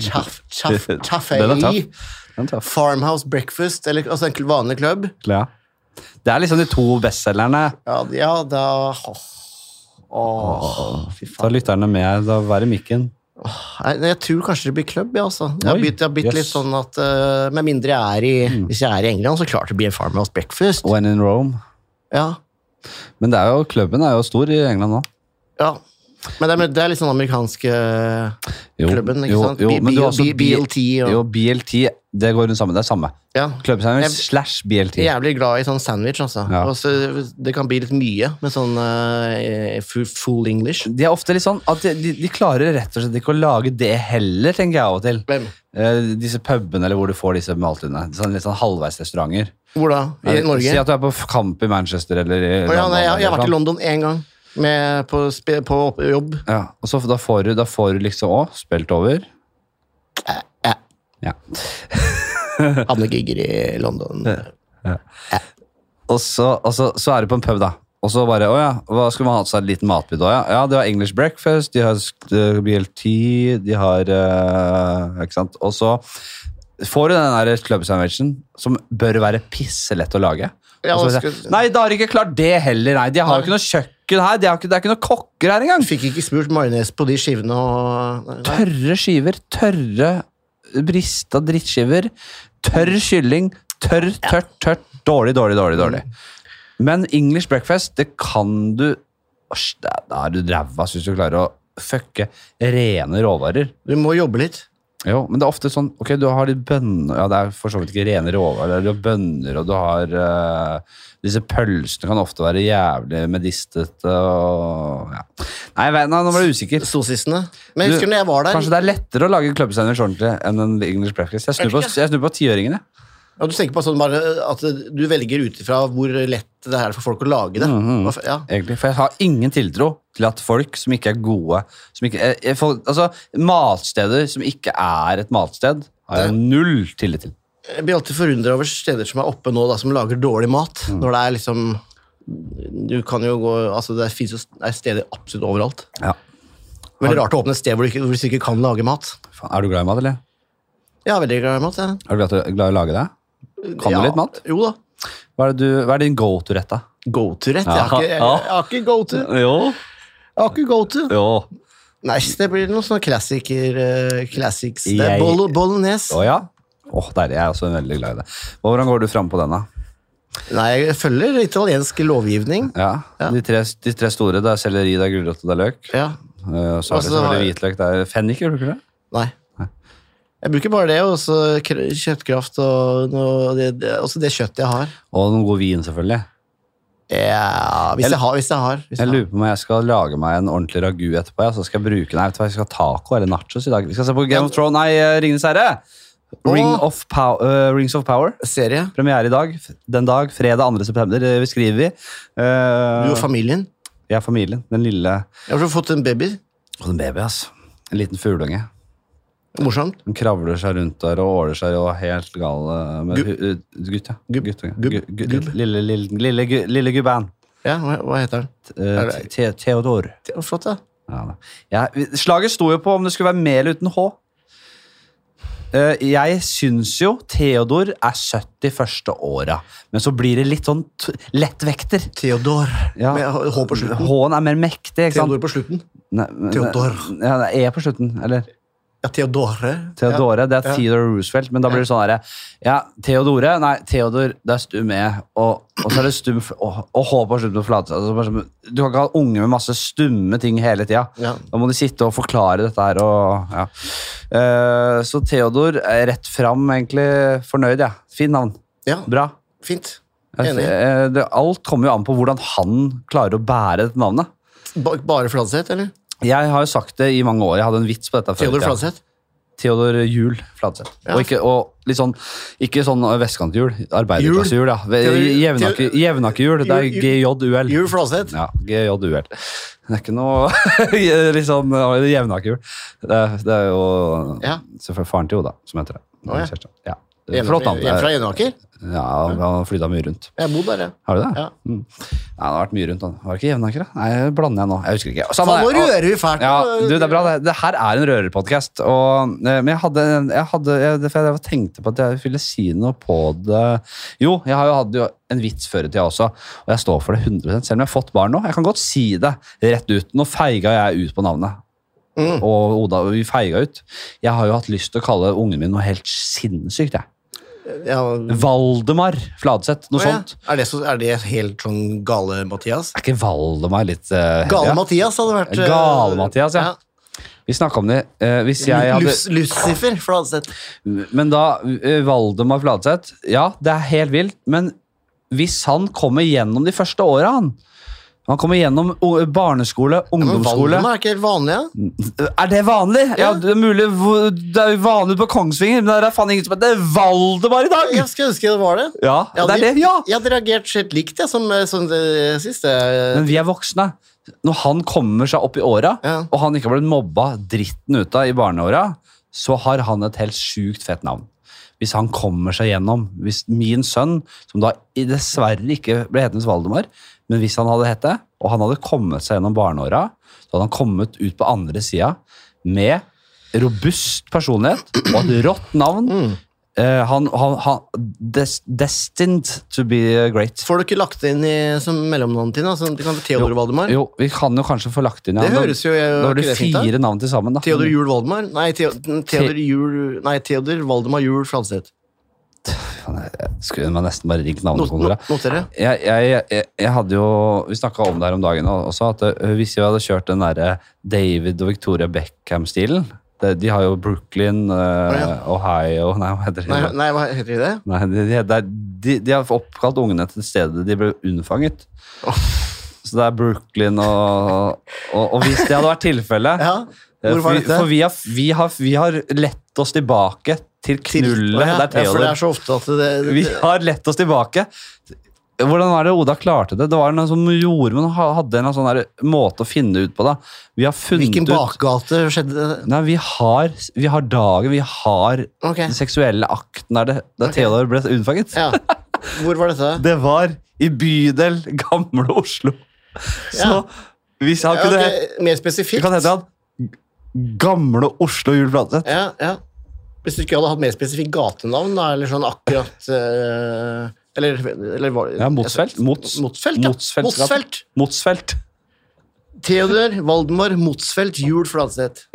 [SPEAKER 2] Chaff, chaff, chaffei.
[SPEAKER 3] Den er tøff. Den er tøff.
[SPEAKER 2] Farmhouse breakfast, eller altså en vanlig klubb.
[SPEAKER 3] Ja. Det er liksom de to bestselgerne.
[SPEAKER 2] Ja, d- ja da åh. Åh, fy
[SPEAKER 3] Ta
[SPEAKER 2] faen.
[SPEAKER 3] lytterne med. Da være mikken.
[SPEAKER 2] Nei, Jeg tror kanskje det blir klubb, ja, altså. Jeg har
[SPEAKER 3] Oi,
[SPEAKER 2] blitt, jeg har blitt litt
[SPEAKER 3] yes. Mm.
[SPEAKER 2] sånn at eh, Med mindre jeg er i Hvis jeg er i England, så klart det blir en Farmhouse Breakfast.
[SPEAKER 3] When in Rome.
[SPEAKER 2] Ja,
[SPEAKER 3] Men det er jo, klubben er jo stor i England nå.
[SPEAKER 2] ja. Men det er, det er litt sånn amerikansk eh,
[SPEAKER 3] Jo,
[SPEAKER 2] klubben, ikke
[SPEAKER 3] jo,
[SPEAKER 2] sant?
[SPEAKER 3] jo,
[SPEAKER 2] B-
[SPEAKER 3] men du har
[SPEAKER 2] B-
[SPEAKER 3] også
[SPEAKER 2] B- BLT og
[SPEAKER 3] Jo, BLT, det går rundt sammen. Det er samme.
[SPEAKER 2] ja.
[SPEAKER 3] Klubbsandwich
[SPEAKER 2] Jeg-
[SPEAKER 3] slash BLT.
[SPEAKER 2] Jeg er jævlig glad i sånn sandwich, altså.
[SPEAKER 3] Ja.
[SPEAKER 2] Og så- det kan bli litt mye med sånn eh, fu- full English.
[SPEAKER 3] De er ofte litt sånn at de, de, de klarer rett og slett ikke å lage det heller, tenker jeg av og til.
[SPEAKER 2] Hvem?
[SPEAKER 3] Eh, disse pubene eller hvor du får disse måltidene. Sånn, litt sånn halvveisrestauranter.
[SPEAKER 2] Hvor da? I Norge?
[SPEAKER 3] Si at du er på f- kamp i Manchester eller i
[SPEAKER 2] Å, ja, nei, jeg, jeg har
[SPEAKER 3] eller
[SPEAKER 2] vært i
[SPEAKER 3] sånn.
[SPEAKER 2] London én gang, med, på, spe- på opp- jobb.
[SPEAKER 3] Ja, og så, da, får du, da får du liksom òg spilt over.
[SPEAKER 2] Eh, Hadde noen gigger i London.
[SPEAKER 3] Og så, og så, så er du på en pub, da. Og så bare Å ja, hva skulle man hatt seg en liten matbit òg, ja? Ja, de har English breakfast, de har sk- BLT, de har eh, Ikke sant. Og så får du den der club sandwichen, som bør være pisselett å lage.
[SPEAKER 2] Ja,
[SPEAKER 3] og så,
[SPEAKER 2] hva
[SPEAKER 3] sier jeg,
[SPEAKER 2] skulle-
[SPEAKER 3] Nei, da har de ikke klart det heller, nei. De har jo ikke noe kjøkken her. De har ikke, det er ikke noen kokker her engang.
[SPEAKER 2] Fikk ikke smurt majones på de skivene og nei, nei.
[SPEAKER 3] Tørre skiver, tørre brista drittskiver, tørr kylling, tørr, tørt, tørt, dårlig, dårlig, dårlig, dårlig. Men English breakfast, det kan du Asj, Da da er du ræva hvis du klarer å fucke rene råvarer.
[SPEAKER 2] Du må jobbe litt.
[SPEAKER 3] Jo, men det er ofte sånn Ok, du har de bønner Ja, det er for så vidt ikke rene råvarer. Du har bønner, og du har eh, Disse pølsene kan ofte være jævlig medistete og ja. Nei, jeg vet- nei, nå ble jeg usikker.
[SPEAKER 2] Sosisene.
[SPEAKER 3] Du,
[SPEAKER 2] Men jeg husker når jeg var der
[SPEAKER 3] Kanskje det er lettere å lage en klubbsandwich ordentlig enn en English breakfast. Jeg snur på, jeg snur på tiåringen, jeg.
[SPEAKER 2] ja, Du tenker på sånn bare at du velger ut ifra hvor lett det er for folk å lage det.
[SPEAKER 3] Mhm.
[SPEAKER 2] Og f- Ja.
[SPEAKER 3] Egentlig, for jeg har ingen tiltro til at folk som ikke er gode som ikke, eh, eh, folk, altså, Matsteder som ikke er et matsted, har jeg null tillit til.
[SPEAKER 2] Jeg blir alltid forundra over steder som er oppe nå, da, som lager dårlig mat.
[SPEAKER 3] Mm.
[SPEAKER 2] Når det er liksom Du kan jo gå Altså, det fins jo s- det er steder absolutt overalt.
[SPEAKER 3] Ja.
[SPEAKER 2] Veldig rart å åpne et sted hvor du ikke, hvor du ikke kan lage mat.
[SPEAKER 3] Faen, er du glad i mat, eller?
[SPEAKER 2] Jeg er veldig glad i mat, jeg.
[SPEAKER 3] Er du glad, til- glad i å lage det? Kan
[SPEAKER 2] ja.
[SPEAKER 3] du litt mat?
[SPEAKER 2] Jo da.
[SPEAKER 3] Hva er, det du, hva er din go to-rett, da?
[SPEAKER 2] Go-to-rett? Jeg
[SPEAKER 3] Ja.
[SPEAKER 2] har ikke, jeg, jeg har ikke go-to.
[SPEAKER 3] Jo.
[SPEAKER 2] Jeg har ikke go-to.
[SPEAKER 3] jo.
[SPEAKER 2] Nei, det blir noen sånne klassiker, eh, classics. Det
[SPEAKER 3] Jeg-
[SPEAKER 2] er bolo, bolognese.
[SPEAKER 3] Å ja? Åh, deilig. Jeg er også veldig glad i det. Hvordan går du fram på den, da?
[SPEAKER 2] Nei, jeg følger italiensk lovgivning.
[SPEAKER 3] Ja.
[SPEAKER 2] Ja.
[SPEAKER 3] De, tre, de tre store. Det er selleri, det er gulrot og det er løk.
[SPEAKER 2] Ja,
[SPEAKER 3] Eh, Og så er det
[SPEAKER 2] Altså,
[SPEAKER 3] selvfølgelig
[SPEAKER 2] har-
[SPEAKER 3] hvitløk. Det er fennik, gjør du ikke det?
[SPEAKER 2] nei. Jeg bruker bare det, og så kr- kjøttkraft og noe, det, det, også det kjøttet jeg har.
[SPEAKER 3] Og noen god vin, selvfølgelig.
[SPEAKER 2] Ja, hvis jeg har. Hvis jeg har,
[SPEAKER 3] Jeg
[SPEAKER 2] hvis jeg har.
[SPEAKER 3] lurer på om jeg skal lage meg en ordentlig ragu etterpå. Ja, så skal jeg bruke Nei, vet du hva, jeg skal ha taco eller nachos i dag. Vi skal se på Game of Thrones. Nei, eh, Ringenes herre! Ring
[SPEAKER 2] Åh.
[SPEAKER 3] of Pow- eh, Rings of Power.
[SPEAKER 2] Serie.
[SPEAKER 3] Premiere i dag. Den dag, fredag 2. september, eh, vi skriver vi.
[SPEAKER 2] Du og
[SPEAKER 3] Uh,
[SPEAKER 2] familien.
[SPEAKER 3] jeg er familien. Den lille
[SPEAKER 2] Jeg har også fått en baby.
[SPEAKER 3] Og den baby, ass. En liten fugleunge.
[SPEAKER 2] Morsomt.
[SPEAKER 3] Den kravler seg rundt der og åler seg og er helt gal eh, med
[SPEAKER 2] Gubb.
[SPEAKER 3] hu- eh, gutt, ja.
[SPEAKER 2] Gubb.
[SPEAKER 3] Guttunge.
[SPEAKER 2] Gubb.
[SPEAKER 3] Gu- gu-
[SPEAKER 2] Gubb.
[SPEAKER 3] Lille, lille, lille, gu- lille gubben.
[SPEAKER 2] Ja, hva, hva heter den?
[SPEAKER 3] Eh,
[SPEAKER 2] det-
[SPEAKER 3] Te- Theodor.
[SPEAKER 2] Det var Flott, da.
[SPEAKER 3] Ja, da. Ja, vi- slaget sto jo på om det skulle være med eller uten H. Eh, Jeg syns jo Theodor er søtt de første åra, men så blir det litt sånn t lettvekter.
[SPEAKER 2] Theodor.
[SPEAKER 3] Ja.
[SPEAKER 2] Med H- H på slutten.
[SPEAKER 3] H-en er mer mektig, ikke sant?
[SPEAKER 2] Theodor på slutten.
[SPEAKER 3] Nei, men- eh,
[SPEAKER 2] Theodor.
[SPEAKER 3] Ja, det er E på slutten, eller?
[SPEAKER 2] Ja, Theodore.
[SPEAKER 3] Theodore, det er
[SPEAKER 2] Ja.
[SPEAKER 3] Theodore Roosevelt, men da blir det sånn herre Ja, Theodore, nei, Theodor, det er stum E, og, og så er det stum F- og, og H på slutten på flate. Altså, bare som- du kan ikke ha unge med masse stumme ting hele tida.
[SPEAKER 2] Ja.
[SPEAKER 3] Da må de sitte og forklare dette her og ja. Eh, så Theodor, eh, rett fram, egentlig fornøyd, jeg. Ja. Fin navn.
[SPEAKER 2] Ja,
[SPEAKER 3] Bra.
[SPEAKER 2] fint.
[SPEAKER 3] Jeg-
[SPEAKER 2] Enig.
[SPEAKER 3] eh, det, alt kommer jo an på hvordan han klarer å bære dette navnet.
[SPEAKER 2] Ba- Bare Fladseth, eller?
[SPEAKER 3] Jeg har jo sagt det i mange år. Jeg hadde en vits på dette. før i
[SPEAKER 2] Theodor
[SPEAKER 3] tida.
[SPEAKER 2] Fladseth?
[SPEAKER 3] Theodor Hjul Fladseth.
[SPEAKER 2] Ja.
[SPEAKER 3] Og, ikke, og litt sånn, ikke sånn vestkanthjul. Arbeiderklassehjul, ja.
[SPEAKER 2] Theodor-
[SPEAKER 3] Jevnakke-
[SPEAKER 2] Theodor-
[SPEAKER 3] Jevnakkehjul. Det er
[SPEAKER 2] Hjul-
[SPEAKER 3] GJUL.
[SPEAKER 2] Jul Fladseth?
[SPEAKER 3] Ja, GJUL. Det er ikke noe litt sånn ja, det er jevnakkehjul. Det, er- det er jo
[SPEAKER 2] Ja.
[SPEAKER 3] selvfølgelig faren til Oda som heter det.
[SPEAKER 2] Å, ja.
[SPEAKER 3] Kjersten. ja. Det er
[SPEAKER 2] En
[SPEAKER 3] Flott navn.
[SPEAKER 2] en fra Enaker?
[SPEAKER 3] Ja, han har flytta mye rundt.
[SPEAKER 2] Jeg bor der, ja.
[SPEAKER 3] Har du det?
[SPEAKER 2] Ja.
[SPEAKER 3] Mm. Nei, det har vært mye rundt. Han. Var det ikke Jevnaker, da? Nei, det blander jeg nå. Jeg husker ikke. Samme
[SPEAKER 2] Faen, nå
[SPEAKER 3] det. Og-
[SPEAKER 2] rører vi fælt.
[SPEAKER 3] ja, du, det er bra. Det, det her er en rørerpodkast. og, eh, Men jeg hadde, jeg hadde jeg, det- for jeg tenkte på at jeg ville si noe på det Jo, jeg har jo hatt jo en vits før i tida også, og jeg står for det 100 selv om jeg har fått barn nå. Jeg kan godt si det rett ut. Nå feiga jeg ut på navnet.
[SPEAKER 2] Mm.
[SPEAKER 3] Og Oda, vi feiga ut. Jeg har jo hatt lyst til å kalle ungen min noe helt sinnssykt. jeg.
[SPEAKER 2] Ja,
[SPEAKER 3] Valdemar Fladseth, noe
[SPEAKER 2] å ja.
[SPEAKER 3] sånt.
[SPEAKER 2] Er det, så, er det helt sånn gale Mathias?
[SPEAKER 3] Er ikke Valdemar litt eh,
[SPEAKER 2] Gale
[SPEAKER 3] ja?
[SPEAKER 2] Mathias hadde vært eh,
[SPEAKER 3] Gale Mathias, ja. Vi snakka om det. eh, hvis jeg hadde
[SPEAKER 2] Lus, Lucifer Fladseth.
[SPEAKER 3] Men da, eh, Valdemar Fladseth Ja, det er helt vilt, men hvis han kommer gjennom de første åra, han Han kommer gjennom o- barneskole,
[SPEAKER 2] Men
[SPEAKER 3] ungdomsskole
[SPEAKER 2] Valdemar er ikke helt vanlig,
[SPEAKER 3] Mm.
[SPEAKER 2] ja.
[SPEAKER 3] Er det vanlig? Ja, det er mulig hvor- Det er jo vanlig på Kongsvinger, men det er faen ingen som heter Valdemar i dag!
[SPEAKER 2] Jeg skulle ønske det var det.
[SPEAKER 3] Ja,
[SPEAKER 2] Jeg
[SPEAKER 3] det er
[SPEAKER 2] hadde-
[SPEAKER 3] det, ja!
[SPEAKER 2] Jeg hadde reagert helt likt, jeg, som, eh, som det siste.
[SPEAKER 3] Men vi er voksne. Når han kommer seg opp i åra,
[SPEAKER 2] Ja.
[SPEAKER 3] og han ikke har blitt mobba dritten ut av i barneåra, så har han et helt sjukt fett navn. Hvis han kommer seg gjennom Hvis min sønn, som da i- dessverre ikke ble hetende Valdemar, men hvis han hadde hett det, og han hadde kommet seg gjennom barneåra, så hadde han kommet ut på andre sida med robust personlighet og et rått navn.
[SPEAKER 2] Mm.
[SPEAKER 3] Eh, han, han, han des, Destined to be great.
[SPEAKER 2] Får du ikke lagt det inn i, som mellomnavnet ditt? da? Sånn, det kan være Theodor
[SPEAKER 3] Jo,
[SPEAKER 2] Valdemar?
[SPEAKER 3] Jo, vi kan jo kanskje få lagt inn ja.
[SPEAKER 2] Det
[SPEAKER 3] Da-
[SPEAKER 2] høres jo eh,
[SPEAKER 3] Da har du
[SPEAKER 2] ikke det fint, da?
[SPEAKER 3] fire navn til sammen, da.
[SPEAKER 2] Theodor Jul Valdemar? Nei, Theo- Theodor Jul Nei, Theodor Valdemar Jul Fladseth.
[SPEAKER 3] Skulle man nesten bare ringt
[SPEAKER 2] Not-
[SPEAKER 3] navnekontoret.
[SPEAKER 2] not- Notere.
[SPEAKER 3] Jeg, jeg, jeg, jeg hadde jo Vi snakka om det her om dagen også, at ø, hvis vi hadde kjørt den derre David og Victoria Beckham-stilen det- De har jo Brooklyn, ø,
[SPEAKER 2] ja.
[SPEAKER 3] Ohio Nei, hva heter det?
[SPEAKER 2] Nei, nei, hva heter det?
[SPEAKER 3] Nei, de, de, det er- de, de har oppkalt ungene til stedet de ble unnfanget. Så det er Brooklyn og Og, og hvis det hadde vært tilfellet
[SPEAKER 2] Ja,
[SPEAKER 3] Eh,
[SPEAKER 2] hvor var
[SPEAKER 3] for,
[SPEAKER 2] dette?
[SPEAKER 3] for vi har, vi, har, vi har lett oss tilbake til knullet.
[SPEAKER 2] Ja,
[SPEAKER 3] Det er
[SPEAKER 2] ja, for det
[SPEAKER 3] Theodor.
[SPEAKER 2] er så ofte at det, det,
[SPEAKER 3] Vi har lett oss tilbake. Hvordan var det Oda klarte det? Det var noen som gjorde, men ha- hadde en sånn der måte å finne ut på det. Vi har funnet
[SPEAKER 2] Hvilken
[SPEAKER 3] ut
[SPEAKER 2] bakgate skjedde det?
[SPEAKER 3] Nei, vi har, vi har dagen, vi har
[SPEAKER 2] Ok.
[SPEAKER 3] den seksuelle akten der, det, der
[SPEAKER 2] Ok.
[SPEAKER 3] Theodor ble unnfanget.
[SPEAKER 2] Ja. Hvor var dette?
[SPEAKER 3] Det var i bydel Gamle Oslo. Så
[SPEAKER 2] Ja.
[SPEAKER 3] hvis han
[SPEAKER 2] Ja,
[SPEAKER 3] kunne
[SPEAKER 2] ok, mer
[SPEAKER 3] Det
[SPEAKER 2] spesifikt?
[SPEAKER 3] kan hete han Gamle Oslo Jul Fladseth.
[SPEAKER 2] Ja, ja. Hvis du ikke hadde hatt mer spesifikt gatenavn, da, eller sånn akkurat eh, Eller, eller hva-
[SPEAKER 3] Ja, Motsfeldt. Mots.
[SPEAKER 2] Motsfeldt, ja.
[SPEAKER 3] Motsfeldt.
[SPEAKER 2] Motsfeldt.
[SPEAKER 3] Motsfeldt.
[SPEAKER 2] Theodor Valdemar Motsfeldt Jul Fladseth.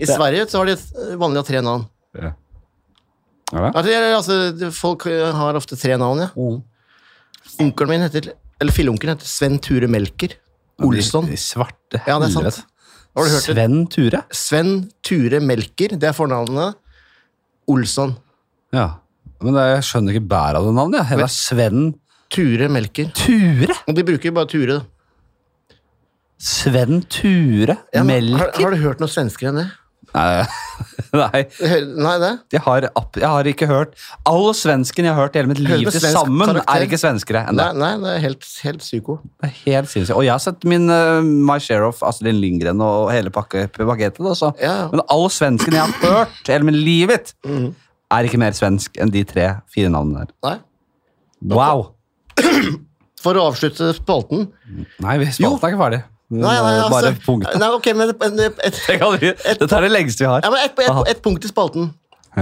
[SPEAKER 2] I Sverige så har de eh, vanlig av tre navn.
[SPEAKER 3] Ja. Mm.
[SPEAKER 2] Ja, det er- Altså, folk har ofte tre navn, ja. Onkelen min heter Eller filleonkelen heter Sven Ture Melker. Olsson.
[SPEAKER 3] De, de svarte
[SPEAKER 2] Sånn. Ja, det er sant.
[SPEAKER 3] helvete.
[SPEAKER 2] Har du hørt det?
[SPEAKER 3] Sven Ture?
[SPEAKER 2] Sven Ture Melker, det er fornavnet. Olsson.
[SPEAKER 3] Ja. Men det, jeg skjønner ikke bæret av det navnet. jeg. Det er Sven
[SPEAKER 2] Ture Melker.
[SPEAKER 3] Ture?
[SPEAKER 2] Og de bruker jo bare Ture, da.
[SPEAKER 3] Sven Ture
[SPEAKER 2] Ja, men har,
[SPEAKER 3] Melker?
[SPEAKER 2] har du hørt noe svenskere enn det?
[SPEAKER 3] Nei, Nei.
[SPEAKER 2] Det hø- Nei, det?
[SPEAKER 3] Jeg har, app- jeg har ikke hørt Alle svenskene jeg har hørt i hele mitt
[SPEAKER 2] Hører
[SPEAKER 3] liv
[SPEAKER 2] du
[SPEAKER 3] til
[SPEAKER 2] svensk
[SPEAKER 3] sammen,
[SPEAKER 2] karakter?
[SPEAKER 3] er ikke svenskere. enn
[SPEAKER 2] Nei,
[SPEAKER 3] det.
[SPEAKER 2] nei, det er helt, helt psyko.
[SPEAKER 3] Det er helt sinnssykt. Og jeg har sett min eh, My Share of Astrid Lindgren og hele pakke pakketet. Altså.
[SPEAKER 2] Ja. Mhm.
[SPEAKER 3] Men alle svenskene jeg har hørt hele mitt livet, er ikke mer svensk enn de tre-fire navnene der.
[SPEAKER 2] Nei.
[SPEAKER 3] Wow!
[SPEAKER 2] For å avslutte spalten
[SPEAKER 3] Nei, vi
[SPEAKER 2] Jo.
[SPEAKER 3] spalten er ikke ferdig. Vi
[SPEAKER 2] Nei, nei,
[SPEAKER 3] må Bare
[SPEAKER 2] altså,
[SPEAKER 3] punktet.
[SPEAKER 2] nei ok, men et, et, et,
[SPEAKER 3] Det kan vi- Dette er det lengste vi har.
[SPEAKER 2] Ja, men et,
[SPEAKER 3] Aha.
[SPEAKER 2] et, et punkt i spalten.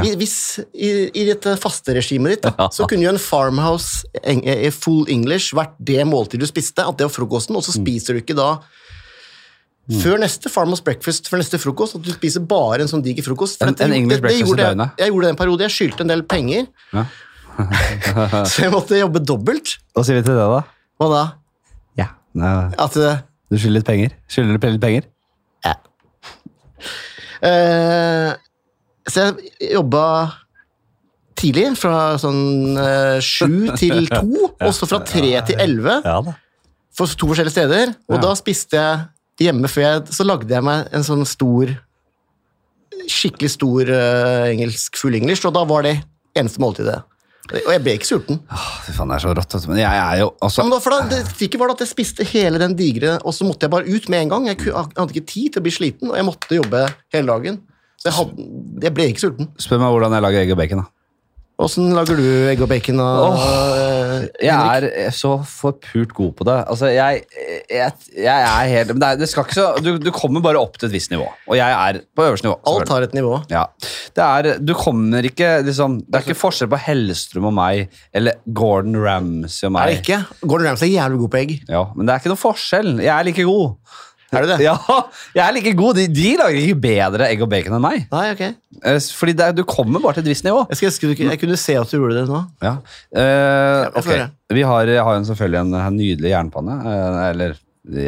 [SPEAKER 2] I- Hvis i, i dette faste regimet ditt, da, så kunne jo en farmhouse eng, eh, full English vært det måltidet du spiste, at det var frokosten, og så
[SPEAKER 3] Mm.
[SPEAKER 2] spiser du ikke da før neste farmhouse breakfast, før neste frokost, at du spiser bare en sånn diger frokost. For
[SPEAKER 3] En-
[SPEAKER 2] dette
[SPEAKER 3] en
[SPEAKER 2] gjorde-
[SPEAKER 3] English breakfast
[SPEAKER 2] gjorde
[SPEAKER 3] i
[SPEAKER 2] jeg-
[SPEAKER 3] døgnet.
[SPEAKER 2] Jeg gjorde det en periode, jeg skyldte en del penger,
[SPEAKER 3] Ja.
[SPEAKER 2] så jeg måtte jobbe dobbelt.
[SPEAKER 3] Hva sier vi til det, da?
[SPEAKER 2] Hva da?
[SPEAKER 3] Ja. Nei,
[SPEAKER 2] At eh,
[SPEAKER 3] Du skylder litt penger. Skylder du litt penger?
[SPEAKER 2] Eh, så jeg jobba tidlig, fra sånn eh, sju til to, og så fra tre til elleve,
[SPEAKER 3] Ja da.
[SPEAKER 2] for to forskjellige steder. Og
[SPEAKER 3] Ja.
[SPEAKER 2] da spiste jeg hjemme før jeg Så lagde jeg meg en sånn stor Skikkelig stor eh, engelsk full engelsk, og da var det eneste måltidet. Og jeg ble ikke sulten.
[SPEAKER 3] Fy faen, det er så rått. altså. Men jeg er jo
[SPEAKER 2] Ja,
[SPEAKER 3] også
[SPEAKER 2] men da, for da, det trikket var da at jeg spiste hele den digre, og så måtte jeg bare ut med en gang. Jeg ku- hadde ikke tid til å bli sliten, og jeg måtte jobbe hele dagen. Så jeg, hadde, jeg ble ikke sulten.
[SPEAKER 3] Spør meg hvordan jeg lager egg og bacon, da.
[SPEAKER 2] Åssen lager du egg og bacon? Og,
[SPEAKER 3] Jeg er eh, så forpult god på det. Altså, jeg, jeg, jeg er helt men det, er, det skal ikke så, du, du kommer bare opp til et visst nivå. Og jeg er på øverste nivå. selvfølgelig.
[SPEAKER 2] Alt har et nivå.
[SPEAKER 3] Ja. Det er, du kommer ikke liksom, Det er ikke forskjell på Hellstrøm og meg eller Gordon Ramsay og
[SPEAKER 2] Er
[SPEAKER 3] meg.
[SPEAKER 2] det ikke? Gordon Ramsay er jævlig god på egg.
[SPEAKER 3] Ja, men det er ikke noe forskjell. Jeg er like god.
[SPEAKER 2] Er du det?
[SPEAKER 3] Ja, jeg er like god. De, de lager ikke bedre egg og bacon enn meg.
[SPEAKER 2] Nei, ok.
[SPEAKER 3] Eh, Fordi det, er- du kommer bare til et visst nivå.
[SPEAKER 2] Jeg, skal, ønske du ikke- jeg kunne se at du gjorde det nå.
[SPEAKER 3] Ja. Eh,
[SPEAKER 2] får
[SPEAKER 3] ok,
[SPEAKER 2] høre.
[SPEAKER 3] vi har, jeg har jo selvfølgelig en, en nydelig jernpanne. eh, eller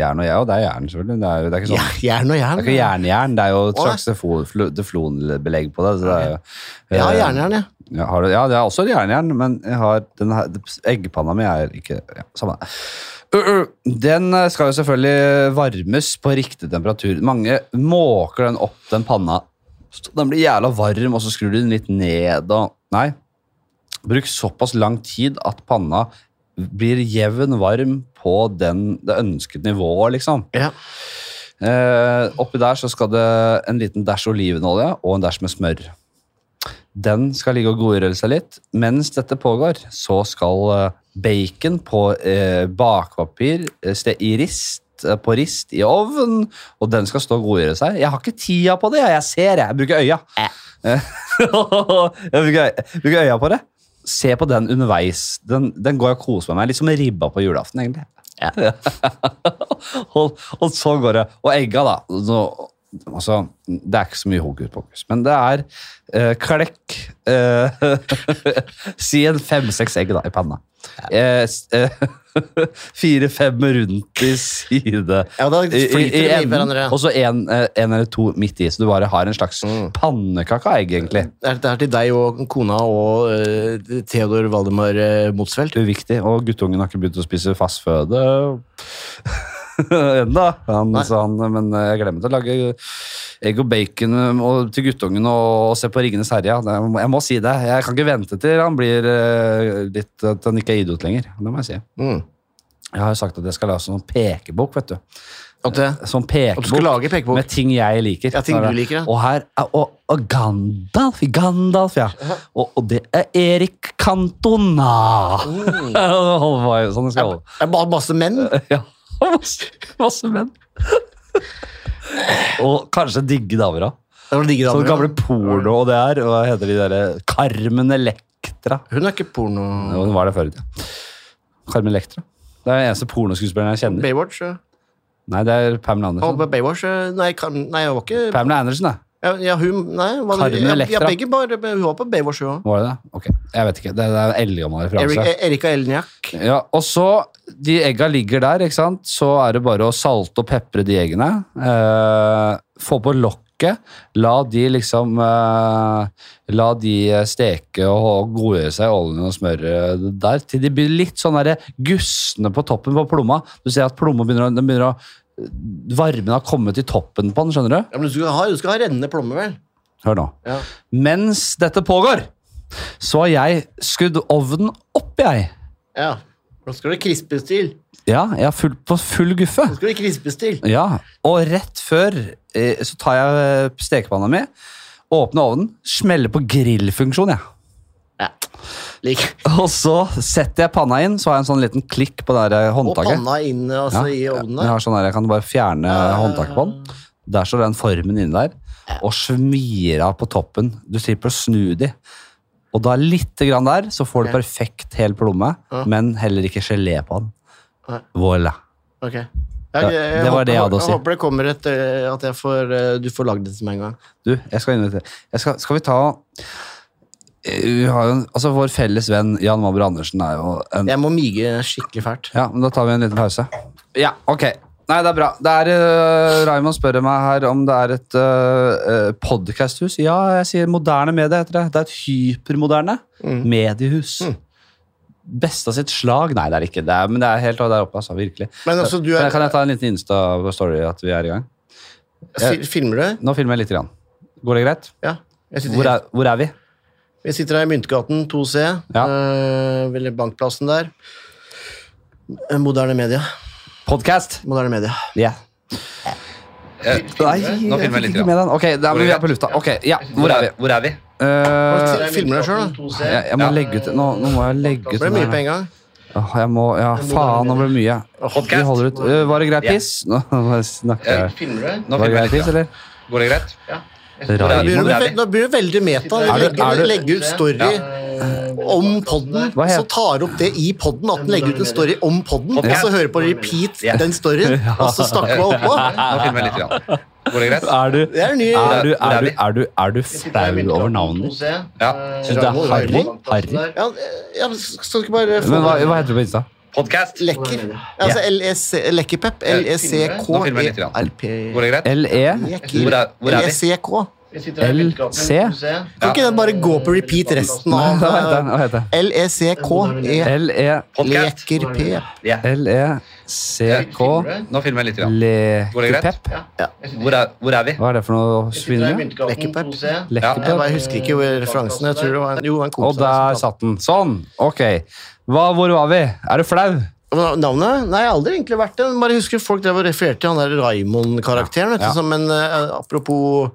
[SPEAKER 3] jern og jeg, og det er jern selvfølgelig. Det er, jo- det er ikke
[SPEAKER 2] Ja,
[SPEAKER 3] sånn...
[SPEAKER 2] jern og jern.
[SPEAKER 3] Det er ikke jernjern, det er jo et
[SPEAKER 2] Å, nei.
[SPEAKER 3] slags teflo- flo- teflonbelegg på det. Så det er jo,
[SPEAKER 2] Jeg har
[SPEAKER 3] eh,
[SPEAKER 2] jernjern, ja.
[SPEAKER 3] Ja, har du, ja, det er også et jernjern, men jeg har den her, eggpanna mi er ikke ja, Samme det. Uh, uh, Den eh, skal jo selvfølgelig varmes på riktig temperatur. Mange måker den opp, den panna. Så Den blir jævla varm, og så skrur du den litt ned og Nei. Bruk såpass lang tid at panna blir jevn varm på den, det ønsket nivået, liksom.
[SPEAKER 2] ja.
[SPEAKER 3] Eh, oppi der så skal det en liten dash olivenolje og en dash med smør. Den skal ligge og godgjøre seg litt. Mens dette pågår, så skal eh, bacon på eh, bakpapir eh, ste- i rist, eh, på rist i ovn, og den skal stå og godgjøre seg. Jeg har ikke tida på det, jeg ser det. Jeg bruker øya. Eh, jeg bruker, øya- bruker øya på det. Se på den underveis. Den, den går jeg og koser meg med. Litt som ribba på julaften, egentlig. og, og så sånn går det. Og egga, da. Så, altså, det er ikke så mye hokus pokus, men det er eh, klekk eh, Si en fem-seks egg da, i panna. Eh, s- eh, Fire-fem rundt i side
[SPEAKER 2] Ja, da
[SPEAKER 3] i, i,
[SPEAKER 2] flyter
[SPEAKER 3] i
[SPEAKER 2] de i
[SPEAKER 3] enden,
[SPEAKER 2] hverandre.
[SPEAKER 3] og så en, eh, en eller to midt i. Så du bare har en slags
[SPEAKER 2] Mm.
[SPEAKER 3] pannekake av egg, egentlig.
[SPEAKER 2] Det er, det er til deg og kona og eh, Theodor Valdemar uh, Motsfeldt.
[SPEAKER 3] Uviktig. Og guttungen har ikke begynt å spise fastføde ennå. Han,
[SPEAKER 2] Nei.
[SPEAKER 3] så han, men eh, jeg glemmer til å lage egg og bacon um, og, til guttungen og, og se på Ringenes herre. ja. Det- Jeg, må- jeg må si det. Jeg kan ikke vente til han blir eh, litt At han ikke er idiot lenger. Det må jeg si.
[SPEAKER 2] Mm.
[SPEAKER 3] Jeg har jo sagt at jeg skal lage sånn pekebok, vet du.
[SPEAKER 2] At det-
[SPEAKER 3] Sånn
[SPEAKER 2] At du skal
[SPEAKER 3] pekebok
[SPEAKER 2] lage pekebok.
[SPEAKER 3] med ting jeg liker.
[SPEAKER 2] Ja, ting du liker, ja.
[SPEAKER 3] Og her er og, og Gandalf, Gandalf, ja. Og, og det er Erik Cantona.
[SPEAKER 2] Oh. Mm.
[SPEAKER 3] Hold på, sånn skal jeg holde.
[SPEAKER 2] Det er bare masse menn.
[SPEAKER 3] Ja, masse, masse menn. og kanskje digge damer òg.
[SPEAKER 2] Det var digge
[SPEAKER 3] Sånne
[SPEAKER 2] damer.
[SPEAKER 3] gamle porno og det her. Hva heter de derre Carmen Electra.
[SPEAKER 2] Hun er ikke porno...
[SPEAKER 3] Jo, Hun var det før i tida. Carmen Electra. Det er den eneste pornoskuespilleren jeg kjenner.
[SPEAKER 2] Baywatch. ja.
[SPEAKER 3] Nei, det er Pamela
[SPEAKER 2] Og
[SPEAKER 3] Andersen.
[SPEAKER 2] Baywatch eh, nei, kan, nei, hun var ikke
[SPEAKER 3] Pamela Andersen, da.
[SPEAKER 2] ja, ja, hun, nei, var,
[SPEAKER 3] Carmen
[SPEAKER 2] ja, ja,
[SPEAKER 3] Electra.
[SPEAKER 2] begge bare, Hun var på Baywatch, hun òg.
[SPEAKER 3] Var det det? Ok, jeg vet ikke. Det det er en eldgammel referanse.
[SPEAKER 2] Erika Elniak.
[SPEAKER 3] Ja, og så, de egga ligger der, ikke sant? Så er det bare å salte og pepre de eggene. Eh, få på lokket. La de liksom eh, La de eh, steke og godgjøre seg i oljen og smøret der til de blir litt sånn derre gusne på toppen på plomma. Du ser at plomma begynner å, den begynner å Varmen har kommet til toppen på den, skjønner du?
[SPEAKER 2] Ja, men du skal ha, du skal ha rennende plommer, vel?
[SPEAKER 3] Hør nå.
[SPEAKER 2] Ja.
[SPEAKER 3] Mens dette pågår, så har jeg skrudd ovnen opp, jeg.
[SPEAKER 2] ja. Nå skal det krispes til.
[SPEAKER 3] Ja, jeg har full, på full guffe.
[SPEAKER 2] Nå skal det krispes til.
[SPEAKER 3] Ja, og rett før eh, så tar jeg eh, stekepanna mi, åpner ovnen, smeller på grillfunksjon, jeg.
[SPEAKER 2] Lik.
[SPEAKER 3] Og så setter jeg panna inn, så har jeg en sånn liten klikk på det der
[SPEAKER 2] Og
[SPEAKER 3] håndtaket.
[SPEAKER 2] panna inn altså, i ovnen.
[SPEAKER 3] Jeg,
[SPEAKER 2] der.
[SPEAKER 3] har sånn der, jeg kan bare fjerne håndtaket på den. Der står den formen inni der, og smir av på toppen. Du slipper å snu de. Og da litt grann der, så får du perfekt hel plomme,
[SPEAKER 2] Ja.
[SPEAKER 3] men heller ikke gelé på den.
[SPEAKER 2] Nei.
[SPEAKER 3] Voilà.
[SPEAKER 2] Ok. Jeg-
[SPEAKER 3] Ja,
[SPEAKER 2] jeg
[SPEAKER 3] det var det jeg hadde å si.
[SPEAKER 2] Jeg håper det kommer et, eh, at jeg får, eh, du får lagd det til meg en gang.
[SPEAKER 3] Du, jeg skal invitere. Jeg skal, skal vi ta Eh, vi har jo en, altså Vår felles venn Jan Mabber Andersen er jo en
[SPEAKER 2] Jeg må mige skikkelig fælt.
[SPEAKER 3] Ja, men da tar vi en liten pause. Ja, ok. Nei, det er bra. Det er, eh, Raymond spør meg her om det er et uh, podcasthus. Ja, jeg sier moderne medie heter det. Det er et hypermoderne
[SPEAKER 2] Mm.
[SPEAKER 3] mediehus. Beste av sitt slag? Nei, det er ikke det. er- Men det er helt der oppe, altså. Virkelig.
[SPEAKER 2] Men altså, du er-
[SPEAKER 3] Kan jeg ta en liten Insta-story at vi er i gang?
[SPEAKER 2] Fil- Filmer du?
[SPEAKER 3] Nå filmer jeg lite grann. Går det greit?
[SPEAKER 2] Ja. Jeg sitter,
[SPEAKER 3] Hvor er, hvor er vi?
[SPEAKER 2] jeg sitter her i Myntgaten 2C,
[SPEAKER 3] Ja.
[SPEAKER 2] eh, eller Bankplassen der. Eh, Moderne media.
[SPEAKER 3] Podcast!
[SPEAKER 2] Moderne media.
[SPEAKER 3] Ja. Nei, Eh, nå filmer jeg litt. Med den. Ok, da, men vi er på lufta. Ok, ja, Hvor er vi? Hvor er vi? Eh,
[SPEAKER 2] Filmer deg sjøl, da.
[SPEAKER 3] jeg, jeg må legge ut Nå, nå må jeg legge ut
[SPEAKER 2] Det ble
[SPEAKER 3] den
[SPEAKER 2] mye
[SPEAKER 3] her.
[SPEAKER 2] på en gang.
[SPEAKER 3] Åh, jeg må, ja, faen, nå ble det mye. Vi holder ut. Eh, var det greit piss? Nå bare snakker jeg.
[SPEAKER 2] Filmer du?
[SPEAKER 3] Var det greit piss, eller?
[SPEAKER 6] Går det greit?
[SPEAKER 3] Raymond.
[SPEAKER 2] Nå blir du veldig meta.
[SPEAKER 3] Er du-
[SPEAKER 2] Legge,
[SPEAKER 3] er du-
[SPEAKER 2] legge ut story. om podden,
[SPEAKER 3] Hva
[SPEAKER 2] så
[SPEAKER 3] het-
[SPEAKER 2] tar opp det i podden, at den legger ut en story om podden, og så hører på repeat den storyen, og så snakker man
[SPEAKER 11] Nå
[SPEAKER 2] oppå.
[SPEAKER 11] filmer jeg litt. Grann. Går det greit?
[SPEAKER 3] Er du,
[SPEAKER 2] er en ny-
[SPEAKER 3] er du,
[SPEAKER 11] Der er
[SPEAKER 3] er du,
[SPEAKER 11] vi.
[SPEAKER 3] er du, er du flau over navnet ditt?
[SPEAKER 11] Ja.
[SPEAKER 3] Syns du det er harry? Harry?
[SPEAKER 2] Ja, ja, skal du ikke bare få
[SPEAKER 3] Men hva, hva heter du på Insta?
[SPEAKER 11] Podcast.
[SPEAKER 2] Lekker. Altså LEC Lekkerpep. E
[SPEAKER 11] Nå filmer jeg
[SPEAKER 2] L-E-C-K-E-R.
[SPEAKER 11] litt. Grann. Går det greit?
[SPEAKER 3] E? LE?
[SPEAKER 11] Hvor er, hvor er vi?
[SPEAKER 2] LECK.
[SPEAKER 3] LC?
[SPEAKER 2] Kan ikke den bare gå på repeat resten
[SPEAKER 3] Nei,
[SPEAKER 2] av E
[SPEAKER 3] hva heter den? Hva heter E den?
[SPEAKER 2] LECK-E
[SPEAKER 3] LE
[SPEAKER 2] Lekerpep.
[SPEAKER 11] Ja.
[SPEAKER 3] E LECK
[SPEAKER 11] Nå filmer jeg litt. Grann. Går det greit?
[SPEAKER 3] Lekepep?
[SPEAKER 11] Hvor er, hvor er vi?
[SPEAKER 3] Hva er det for noe svinn?
[SPEAKER 2] Lekerpep.
[SPEAKER 11] Ja.
[SPEAKER 2] Jeg bare husker ikke hvor referansen Jeg tror det var en, jo, en
[SPEAKER 3] Og
[SPEAKER 2] kompis. av
[SPEAKER 3] der
[SPEAKER 2] oss som
[SPEAKER 3] satt den. Sånn. Ok. Hva, hvor var vi? Er du flau?
[SPEAKER 2] pratet. Men Navnet? Nei, jeg har aldri egentlig vært det. men Bare husker folk drev og refererte til han der Raymond-karakteren. vet du,
[SPEAKER 3] Ja.
[SPEAKER 2] Som en eh, apropos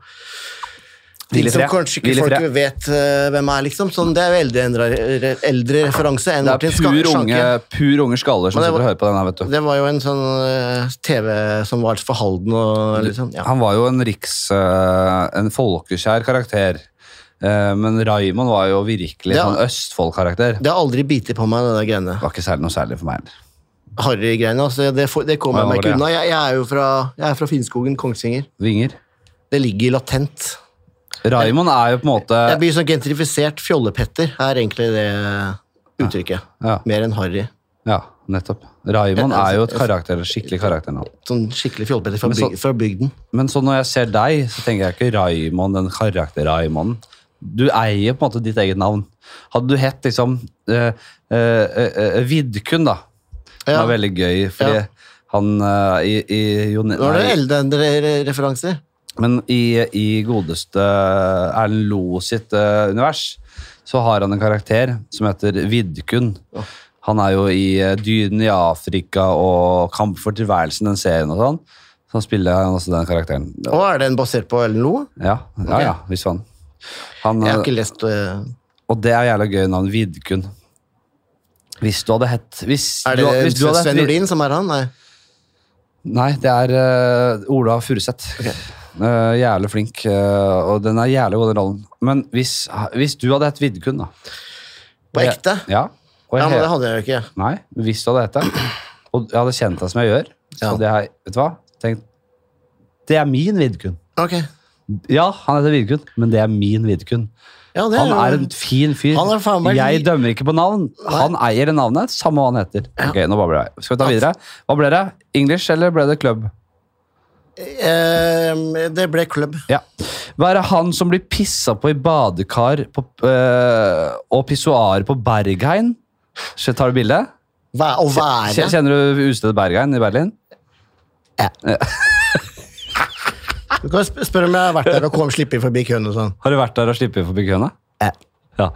[SPEAKER 2] Ting
[SPEAKER 3] Hvil i
[SPEAKER 2] som
[SPEAKER 3] fred.
[SPEAKER 2] kanskje
[SPEAKER 3] Hvil i
[SPEAKER 2] ikke folk
[SPEAKER 3] fred.
[SPEAKER 2] vet eh, hvem er, liksom. Sånn, det er jo eldre, eldre, eldre referanse enn
[SPEAKER 3] Det er
[SPEAKER 2] Martin
[SPEAKER 3] pur
[SPEAKER 2] Skanke.
[SPEAKER 3] unge, pur unge skaller som
[SPEAKER 2] Men det
[SPEAKER 3] sitter og
[SPEAKER 2] var-
[SPEAKER 3] hører på den her, vet du.
[SPEAKER 2] Det var jo en sånn eh, TV som var for Halden og litt sånn. Ja.
[SPEAKER 3] Han var jo en riks... eh, en folkeskjær karakter. Eh, Men Raymond var jo virkelig
[SPEAKER 2] Ja.
[SPEAKER 3] sånn Østfold-karakter.
[SPEAKER 2] Det har aldri bitt på meg, det der greiene.
[SPEAKER 3] Det var ikke særlig noe særlig for meg.
[SPEAKER 2] Harry-greiene. Altså, det, får- det
[SPEAKER 3] Ja,
[SPEAKER 2] kommer jeg meg
[SPEAKER 3] det var
[SPEAKER 2] ikke unna. Jeg, jeg er jo fra, jeg er fra Finnskogen, Kongsvinger.
[SPEAKER 3] Vinger.
[SPEAKER 2] Det ligger latent.
[SPEAKER 3] Raymond er jo på en måte
[SPEAKER 2] Jeg blir sånn gentrifisert fjollepetter, er egentlig det uttrykket.
[SPEAKER 3] Ja.
[SPEAKER 2] Mer enn Harry.
[SPEAKER 3] Ja, nettopp. Raymond er jo et
[SPEAKER 2] altså-
[SPEAKER 3] karakter, skikkelig karakternavn.
[SPEAKER 2] Sånn skikkelig fjollepetter fra,
[SPEAKER 3] Men så-
[SPEAKER 2] byg, fra bygden.
[SPEAKER 3] Men så når jeg ser deg, så tenker jeg ikke Raimond, den karakter-Raimond. Du eier på en måte ditt eget navn. Hadde du hett liksom eh, eh, eh, eh, Vidkun, da. Det
[SPEAKER 2] Ja.
[SPEAKER 3] var veldig gøy, fordi
[SPEAKER 2] Ja.
[SPEAKER 3] han eh, i, i, jo,
[SPEAKER 2] Nå er det
[SPEAKER 3] nei,
[SPEAKER 2] eldre-referanser.
[SPEAKER 3] Men i, i godeste Erlend Lo sitt eh, univers, så har han en karakter som heter Vidkun. Han er jo i eh, Dyrene i Afrika og Kamp for tilværelsen, den serien og sånn. Så han spiller han også den karakteren.
[SPEAKER 2] Og er den basert på Ellen Lo?
[SPEAKER 3] Ja, ja, ja hvis faen. Han,
[SPEAKER 2] Jeg har ikke lest eh,
[SPEAKER 3] og det er jævla gøy navn, Vidkun. Hvis du hadde hett hvis
[SPEAKER 2] Er
[SPEAKER 3] du,
[SPEAKER 2] det
[SPEAKER 3] hvis du hadde hett
[SPEAKER 2] Sven
[SPEAKER 3] Vid-
[SPEAKER 2] Nordin som er han? Nei.
[SPEAKER 3] Nei, det er eh, Ola Furuseth. Eh, jævlig flink, eh, og den er jævlig god, den rollen. Men hvis, hvis du hadde hett Vidkun, da
[SPEAKER 2] På
[SPEAKER 3] og jeg-
[SPEAKER 2] ekte?
[SPEAKER 3] Ja. Og jeg,
[SPEAKER 2] Ja, men det
[SPEAKER 3] het-
[SPEAKER 2] hadde jeg jo ikke.
[SPEAKER 3] Nei, hvis du hadde hett det, og jeg hadde kjent deg som jeg gjør, så
[SPEAKER 2] Ja.
[SPEAKER 3] hadde jeg vet du hva? tenkt Det er min Vidkun.
[SPEAKER 2] Ok.
[SPEAKER 3] Ja, han heter Vidkun, men det er min Vidkun.
[SPEAKER 2] Ja, det
[SPEAKER 3] Han
[SPEAKER 2] jo-
[SPEAKER 3] er en fin fyr.
[SPEAKER 2] Han er faen meg
[SPEAKER 3] jeg
[SPEAKER 2] li-
[SPEAKER 3] dømmer ikke på navn. Han eier det navnet, samme hva han heter. Ok, nå babler jeg. Skal vi ta videre? Hva ble det? English eller ble det club?
[SPEAKER 2] Eh, det ble klubb.
[SPEAKER 3] Ja. Hva er det han som blir pissa på i badekar på, øh, og pissoar på Bergheim? Så Tar du bilde?
[SPEAKER 2] Væ å
[SPEAKER 3] Kje-
[SPEAKER 2] være
[SPEAKER 3] Kjenner du utstedet Bergheim i Berlin?
[SPEAKER 2] Du kan sp spørre om jeg har vært der og kom slippe forbi køen og sånn.
[SPEAKER 3] Har du vært der og sluppet forbi køene?
[SPEAKER 2] Ja.
[SPEAKER 3] Ja.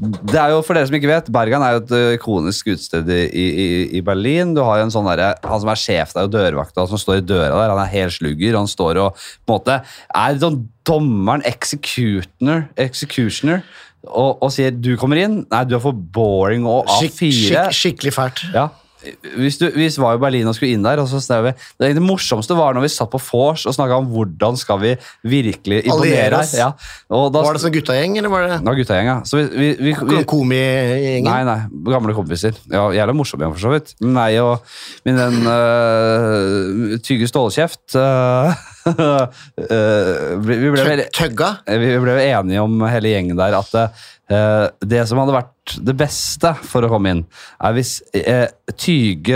[SPEAKER 3] Det er jo, for dere som ikke vet, Bergen er jo et ø, ikonisk utested i, i, i Berlin. Du har jo en sånn derre- Han som er sjef der, og dørvakta han som står i døra der, han er helt slugger. Han står og på en måte er sånn dommeren, executioner, executioner og, og sier 'du kommer inn'. Nei, du er for boring og A4.
[SPEAKER 2] Skikk, skikk, skikkelig fælt.
[SPEAKER 3] Ja. Hvis du, hvis var i Berlin og skulle inn der, og så snev vi det, det morsomste var når vi satt på vors og snakka om hvordan skal vi virkelig imponere.
[SPEAKER 2] Alliere oss.
[SPEAKER 3] Ja. Og da,
[SPEAKER 2] Var det sånn guttegjeng, eller var det
[SPEAKER 3] ja, guttegjeng, ja. Så vi, vi, vi, vi,
[SPEAKER 2] Kom- komigjengen?
[SPEAKER 3] Nei, nei, gamle kompiser. Ja, Jævla morsom igjen, for så vidt. Men Meg og min venn øh, Tygge Stålkjeft øh, øh, vi, vi ble
[SPEAKER 2] Tø-
[SPEAKER 3] veldig
[SPEAKER 2] Tøgga?
[SPEAKER 3] vi vi ble jo enige om hele gjengen der at eh, det som hadde vært det beste for å komme inn, er hvis eh, Tyge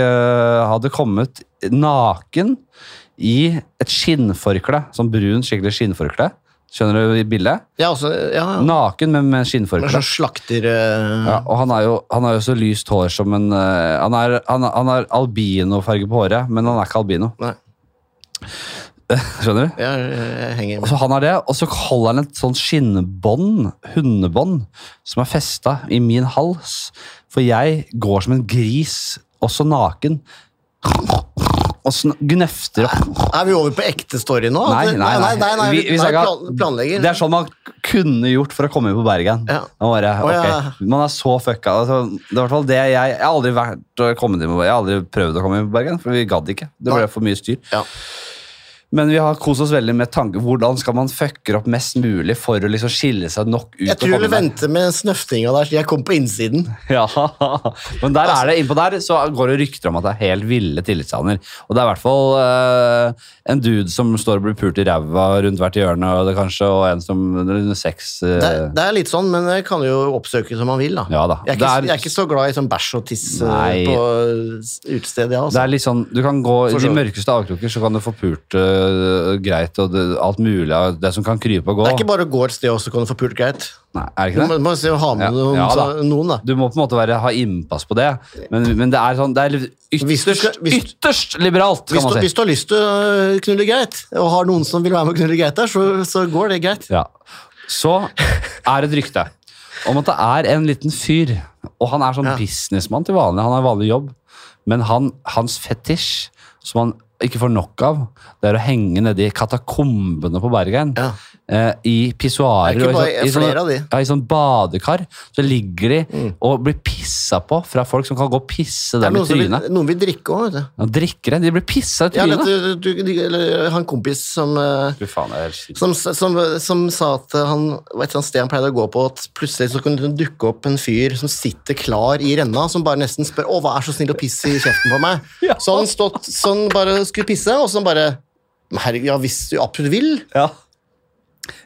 [SPEAKER 3] hadde kommet naken i et skinnforkle. Sånn brun, skikkelig skinnforkle. Skjønner du bildet?
[SPEAKER 2] Ja, også, ja. ja.
[SPEAKER 3] Naken, men med
[SPEAKER 2] Men
[SPEAKER 3] skinnforkle.
[SPEAKER 2] sånn slakter... eh,
[SPEAKER 3] Ja, og han er, jo, han har jo så lyst hår som en eh, Han er, han, han er albinofarge på håret, men han er ikke albino.
[SPEAKER 2] Nei.
[SPEAKER 3] Skjønner du?
[SPEAKER 2] Ja, jeg
[SPEAKER 3] Og
[SPEAKER 2] henger med.
[SPEAKER 3] så han har det, og så holder han et sånn skinnbånd, hundebånd, som er festa i min hals. For jeg går som en gris, også naken, og sn- gnøfter og
[SPEAKER 2] Er vi over på ekte story nå? Altså,
[SPEAKER 3] Nei, nei, nei.
[SPEAKER 2] nei, nei, nei,
[SPEAKER 3] Vi- vi
[SPEAKER 2] nei,
[SPEAKER 3] snakker-
[SPEAKER 2] plan, planlegger.
[SPEAKER 3] Det er sånn man kunne gjort for å komme inn på Bergen.
[SPEAKER 2] Ja.
[SPEAKER 3] Man, bare,
[SPEAKER 2] Å, ja.
[SPEAKER 3] ok, man er så fucka. Altså, det er i hvert fall det jeg, jeg har aldri vært og kommet inn på Bergen. Jeg har aldri prøvd å komme inn på Bergen, for vi gadd ikke. Det
[SPEAKER 2] Nei.
[SPEAKER 3] ble for mye styr.
[SPEAKER 2] Ja.
[SPEAKER 3] Men vi har kost oss veldig med tanken hvordan skal man fucke opp mest mulig for å liksom skille seg nok ut.
[SPEAKER 2] Jeg tror jeg vil vente med snøftinga der til jeg kommer på innsiden.
[SPEAKER 3] Ja, men der
[SPEAKER 2] Altså-
[SPEAKER 3] er det, innpå der så går det rykter om at det er helt ville tillitshaner. Og det er i hvert fall eh, en dude som står og blir pult i ræva rundt hvert hjørne, og det kanskje, og en som under sex eh,
[SPEAKER 2] Det, det er litt sånn, men jeg kan jo oppsøke som man vil, da.
[SPEAKER 3] Ja da.
[SPEAKER 2] Jeg, er
[SPEAKER 3] Det
[SPEAKER 2] ikke,
[SPEAKER 3] er-
[SPEAKER 2] jeg er ikke så glad i sånn bæsj og tiss eh,
[SPEAKER 3] Nei.
[SPEAKER 2] på utestedet, jeg,
[SPEAKER 3] Det
[SPEAKER 2] altså.
[SPEAKER 3] er litt sånn, du kan gå
[SPEAKER 2] For
[SPEAKER 3] I de
[SPEAKER 2] så vidt.
[SPEAKER 3] mørkeste avkroker så kan du få pult eh, greit og det, alt mulig av det som kan krype og gå.
[SPEAKER 2] Det er ikke bare å gå et sted og så kan du få pult greit.
[SPEAKER 3] Nei, er det
[SPEAKER 2] Du
[SPEAKER 3] ikke
[SPEAKER 2] må,
[SPEAKER 3] det?
[SPEAKER 2] må se, ha med noen,
[SPEAKER 3] ja da.
[SPEAKER 2] så- noen, da.
[SPEAKER 3] Du må på en måte være, ha innpass på det, men, men det er sånn Det er litt ytterst, ytterst liberalt, kan
[SPEAKER 2] Hvis du,
[SPEAKER 3] man si.
[SPEAKER 2] hvis du har lyst til å øh, knulle greit, og har noen som vil være med å knulle greit der, så, så går det greit.
[SPEAKER 3] Ja. Så er det et rykte om at det er en liten fyr, og han er sånn businessmann til vanlig, han har vanlig jobb, men han, hans fetisj, som han ikke får nok av, det er å henge nedi katakombene på Bergen. Eh, I pissoarer
[SPEAKER 2] Det er ikke
[SPEAKER 3] og
[SPEAKER 2] bare-
[SPEAKER 3] i,
[SPEAKER 2] flere av de. Mm.
[SPEAKER 3] ja, i sånn badekar. Så ligger de og blir pissa på fra folk som kan gå og pisse
[SPEAKER 2] Det er
[SPEAKER 3] dem i
[SPEAKER 2] noen, som vil,
[SPEAKER 3] trynet.
[SPEAKER 2] noen vil drikke òg, vet du.
[SPEAKER 3] Ja, drikkere, de blir pissa i
[SPEAKER 2] Ja,
[SPEAKER 3] trynet.
[SPEAKER 2] dette, du, du, eller han kompis som, øh,
[SPEAKER 3] Fy faen, det er helt sykt.
[SPEAKER 2] som, som, som sa at han var et eller annet sted han pleide å gå på, at plutselig så kunne det dukke opp en fyr som sitter klar i renna, som bare nesten spør 'Å, vær så snill å pisse i kjeften på meg'. Så hadde han stått sånn, bare skulle pisse, og så bare «Men Herregud, ja, hvis du absolutt vil.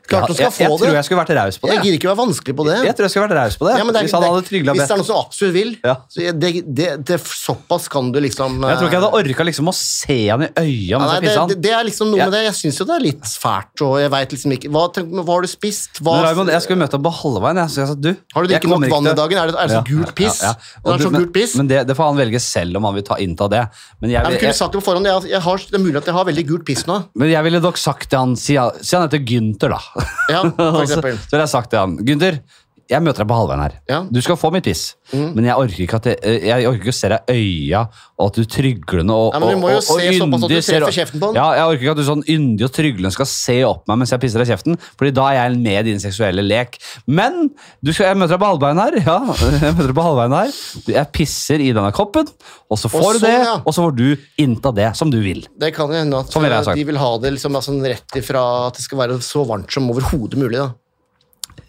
[SPEAKER 2] Klart du skal
[SPEAKER 3] jeg, jeg,
[SPEAKER 2] få det.
[SPEAKER 3] tror jeg skulle vært raus på det.
[SPEAKER 2] Jeg gidder ikke være vanskelig på det.
[SPEAKER 3] Jeg tror jeg skulle vært raus på det.
[SPEAKER 2] Ja, men det er-
[SPEAKER 3] hvis han
[SPEAKER 2] det er-
[SPEAKER 3] hadde trygla
[SPEAKER 2] Hvis det er noe som absolutt vil. Så jeg- det, det, det, såpass kan du liksom
[SPEAKER 3] Jeg tror ikke jeg hadde orka liksom å se han i altså, øya mens
[SPEAKER 2] Nei,
[SPEAKER 3] jeg
[SPEAKER 2] det,
[SPEAKER 3] pissa
[SPEAKER 2] det,
[SPEAKER 3] han.
[SPEAKER 2] det er liksom noe
[SPEAKER 3] Ja.
[SPEAKER 2] med det. Jeg syns jo det er litt fælt, og jeg veit liksom ikke Hva, tenk, hva har du spist? Hva,
[SPEAKER 3] Men Raymond, jeg skulle møte opp på halvveien. Jeg, så jeg sa, du,
[SPEAKER 2] Har
[SPEAKER 3] jeg
[SPEAKER 2] du drikket nok
[SPEAKER 3] kommer ikke
[SPEAKER 2] vann
[SPEAKER 3] til-
[SPEAKER 2] i dagen? Er det- er det så gult piss?
[SPEAKER 3] Og
[SPEAKER 2] Det er
[SPEAKER 3] du-
[SPEAKER 2] så
[SPEAKER 3] men-
[SPEAKER 2] gult piss.
[SPEAKER 3] Men det, det får han velge selv om han vil ta innta det. Men jeg,
[SPEAKER 2] Nei, men
[SPEAKER 3] vil-
[SPEAKER 2] kunne
[SPEAKER 3] jeg,
[SPEAKER 2] sagt det på forhånd. Jeg, jeg har, det er mulig at jeg har veldig gult piss nå.
[SPEAKER 3] men jeg ville nok sagt til han Si han, si han heter Gynter, da.
[SPEAKER 2] Ja,
[SPEAKER 3] så,
[SPEAKER 2] for
[SPEAKER 3] så
[SPEAKER 2] eksempel.
[SPEAKER 3] ville jeg sagt til han Gynter, jeg møter deg på halvveien her. Du skal få mitt piss.
[SPEAKER 2] Mm.
[SPEAKER 3] Men jeg orker ikke at jeg, jeg orker ikke å se deg i øya, og at du tryglende og,
[SPEAKER 2] Ja, men du må jo
[SPEAKER 3] og, og,
[SPEAKER 2] se såpass at du
[SPEAKER 3] yndig ser-
[SPEAKER 2] treffer kjeften på den.
[SPEAKER 3] Ja, jeg orker ikke at du sånn yndig og tryglende skal se opp meg mens jeg pisser deg i kjeften, Fordi da er jeg med i din seksuelle lek. Men du skal, jeg møter deg på halvveien her. Ja, jeg møter deg på halvveien her. Jeg pisser i denne koppen, og så får
[SPEAKER 2] Og
[SPEAKER 3] du det,
[SPEAKER 2] sånn, ja.
[SPEAKER 3] og så får du innta det som du vil.
[SPEAKER 2] Det kan jo hende at
[SPEAKER 3] Sånn ville jeg sagt.
[SPEAKER 2] de vil ha det liksom, altså, rett ifra at det skal være så varmt som overhodet mulig. Da.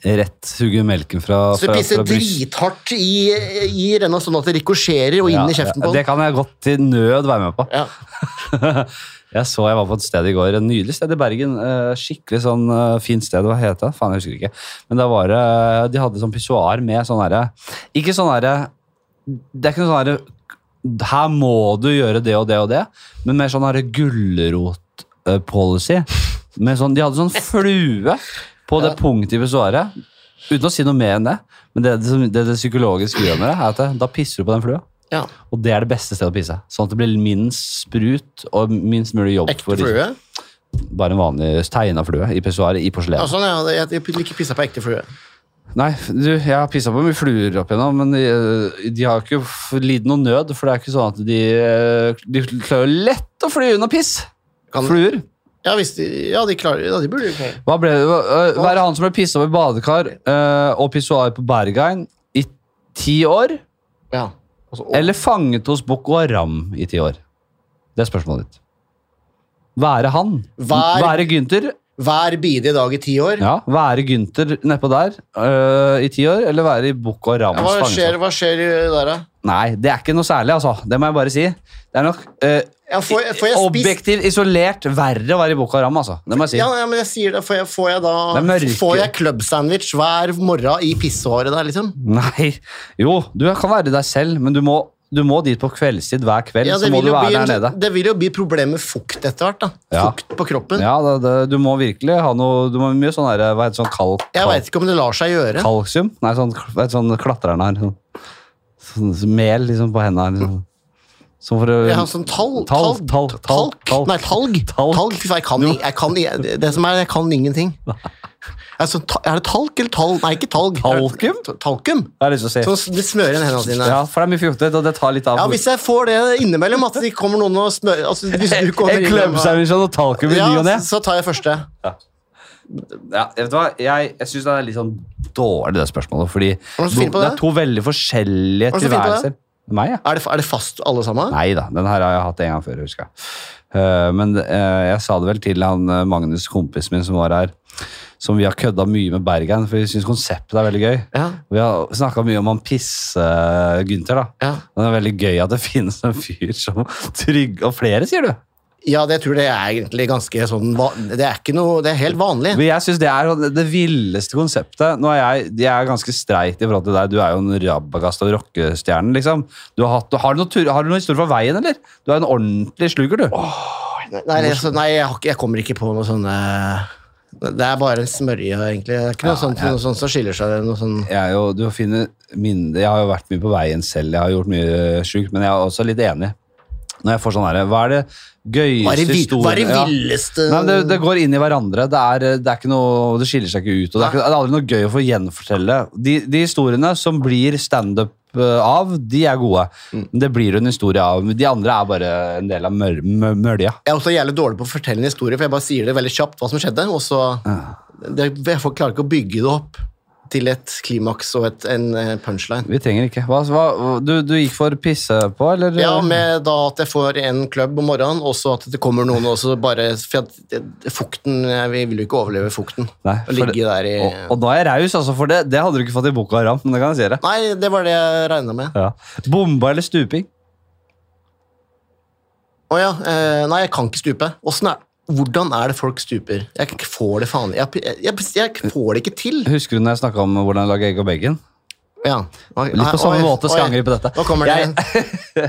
[SPEAKER 3] Rett suger melken fra,
[SPEAKER 2] Så
[SPEAKER 3] fra,
[SPEAKER 2] du
[SPEAKER 3] fra
[SPEAKER 2] pisser
[SPEAKER 3] bryst.
[SPEAKER 2] drithardt i, i renna, sånn at det rikosjerer og inn
[SPEAKER 3] Ja,
[SPEAKER 2] i kjeften
[SPEAKER 3] ja,
[SPEAKER 2] på
[SPEAKER 3] Det
[SPEAKER 2] den.
[SPEAKER 3] kan jeg godt til nød være med på.
[SPEAKER 2] Ja.
[SPEAKER 3] jeg så jeg var på et sted i går, et nydelig sted i Bergen. eh, Skikkelig sånn eh, fint sted. Hva het det? Faen, jeg husker ikke. Men da var det De hadde sånn pissoar med sånn herre Ikke sånn herre Det er ikke noe sånn herre Her må du gjøre det og det og det, men mer sånn herre gulrot-policy. Med sånn, de hadde sånn flue på det punktet i pissoaret. Uten å si noe mer enn det. Men det det, det, det psykologiske gjør med det, er at det, da pisser du på den flua.
[SPEAKER 2] Ja.
[SPEAKER 3] Og det er det beste stedet å pisse. Sånn at det blir minst sprut og minst mulig jobb. liksom,
[SPEAKER 2] Ekte flue?
[SPEAKER 3] Bare en vanlig tegna flue i pissoaret i porselen.
[SPEAKER 2] Ja, sånn, ja. Jeg, jeg liker pissa på ekte flue.
[SPEAKER 3] Nei, du, jeg har pissa på mye fluer opp igjennom, men de, de har ikke f- lidd noen nød. For det er ikke sånn at de eh, De klarer jo lett å fly unna piss. Fluer.
[SPEAKER 2] Ja, hvis de, ja, de klarer ja, de burde jo klare
[SPEAKER 3] Hva ble det? Hva, øh, hva er det han som ble pissa opp i badekar øh, og pissoar på Bergein i ti år?
[SPEAKER 2] Ja. Altså,
[SPEAKER 3] Eller fanget hos Boko Haram i ti år? Det er spørsmålet ditt. Være han.
[SPEAKER 2] Vær-
[SPEAKER 3] Være Gynter.
[SPEAKER 2] Hver bidige dag i ti år.
[SPEAKER 3] Ja, være Gynter nedpå der øh, i ti år, eller være i Boko Harams
[SPEAKER 2] Ja, hva, skjer,
[SPEAKER 3] fangenskap?
[SPEAKER 2] hva skjer der, da?
[SPEAKER 3] Nei, det er ikke noe særlig, altså. Det må jeg bare si. Det er nok øh,
[SPEAKER 2] Ja, får, jeg- får jeg spist
[SPEAKER 3] objektiv, isolert, verre å være i Boko Haram, altså. Det må jeg si.
[SPEAKER 2] Ja, ja, men jeg sier det. Får jeg, får jeg da
[SPEAKER 3] Det er mørke.
[SPEAKER 2] Får jeg klubbsandwich hver morgen i pissehåret der, liksom?
[SPEAKER 3] Nei. Jo, du kan være deg selv, men du må, du må dit på kveldstid hver kveld.
[SPEAKER 2] Ja,
[SPEAKER 3] så må du være
[SPEAKER 2] bli, sånn-
[SPEAKER 3] der nede.
[SPEAKER 2] det vil jo bli problem med fukt etter hvert, da.
[SPEAKER 3] Ja.
[SPEAKER 2] Fukt på kroppen.
[SPEAKER 3] Ja, det, det, du må virkelig ha noe Du må ha mye sånn der, hva heter det, sånn kalk...
[SPEAKER 2] Jeg veit ikke om det lar seg gjøre.
[SPEAKER 3] Kalsium? Nei, sånn, hva heter det, sånn klatreren her. Sånn, sånn, sånn mel liksom på hendene. her, Liksom. Som for å
[SPEAKER 2] Jeg har sånn tall,
[SPEAKER 3] Um, Talg,
[SPEAKER 2] tall,
[SPEAKER 3] talg, talg, talg.
[SPEAKER 2] Nei, talg. Talg, fy faen, jeg kan, ing- jeg kan, jeg, det som er, jeg kan ingenting. Er, sånn, ta- er det talk eller talg? Nei, ikke talg. Talkum? Talkum.
[SPEAKER 3] Det har jeg lyst til å si.
[SPEAKER 2] Sånn, de smører inn hendene dine.
[SPEAKER 3] Ja, for det er mye fjortet, og det tar litt av.
[SPEAKER 2] Ja, hvis jeg får det innimellom, at det kommer noen og smører altså, Hvis du kommer
[SPEAKER 3] En klubbsandwich og talkum i
[SPEAKER 2] ja,
[SPEAKER 3] ny og ne.
[SPEAKER 2] så- så tar jeg første.
[SPEAKER 3] Ja, vet du hva? Jeg, jeg syns det er litt sånn dårlig, det spørsmålet. Fordi
[SPEAKER 2] Var det så
[SPEAKER 3] do-
[SPEAKER 2] fint på
[SPEAKER 3] det
[SPEAKER 2] det?
[SPEAKER 3] er to veldig forskjellige
[SPEAKER 2] Var det så fint på det?
[SPEAKER 3] tilværelser. Meg, ja.
[SPEAKER 2] Er det, er det fast alle sammen?
[SPEAKER 3] Nei da, den her har jeg hatt en gang før, husker jeg. Eh, Men eh, jeg sa det vel til han eh, Magnus, kompisen min som var her, som vi har kødda mye med Bergen, for vi syns konseptet er veldig gøy. Vi har snakka mye om han Pisse-Gunther, da. Men det er veldig gøy at det finnes en fyr som trygg Og flere, sier du?
[SPEAKER 2] Ja, det tror jeg det er egentlig ganske sånn va- Det er ikke noe, det er helt vanlig.
[SPEAKER 3] Men jeg synes det er sånn- det villeste konseptet. Nå er jeg, jeg er ganske streit i forhold til deg. Du er jo en rabagast og rockestjerne, liksom. Du har, hatt, du har, du noen tur, har du noen historier fra veien, eller? Du er en ordentlig sluger, du.
[SPEAKER 2] Nei, nei, altså, nei jeg, har ikke, jeg kommer ikke på noe sånn eh, Det er bare en smørje, egentlig. Det er ikke noe sånt, noe sånt som skiller seg. Noe sånn.
[SPEAKER 3] Jeg, er jo, du finner mindre, jeg har jo vært mye på veien selv, jeg har gjort mye sjukt, men jeg er også litt enig. Når jeg får sånn her, hva er det gøyeste
[SPEAKER 2] Hva er det vi-
[SPEAKER 3] historien-
[SPEAKER 2] hva er det
[SPEAKER 3] Ja.
[SPEAKER 2] villeste-
[SPEAKER 3] Nei, men det, det går inn i hverandre. Det, er, eh, det, er ikke noe, det skiller seg ikke ut. Og det, er ikke, det er aldri noe gøy å få gjenfortelle. De, de historiene som blir standup eh, av, de er gode. Det blir jo en historie av. men De andre er bare en del av mør, mør, mølja.
[SPEAKER 2] Jeg er også jævlig dårlig på å fortelle en historie, for jeg bare sier det veldig kjapt hva som skjedde, og så det, Jeg får- klarer ikke å bygge det opp til et klimaks og et, en eh, punchline.
[SPEAKER 3] Vi trenger ikke. Hva, hva, du, du gikk for pisse på, eller?
[SPEAKER 2] Ja, med da at jeg får en klubb om morgenen, og så at det kommer noen og så bare For at det- fukten jeg- Vi vil jo ikke overleve fukten.
[SPEAKER 3] Nei,
[SPEAKER 2] Å
[SPEAKER 3] for
[SPEAKER 2] ligge
[SPEAKER 3] det-
[SPEAKER 2] der i
[SPEAKER 3] og, og da er jeg raus, altså, for det, det hadde du ikke fått i boka Ram. Men det kan jeg si det.
[SPEAKER 2] Nei, det var det jeg regna med.
[SPEAKER 3] Ja. Bomba eller stuping?
[SPEAKER 2] Å ja. Eh, nei, jeg kan ikke stupe. Åssen er hvordan er det folk stuper? Jeg k- får det faen Jeg, jeg, jeg får det ikke til.
[SPEAKER 3] Husker du når jeg snakka om hvordan lage egg og bacon?
[SPEAKER 2] Ja.
[SPEAKER 3] Litt på samme måte skal jeg angripe dette.
[SPEAKER 2] Nå kommer det igjen.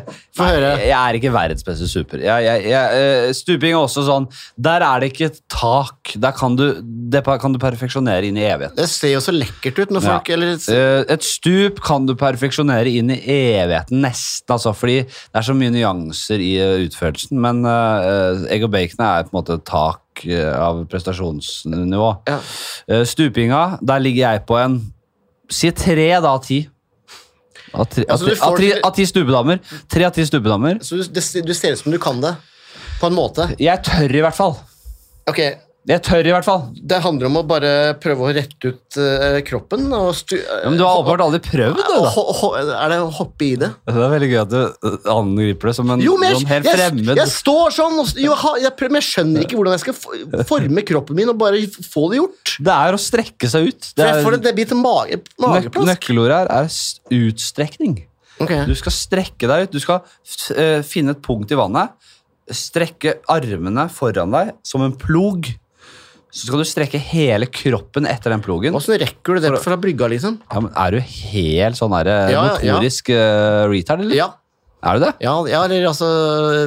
[SPEAKER 2] Få høre.
[SPEAKER 3] Jeg er ikke verdens beste super. Jeg, jeg, jeg, eh, stuping er også sånn Der er det ikke et tak. Der kan du, det pa- kan du perfeksjonere inn i evigheten.
[SPEAKER 2] Det ser jo så lekkert ut når
[SPEAKER 3] Ja.
[SPEAKER 2] folk eller,
[SPEAKER 3] Eh, Et stup kan du perfeksjonere inn i evigheten, nesten, altså, fordi det er så mye nyanser i eh, utførelsen. Men eh, egg og bacon er på en måte et tak eh, av prestasjonsnivå. Eh, Stupinga, der ligger jeg på en Si tre da, av ti. Av tre- av
[SPEAKER 2] Altså, du
[SPEAKER 3] tre- av
[SPEAKER 2] får
[SPEAKER 3] tre
[SPEAKER 2] til-
[SPEAKER 3] av ti stupedamer. Tre av ti stupedamer.
[SPEAKER 2] Så du, det, du ser ut som du kan det. På en måte.
[SPEAKER 3] Jeg tør i hvert fall.
[SPEAKER 2] Ok,
[SPEAKER 3] Jeg tør i hvert fall.
[SPEAKER 2] Det handler om å bare prøve å rette ut eh, kroppen. Og stu,
[SPEAKER 3] Ja, men du har åpenbart aldri prøvd det, da.
[SPEAKER 2] Ho- ho- Er det å hoppe i det?
[SPEAKER 3] Det er veldig gøy at du eh, angriper det som en
[SPEAKER 2] Jo, men jeg,
[SPEAKER 3] som helt
[SPEAKER 2] jeg,
[SPEAKER 3] fremmed.
[SPEAKER 2] jeg står sånn og s- jo, ha- jeg, prøver- men jeg skjønner ikke hvordan jeg skal for- forme kroppen min og bare f- få det gjort.
[SPEAKER 3] Det er å strekke seg ut.
[SPEAKER 2] For jeg får en debit til mage,
[SPEAKER 3] Nøk
[SPEAKER 2] mageplask.
[SPEAKER 3] nøkkelordet her er s- utstrekning.
[SPEAKER 2] Ok.
[SPEAKER 3] Du skal strekke deg ut. Du skal f- eh, finne et punkt i vannet, strekke armene foran deg som en plog. Så skal du strekke hele kroppen etter den plogen.
[SPEAKER 2] Åssen rekker du det fra brygga, liksom?
[SPEAKER 3] Ja, men er du helt sånn der, eh,
[SPEAKER 2] Ja, ja, ja.
[SPEAKER 3] motorisk eh, retard, eller?
[SPEAKER 2] Ja.
[SPEAKER 3] Er du det?
[SPEAKER 2] Ja, ja, eller altså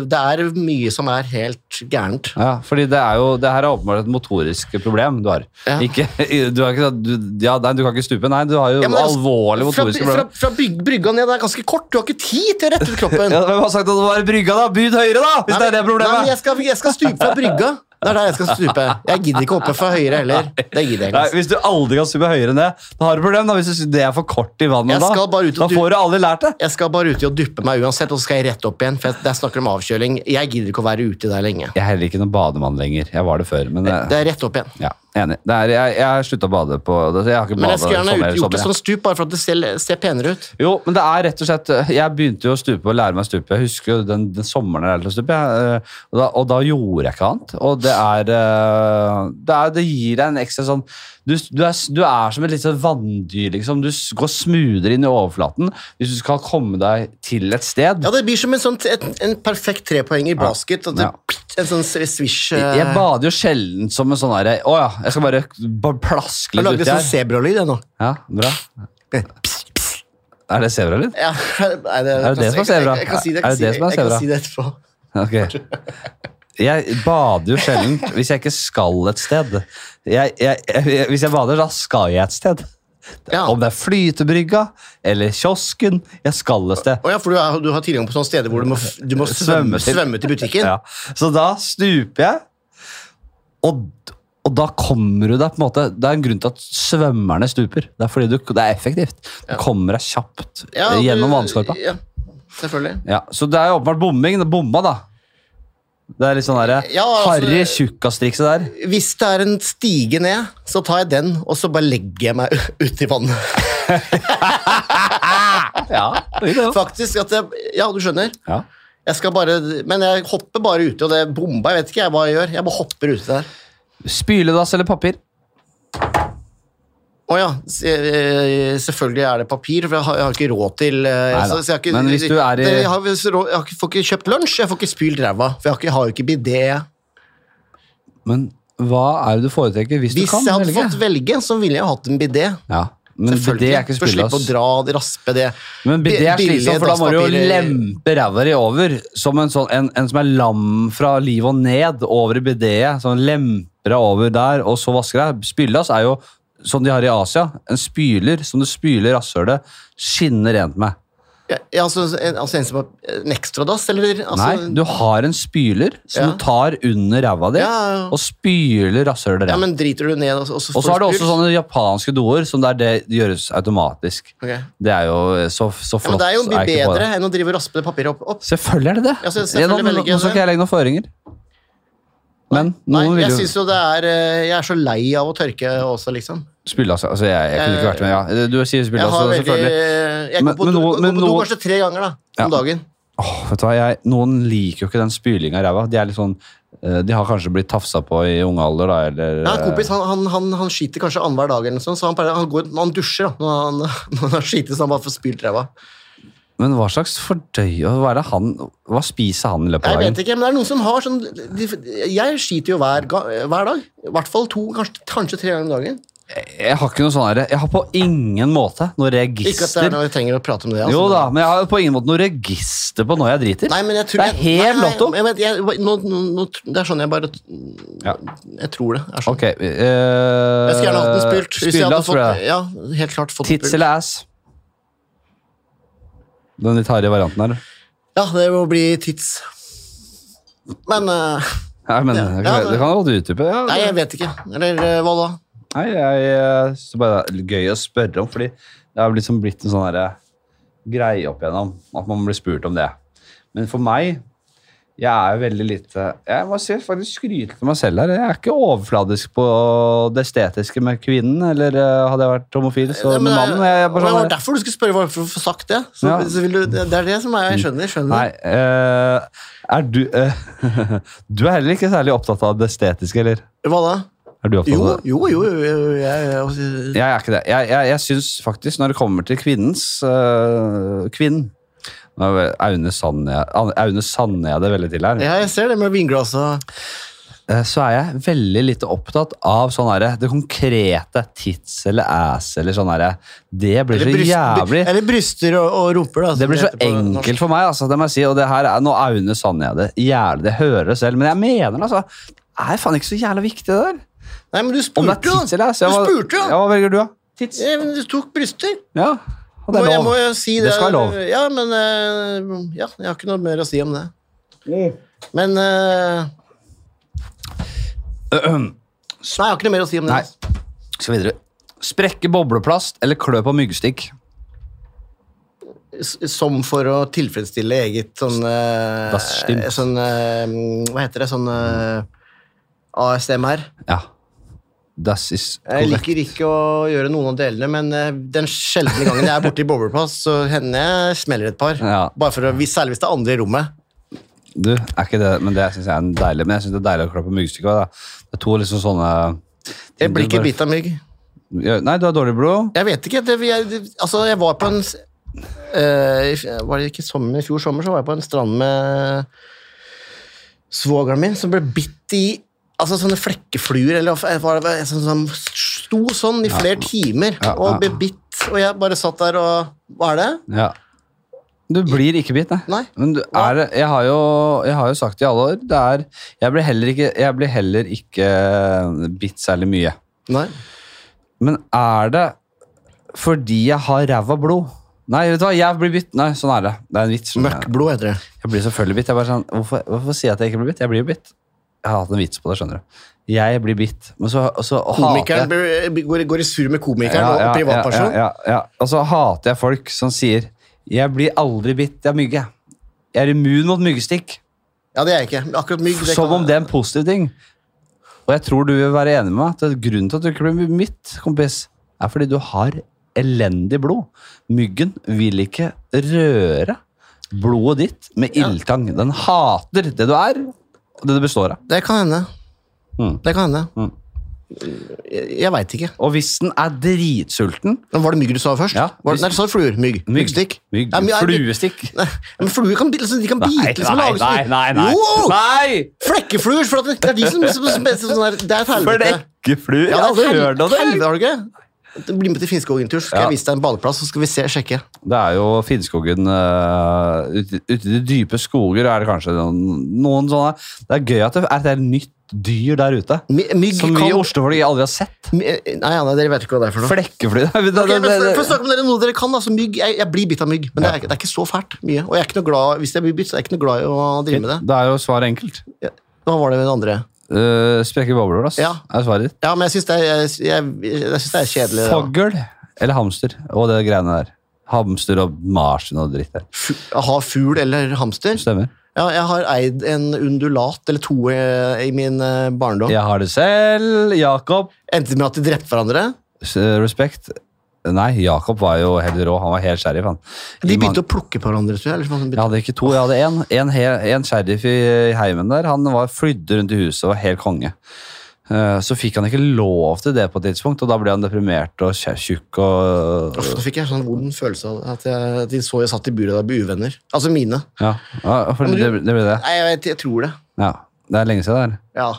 [SPEAKER 2] Det er mye som er helt gærent.
[SPEAKER 3] Ja, fordi det er jo Det her er åpenbart et motorisk problem du har. Ikke, du, har ikke, du, ja, nei, du kan ikke stupe. Nei, du har jo
[SPEAKER 2] Ja, men det er-
[SPEAKER 3] alvorlige
[SPEAKER 2] fra,
[SPEAKER 3] motoriske
[SPEAKER 2] fra,
[SPEAKER 3] problemer.
[SPEAKER 2] fra byg, brygga ned det er ganske kort. Du har ikke tid til å rette ut kroppen.
[SPEAKER 3] Ja, Hvem har sagt at det var brygga, da? Byd høyere, da! Hvis
[SPEAKER 2] Nei,
[SPEAKER 3] det er det problemet.
[SPEAKER 2] Nei, men jeg, skal, jeg skal stupe fra brygga. Det er der jeg skal stupe. Jeg gidder ikke hoppe fra høyre heller. Det gidder jeg ikke.
[SPEAKER 3] Nei, hvis du aldri kan stupe høyere enn det, da har du problem. Da, hvis du synes det er for kort i vannet,
[SPEAKER 2] Jeg
[SPEAKER 3] da,
[SPEAKER 2] skal bare ut
[SPEAKER 3] da
[SPEAKER 2] og du-
[SPEAKER 3] får du aldri lært det.
[SPEAKER 2] Jeg skal bare ut i å duppe meg uansett, og så skal jeg rett opp igjen. For jeg, der snakker de om avkjøling. Jeg gidder ikke å være ute der lenge.
[SPEAKER 3] Jeg er heller ikke noen bademann lenger. Jeg var det før, men eh,
[SPEAKER 2] Det er rett opp igjen.
[SPEAKER 3] ja, enig. Det er, jeg jeg har slutta å bade på det- sånn Jeg har ikke
[SPEAKER 2] Men
[SPEAKER 3] badet
[SPEAKER 2] jeg skulle gjerne
[SPEAKER 3] sommer-
[SPEAKER 2] ut- gjort det
[SPEAKER 3] sommer,
[SPEAKER 2] som stup, bare for at det ser, ser penere ut.
[SPEAKER 3] jeg. Jo, men det er rett og slett eh, Jeg begynte jo å stupe og lære meg å stupe. Jeg husker jo den, den sommeren jeg lærte å stupe, jeg, eh, og, da, og da gjorde jeg ikke annet. Og det er eh, Det, er, det gir deg en ekstra sånn du, du, er, du er som et lite vanndyr, liksom. Du s- går smoothere inn i overflaten hvis du skal komme deg til et sted.
[SPEAKER 2] Ja, det blir som en, sånn, et, en perfekt trepoeng i basket. At det, En sånn swish eh,
[SPEAKER 3] Jeg bader jo sjelden som en sånn herre Å ja, jeg skal bare b- plaske
[SPEAKER 2] Jeg
[SPEAKER 3] litt
[SPEAKER 2] lagde
[SPEAKER 3] uti
[SPEAKER 2] sånn
[SPEAKER 3] her.
[SPEAKER 2] zebralyd, jeg nå.
[SPEAKER 3] Ja, bra. Er det sebralyd?
[SPEAKER 2] Ja, nei, det,
[SPEAKER 3] Er det det som er zebra?
[SPEAKER 2] Jeg, jeg, jeg kan si det,
[SPEAKER 3] Er
[SPEAKER 2] jeg kan
[SPEAKER 3] det det
[SPEAKER 2] si-
[SPEAKER 3] som er
[SPEAKER 2] jeg
[SPEAKER 3] zebra?
[SPEAKER 2] kan si det etterpå.
[SPEAKER 3] Ok. Jeg bader jo sjelden hvis jeg ikke skal et sted. Jeg, jeg, jeg, hvis jeg bader, da skal jeg et sted. Om det er flytebrygga eller kiosken. Jeg skal et sted.
[SPEAKER 2] Å ja, for du, er, du har tilgang på sånne steder hvor du må, f- du må svømme, svømme til butikken.
[SPEAKER 3] Ja. Så da stuper jeg, og, og da kommer du deg på en måte Det er en grunn til at svømmerne stuper. Det er fordi du, det er effektivt. Du kommer deg kjapt
[SPEAKER 2] Ja,
[SPEAKER 3] eh, gjennom
[SPEAKER 2] du-
[SPEAKER 3] vannskorpa. Ja.
[SPEAKER 2] Ja, selvfølgelig.
[SPEAKER 3] så det er jo åpenbart bomming. Det Bomma, da. Det er litt sånn derre
[SPEAKER 2] Ja, altså-
[SPEAKER 3] harry tjukkastrikset der.
[SPEAKER 2] Hvis det er en stige ned, så tar jeg den, og så bare legger jeg meg uti vannet.
[SPEAKER 3] Ja,
[SPEAKER 2] Faktisk at jeg, Ja, du skjønner?
[SPEAKER 3] Oh. Ja.
[SPEAKER 2] Jeg skal bare, men jeg hopper bare uti, og det er bomba. Jeg vet ikke jeg hva jeg gjør. Jeg bare hopper uti der.
[SPEAKER 3] Spyledass eller papir?
[SPEAKER 2] Å ja. se- eh, Selvfølgelig er det papir, for jeg har, jeg har ikke råd til eh,
[SPEAKER 3] Neida.
[SPEAKER 2] så, så jeg har ikke,
[SPEAKER 3] Men hvis du er i-
[SPEAKER 2] Det- jeg, har, hvis rå- jeg har ikke- får ikke kjøpt lunsj, jeg får ikke spylt ræva. For jeg har, ikke, har jo ikke bidé.
[SPEAKER 3] Men hva er det du foretrekker hvis,
[SPEAKER 2] Hvis
[SPEAKER 3] du kan
[SPEAKER 2] jeg hadde
[SPEAKER 3] velge?
[SPEAKER 2] fått velge, så ville jeg jo hatt en bidé.
[SPEAKER 3] Ja, men bidé er ikke
[SPEAKER 2] For å slippe å
[SPEAKER 3] spyledass.
[SPEAKER 2] dra og raspe det.
[SPEAKER 3] Men bidé er
[SPEAKER 2] Billige
[SPEAKER 3] slitsomt, for da må du jo
[SPEAKER 2] dasspapirer-
[SPEAKER 3] lempe ræva di over. Som en, sånn, en, en som er lam fra liv og ned, over i bidéet. Sånn lemper deg over der, og så vasker deg. Spyledass er jo som de har i Asia. En spyler som du spyler rasshølet skinner rent med.
[SPEAKER 2] Ja, ja, altså, en, altså en som har en ekstradass, eller? Altså,
[SPEAKER 3] Nei, du har en spyler som
[SPEAKER 2] Ja.
[SPEAKER 3] du tar under ræva di,
[SPEAKER 2] Ja, ja.
[SPEAKER 3] og spyler rasshølet rent.
[SPEAKER 2] Ja, men driter du ned, altså, og så, og så
[SPEAKER 3] og så har du også sånn- sånne japanske doer som der det gjøres automatisk.
[SPEAKER 2] Ok.
[SPEAKER 3] Det er jo eh, så, så
[SPEAKER 2] Ja,
[SPEAKER 3] flott.
[SPEAKER 2] men det er jo mye
[SPEAKER 3] jeg ikke på det.
[SPEAKER 2] bedre enn å drive og raspe det papiret opp. opp.
[SPEAKER 3] Selvfølgelig er det det.
[SPEAKER 2] Ja, så
[SPEAKER 3] Ja,
[SPEAKER 2] selvfølgelig
[SPEAKER 3] nå, nå,
[SPEAKER 2] velger jeg
[SPEAKER 3] nå skal
[SPEAKER 2] det.
[SPEAKER 3] ikke jeg legge noen føringer. Men
[SPEAKER 2] Nei,
[SPEAKER 3] noen vil
[SPEAKER 2] jeg
[SPEAKER 3] jo
[SPEAKER 2] synes jo det er eh, Jeg er så lei av å tørke også, liksom.
[SPEAKER 3] spille, altså. altså jeg, jeg kunne ikke vært med, ja. Du sier spille,
[SPEAKER 2] Jeg
[SPEAKER 3] altså,
[SPEAKER 2] har veldig
[SPEAKER 3] selvfølgelig.
[SPEAKER 2] Jeg går
[SPEAKER 3] Men-
[SPEAKER 2] på
[SPEAKER 3] men
[SPEAKER 2] do,
[SPEAKER 3] noe-
[SPEAKER 2] går
[SPEAKER 3] men
[SPEAKER 2] på do
[SPEAKER 3] noe-
[SPEAKER 2] kanskje tre ganger da, om
[SPEAKER 3] Ja.
[SPEAKER 2] dagen.
[SPEAKER 3] Åh, vet du hva, jeg, noen liker jo ikke den spylinga i ræva. De er litt sånn eh, De har kanskje blitt tafsa på i ung alder, da, eller
[SPEAKER 2] Ja, en
[SPEAKER 3] eh,
[SPEAKER 2] kompis han, han, han, han skiter kanskje annenhver dag, eller noe sånt, så han, pleier- han, går, han dusjer da, når han, når han har skitet, så han bare får spylt ræva.
[SPEAKER 3] Men hva slags fordøy og Hva er det han Hva spiser han i løpet
[SPEAKER 2] Jeg
[SPEAKER 3] av
[SPEAKER 2] vet
[SPEAKER 3] dagen?
[SPEAKER 2] ikke, men det er noen som har sånn de, Jeg skiter jo hver, ga- hver dag. I hvert fall to, kanskje, kanskje tre ganger om dagen.
[SPEAKER 3] Jeg har ikke noe sånn herre Jeg har på ingen måte noe register
[SPEAKER 2] Ikke at det er noe vi trenger å prate om det. altså.
[SPEAKER 3] Jo da, men jeg har på ingen måte noe register på når jeg driter.
[SPEAKER 2] Nei, men jeg tror
[SPEAKER 3] det er helt
[SPEAKER 2] Nei,
[SPEAKER 3] lotto.
[SPEAKER 2] nei, jeg vet- jeg- nå- nå- nå- Det er sånn jeg bare Jeg tror det. er sånn.
[SPEAKER 3] Ok. eh,
[SPEAKER 2] Jeg skulle gjerne hatt den spylt. Hvis jeg hadde
[SPEAKER 3] spyledass, tror
[SPEAKER 2] fått,
[SPEAKER 3] jeg.
[SPEAKER 2] ja, helt klart fått
[SPEAKER 3] Tits eller ass? Den litt harde varianten her.
[SPEAKER 2] Ja, det må bli tits. Men eh,
[SPEAKER 3] Nei, men
[SPEAKER 2] Ja,
[SPEAKER 3] det
[SPEAKER 2] ja,
[SPEAKER 3] kan-
[SPEAKER 2] men-
[SPEAKER 3] Det kan godt utdype. Ja,
[SPEAKER 2] Nei, jeg vet ikke. Eller eh, hva da?
[SPEAKER 3] Nei, jeg eh, synes det bare er gøy å spørre om, fordi det har liksom blitt en sånn herre greie opp igjennom, at man blir spurt om det. Men for meg, jeg er jo veldig lite Jeg må si, faktisk skryte til meg selv her. Jeg er ikke overfladisk på det estetiske med kvinnen, eller eh, hadde jeg vært homofil, så
[SPEAKER 2] Nei, men
[SPEAKER 3] med
[SPEAKER 2] det er-
[SPEAKER 3] mannen jeg er
[SPEAKER 2] men
[SPEAKER 3] bare
[SPEAKER 2] det
[SPEAKER 3] sånn
[SPEAKER 2] var derfor du skulle spørre hva- for å få sagt det. Så,
[SPEAKER 3] Ja.
[SPEAKER 2] så vil du, det er det som er, jeg skjønner. skjønner.
[SPEAKER 3] Nei, eh, er du eh, Du er heller ikke særlig opptatt av det estetiske, eller?
[SPEAKER 2] Hva da?
[SPEAKER 3] Sånn Er du opptatt
[SPEAKER 2] Jo,
[SPEAKER 3] av det?
[SPEAKER 2] jo, jo, jo, jo jeg, jeg,
[SPEAKER 3] Jeg er ikke det. Jeg, jeg, jeg syns faktisk, når det kommer til kvinnens øh, Kvinnen Nå er vel Aune Sandne Aune Sandne jeg det veldig til her.
[SPEAKER 2] ja, jeg ser det med vinglasset.
[SPEAKER 3] Eh, Så er jeg veldig lite opptatt av sånn herre Det konkrete tits eller ass eller sånn herre Det blir så
[SPEAKER 2] Eller bryst-
[SPEAKER 3] jævlig
[SPEAKER 2] Eller bryster og, og rumper, da. som
[SPEAKER 3] det blir så
[SPEAKER 2] heter på norsk.
[SPEAKER 3] enkelt for meg, altså, det må jeg si. Og det her er nå Aune Sandne jeg det jævlig det hører jeg selv, men jeg mener det, altså. Det er faen ikke så jævla viktig, det der.
[SPEAKER 2] Nei, men du
[SPEAKER 3] Om det
[SPEAKER 2] spurte,
[SPEAKER 3] er tits
[SPEAKER 2] da.
[SPEAKER 3] eller ass.
[SPEAKER 2] Du
[SPEAKER 3] jeg var-
[SPEAKER 2] spurte,
[SPEAKER 3] Ja,
[SPEAKER 2] da.
[SPEAKER 3] hva velger du, da? Tits.
[SPEAKER 2] Ja, men du tok bryster.
[SPEAKER 3] Ja. Og det
[SPEAKER 2] Må-
[SPEAKER 3] er
[SPEAKER 2] Jeg
[SPEAKER 3] lov.
[SPEAKER 2] må jo si det.
[SPEAKER 3] Det skal være lov.
[SPEAKER 2] Ja, men eh, ja, jeg har ikke noe mer å si om det. Men eh, Nei, jeg har ikke noe mer å si om det.
[SPEAKER 3] Nei. Skal videre. Sprekke bobleplast eller klø på myggstikk?
[SPEAKER 2] S- Som for å tilfredsstille eget sånn eh,
[SPEAKER 3] Dassstimmt.
[SPEAKER 2] Sånn eh, Hva heter det? Sånn eh, ASMR.
[SPEAKER 3] Ja. Das is
[SPEAKER 2] Jeg
[SPEAKER 3] correct.
[SPEAKER 2] liker ikke å gjøre noen av delene, men eh, den sjeldne gangen jeg er borte i bobleplast, så hender jeg smeller et par.
[SPEAKER 3] Ja,
[SPEAKER 2] Bare for å, hvis- Særlig hvis det er andre i rommet.
[SPEAKER 3] du, er ikke det, men det syns jeg er en deilig Men jeg synes det er deilig å klø på myggstikk også, da. Det er to liksom sånne
[SPEAKER 2] Jeg blir ikke
[SPEAKER 3] Du bare-
[SPEAKER 2] bitt av mygg.
[SPEAKER 3] Ja, Nei, du har dårlig blod.
[SPEAKER 2] Jeg vet ikke. Det, jeg, det, altså, jeg var på en s- eh, i f- Var det ikke sommer? I fjor sommer så var jeg på en strand med svogeren min, som ble bitt i altså sånne flekkefluer eller hva- hva det var, sånn, som sto sånn i flere timer
[SPEAKER 3] Ja,
[SPEAKER 2] og
[SPEAKER 3] ja.
[SPEAKER 2] ble bitt. Og jeg bare satt der og Hva er det?
[SPEAKER 3] Ja. Du blir ikke bitt, nei.
[SPEAKER 2] Nei.
[SPEAKER 3] Men du er, jeg, har jo, jeg har jo sagt i alle år det er, jeg, blir heller ikke, jeg blir heller ikke eh, bitt særlig mye.
[SPEAKER 2] Nei.
[SPEAKER 3] Men er det fordi jeg har ræva blod? Nei, vet du hva, jeg blir bitt. Nei, sånn er det. Det er en vits.
[SPEAKER 2] Møkkblod heter det.
[SPEAKER 3] Jeg blir selvfølgelig bitt. Jeg bare sånn, hvorfor, hvorfor sier jeg at jeg ikke blir bitt? Jeg blir jo bitt. Jeg har hatt en vits på det, skjønner du. Jeg blir bitt. Men så, og så hater jeg-
[SPEAKER 2] Komikeren blir- går, går i sur med komikeren
[SPEAKER 3] Ja, ja,
[SPEAKER 2] og privatperson.
[SPEAKER 3] Ja, ja, ja. Og så hater jeg folk som sier 'jeg blir aldri bitt av mygge'. Jeg er immun mot myggestikk.
[SPEAKER 2] Ja, det er jeg ikke. Men Akkurat mygg det
[SPEAKER 3] Som
[SPEAKER 2] kan-
[SPEAKER 3] om det er en positiv ting. Og jeg tror du vil være enig med meg at det er grunnen til at du ikke blir mitt, kompis, er fordi du har elendig blod. Myggen vil ikke røre blodet ditt med ildtang. Den hater det du er, og det du består av.
[SPEAKER 2] Det kan hende. Det kan hende.
[SPEAKER 3] Mm.
[SPEAKER 2] Jeg, jeg veit ikke.
[SPEAKER 3] Og hvis den er dritsulten
[SPEAKER 2] Men Var det mygg du sa først?
[SPEAKER 3] Ja.
[SPEAKER 2] Var det, nei, du sa fluer. Mygg. Myggstikk.
[SPEAKER 3] Mygg.
[SPEAKER 2] Ja, men jeg-
[SPEAKER 3] Fluestikk.
[SPEAKER 2] Nei, men fluer kan, bi- liksom, de kan
[SPEAKER 3] Nei,
[SPEAKER 2] bite liksom,
[SPEAKER 3] nei,
[SPEAKER 2] lage sånn-
[SPEAKER 3] nei, nei, nei.
[SPEAKER 2] Jo!
[SPEAKER 3] Nei!
[SPEAKER 2] Flekkefluer! For at det, det er de som, som, som, som sånn der, Det er et helvete.
[SPEAKER 3] Flekkefluer?
[SPEAKER 2] Ja,
[SPEAKER 3] Ja,
[SPEAKER 2] det er et
[SPEAKER 3] hører du
[SPEAKER 2] hel-
[SPEAKER 3] det? liksom-
[SPEAKER 2] helvete, har du ikke? Bli med til Finnskogen tur, så skal
[SPEAKER 3] Ja.
[SPEAKER 2] jeg vise deg en badeplass, så skal vi se, sjekke.
[SPEAKER 3] Det er jo Finnskogen øh, Ute ute i de dype skoger er det kanskje noen, noen sånne Det er gøy at det er et helt nytt dyr der ute. som vi i
[SPEAKER 2] kan-
[SPEAKER 3] Oslo folk aldri har sett.
[SPEAKER 2] My, nei, ja, nei, dere vet ikke hva det er for noe.
[SPEAKER 3] Flekkefly det, det, Altså,
[SPEAKER 2] Ok,
[SPEAKER 3] det,
[SPEAKER 2] men for, for å
[SPEAKER 3] det,
[SPEAKER 2] snakke om dere noe dere kan, altså mygg, jeg, jeg blir bitt av mygg, men det, er, ikke- det er ikke så fælt mye. Og jeg er ikke noe glad, hvis jeg blir bitt, så er jeg ikke noe glad i å drive med det.
[SPEAKER 3] det er jo svaret enkelt.
[SPEAKER 2] Hva var det med det andre?
[SPEAKER 3] Uh, Sprekke bobler, ass.
[SPEAKER 2] Ja.
[SPEAKER 3] Er svaret ditt.
[SPEAKER 2] Ja, men jeg syns det, er- jeg, jeg, jeg synes det er kjedelig. det, da.
[SPEAKER 3] Fogl eller hamster og det greiene der. Hamster og marsvin og dritt der.
[SPEAKER 2] Fu- Ha fugl eller hamster.
[SPEAKER 3] Stemmer.
[SPEAKER 2] Ja, jeg har eid en undulat eller to eh, i min eh, barndom.
[SPEAKER 3] Jeg har det selv, Jakob.
[SPEAKER 2] Endte med at de drepte hverandre.
[SPEAKER 3] S- eh, Respekt. Nei, Jakob var jo helt rå. Han var helt sheriff, han.
[SPEAKER 2] De begynte å plukke på hverandre, tror jeg. Eller sånn,
[SPEAKER 3] Jeg hadde ikke to, jeg hadde én. En, he- en sheriff i heimen der. Han var flydde rundt i huset og var helt konge. Eh, Så fikk han ikke lov til det på et tidspunkt, og da ble han deprimert og kje- tjukk og
[SPEAKER 2] Uff, nå fikk jeg sånn vond følelse av at, jeg, at de så jeg satt i buret og ble uvenner. Altså mine.
[SPEAKER 3] Ja, ja for
[SPEAKER 2] Ja, men
[SPEAKER 3] det,
[SPEAKER 2] du-
[SPEAKER 3] det ble det.
[SPEAKER 2] Nei, jeg, vet, jeg tror det.
[SPEAKER 3] Ja. Det er lenge siden, det
[SPEAKER 2] Ja.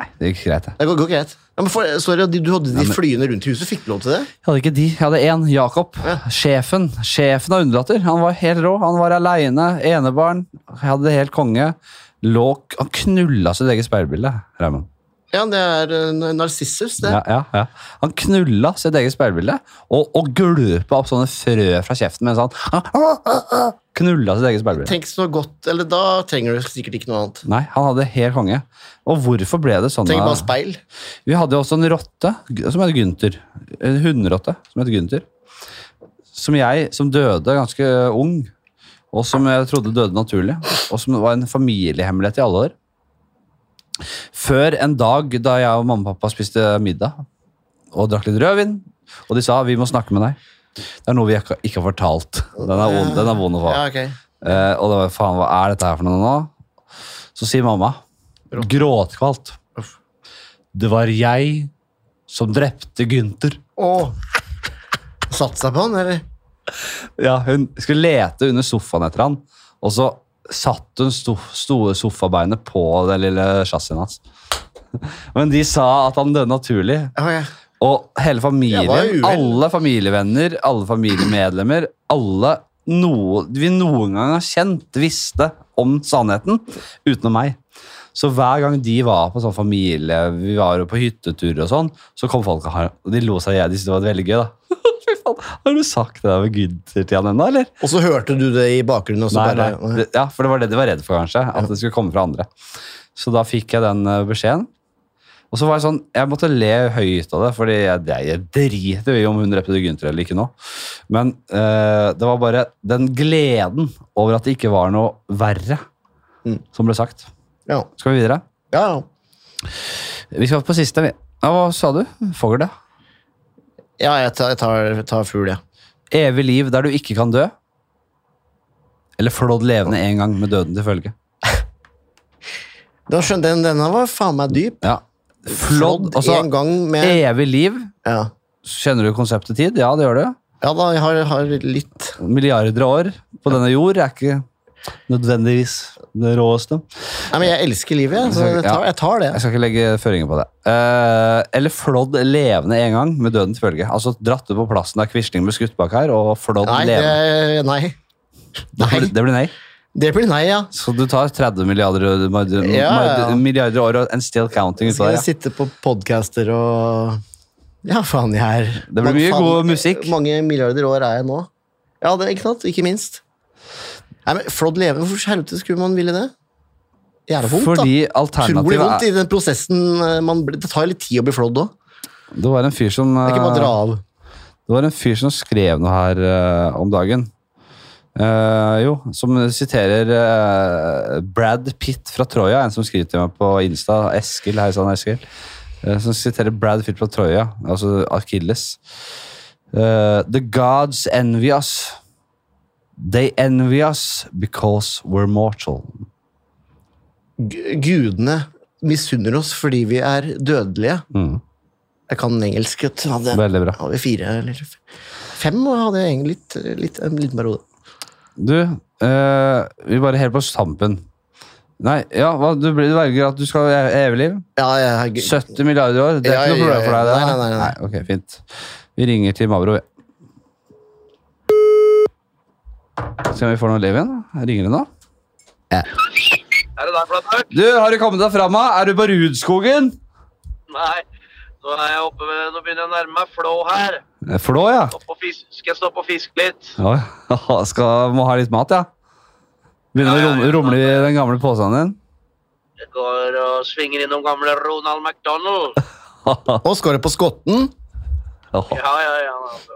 [SPEAKER 3] her. Det gikk greit, det.
[SPEAKER 2] Det går, går greit. Ja, men for, sorry, du, du hadde de flyene rundt i huset. Fikk du lov til det?
[SPEAKER 3] Jeg hadde ikke de. Jeg hadde én, Jakob. Sjefen. Sjefen av undulater. Han var helt rå. Han var aleine, enebarn. Jeg hadde det helt konge. Lå, han knulla sitt eget speilbilde, Raymond.
[SPEAKER 2] Ja, det er eh, Narsissus, det.
[SPEAKER 3] Ja, ja, ja. Han knulla sitt eget speilbilde og, og gulpa opp sånne frø fra kjeften mens han ah, ah, ah, knulla sitt eget speilbilde.
[SPEAKER 2] Tenk så godt, eller Da trenger du sikkert ikke noe annet.
[SPEAKER 3] Nei, han hadde helt konge. Og hvorfor ble det sånn?
[SPEAKER 2] Trenger bare speil.
[SPEAKER 3] Vi hadde jo også en rotte som het Gunther. En hunderotte som het Gunther. Som jeg, som døde ganske ung, og som jeg trodde døde naturlig. Og som var en familiehemmelighet i alle år. Før en dag da jeg og mamma og pappa spiste middag og drakk litt rødvin, og de sa 'vi må snakke med deg'. Det er noe vi ikke ikke har fortalt. Den er vond, den er vond å få.
[SPEAKER 2] Ja, ok.
[SPEAKER 3] Eh, og det var faen, hva er dette her for noe nå? Så sier mamma, gråtkvalt. Det var jeg som drepte Gunther.
[SPEAKER 2] Åh. Satt seg på han, eller?
[SPEAKER 3] Ja, hun skulle lete under sofaen etter han, og så satt hun sto, store sofabeinet på det lille chassisen hans. Men de sa at han døde naturlig.
[SPEAKER 2] Ja, ja.
[SPEAKER 3] Og hele
[SPEAKER 2] Ja, det var jo
[SPEAKER 3] familien,
[SPEAKER 2] uvel.
[SPEAKER 3] alle familievenner, alle familiemedlemmer, alle noe, vi noen gang har kjent, visste om sannheten, utenom meg. Så hver gang de var på sånn familie, vi var jo på hyttetur og sånn, så kom folk og har- og de lo seg i hjel. De syntes det var veldig gøy, da. Fy faen, har du sagt det der med Gunther til han ennå, eller?
[SPEAKER 2] Og så hørte du det i bakgrunnen, og så
[SPEAKER 3] Nei,
[SPEAKER 2] bare
[SPEAKER 3] nei. Det, ja, for det var det de var redd for, kanskje. At det skulle komme fra andre. Så da fikk jeg den eh, beskjeden. Og så var jeg sånn, jeg måtte le høyt av det, fordi jeg, jeg, jeg driter i om hun drepte Gunther eller ikke nå. Men eh, det var bare den gleden over at det ikke var noe verre
[SPEAKER 2] Mm.
[SPEAKER 3] som ble sagt.
[SPEAKER 2] Ja.
[SPEAKER 3] Skal vi videre?
[SPEAKER 2] ja.
[SPEAKER 3] Vi skal på siste. vi. Ja, hva sa du? Fogl, ja.
[SPEAKER 2] ja, jeg tar, jeg tar, tar fugl, jeg.
[SPEAKER 3] Evig liv der du ikke kan dø. Eller flådd levende en gang med døden til følge.
[SPEAKER 2] Da skjønte jeg, Denne var faen meg dyp.
[SPEAKER 3] Ja. Flådd,
[SPEAKER 2] Flådd
[SPEAKER 3] altså
[SPEAKER 2] en gang med
[SPEAKER 3] evig liv.
[SPEAKER 2] Ja,
[SPEAKER 3] Kjenner du konseptet tid? Ja, det gjør du.
[SPEAKER 2] ja da, jeg har, har litt
[SPEAKER 3] Milliarder av år på denne jord er ikke nødvendigvis det råeste.
[SPEAKER 2] Nei, men jeg elsker livet, jeg, så jeg tar, jeg tar det.
[SPEAKER 3] Jeg skal ikke legge føringer på det. Eh, eller flådd levende en gang med døden til følge. Altså dratt ut på plassen der Quisling ble skutt bak her, og flådd
[SPEAKER 2] Nei, det,
[SPEAKER 3] levende.
[SPEAKER 2] nei.
[SPEAKER 3] Det, blir- det blir nei.
[SPEAKER 2] Det blir nei, ja.
[SPEAKER 3] Så du tar 30 milliarder, milliarder,
[SPEAKER 2] Ja, ja.
[SPEAKER 3] milliarder år og en still counting
[SPEAKER 2] Så
[SPEAKER 3] utpå
[SPEAKER 2] skal
[SPEAKER 3] der.
[SPEAKER 2] jeg sitte på podcaster og Ja, faen, jeg er
[SPEAKER 3] Det blir mye
[SPEAKER 2] Faen,
[SPEAKER 3] god musikk.
[SPEAKER 2] Mange milliarder år er jeg nå. Ja, det ikke sant? Ikke minst. Nei, men Flådd leve, hvorfor helvete skulle man ville det? Jævla
[SPEAKER 3] Ja.
[SPEAKER 2] vondt, da.
[SPEAKER 3] Fordi
[SPEAKER 2] Utrolig vondt
[SPEAKER 3] alternativet
[SPEAKER 2] i den prosessen. eh, Man, blir- det tar jo litt tid å bli flådd òg.
[SPEAKER 3] er Det var en fyr som
[SPEAKER 2] Det er ikke bare å dra
[SPEAKER 3] eh,
[SPEAKER 2] av.
[SPEAKER 3] Det var en fyr som skrev noe her eh, om dagen. Eh, jo, som siterer eh, Brad Pitt fra Troja, en som skriver til meg på Insta. Eskil, hei sann, Eskil. eh, som siterer Brad Pitt fra Troja, altså Akilles. Eh, the gods envy us. They envy us because we're mortal.
[SPEAKER 2] G- Gudene misunner oss fordi vi er dødelige.
[SPEAKER 3] Mm.
[SPEAKER 2] Jeg kan engelsk. vet du. Hadde,
[SPEAKER 3] Veldig bra.
[SPEAKER 2] hadde fire eller f- fem, og hadde jeg egentlig litt, litt, en liten periode.
[SPEAKER 3] Du, eh, vi bare helt på stampen. Nei, ja, hva, du, blir- du velger at du skal ha e- evig liv?
[SPEAKER 2] Ja, jeg,
[SPEAKER 3] 70 milliarder år? Det er
[SPEAKER 2] Ja,
[SPEAKER 3] ikke noe
[SPEAKER 2] ja,
[SPEAKER 3] problem for deg? Det.
[SPEAKER 2] ja. Nei, nei, nei, nei.
[SPEAKER 3] ok, fint. Vi ringer til Mabro. Se om vi får noe liv igjen. da. Ringer det nå?
[SPEAKER 4] Er det deg, Flatmark?
[SPEAKER 3] Du, har du kommet deg fram? da? Er du på Rudskogen?
[SPEAKER 4] Nei. Nå er jeg oppe ved, nå begynner jeg å nærme meg Flå her.
[SPEAKER 3] Eh, Flå, ja.
[SPEAKER 4] På fisk, skal jeg stoppe og fiske litt?
[SPEAKER 3] ja skal, må ha litt mat, ja. Begynner å rum- rumle i den gamle posen din.
[SPEAKER 4] Jeg går og svinger innom gamle Ronald McDonald.
[SPEAKER 2] Og skåret på skotten.
[SPEAKER 4] Ja, ja, ja. Altså.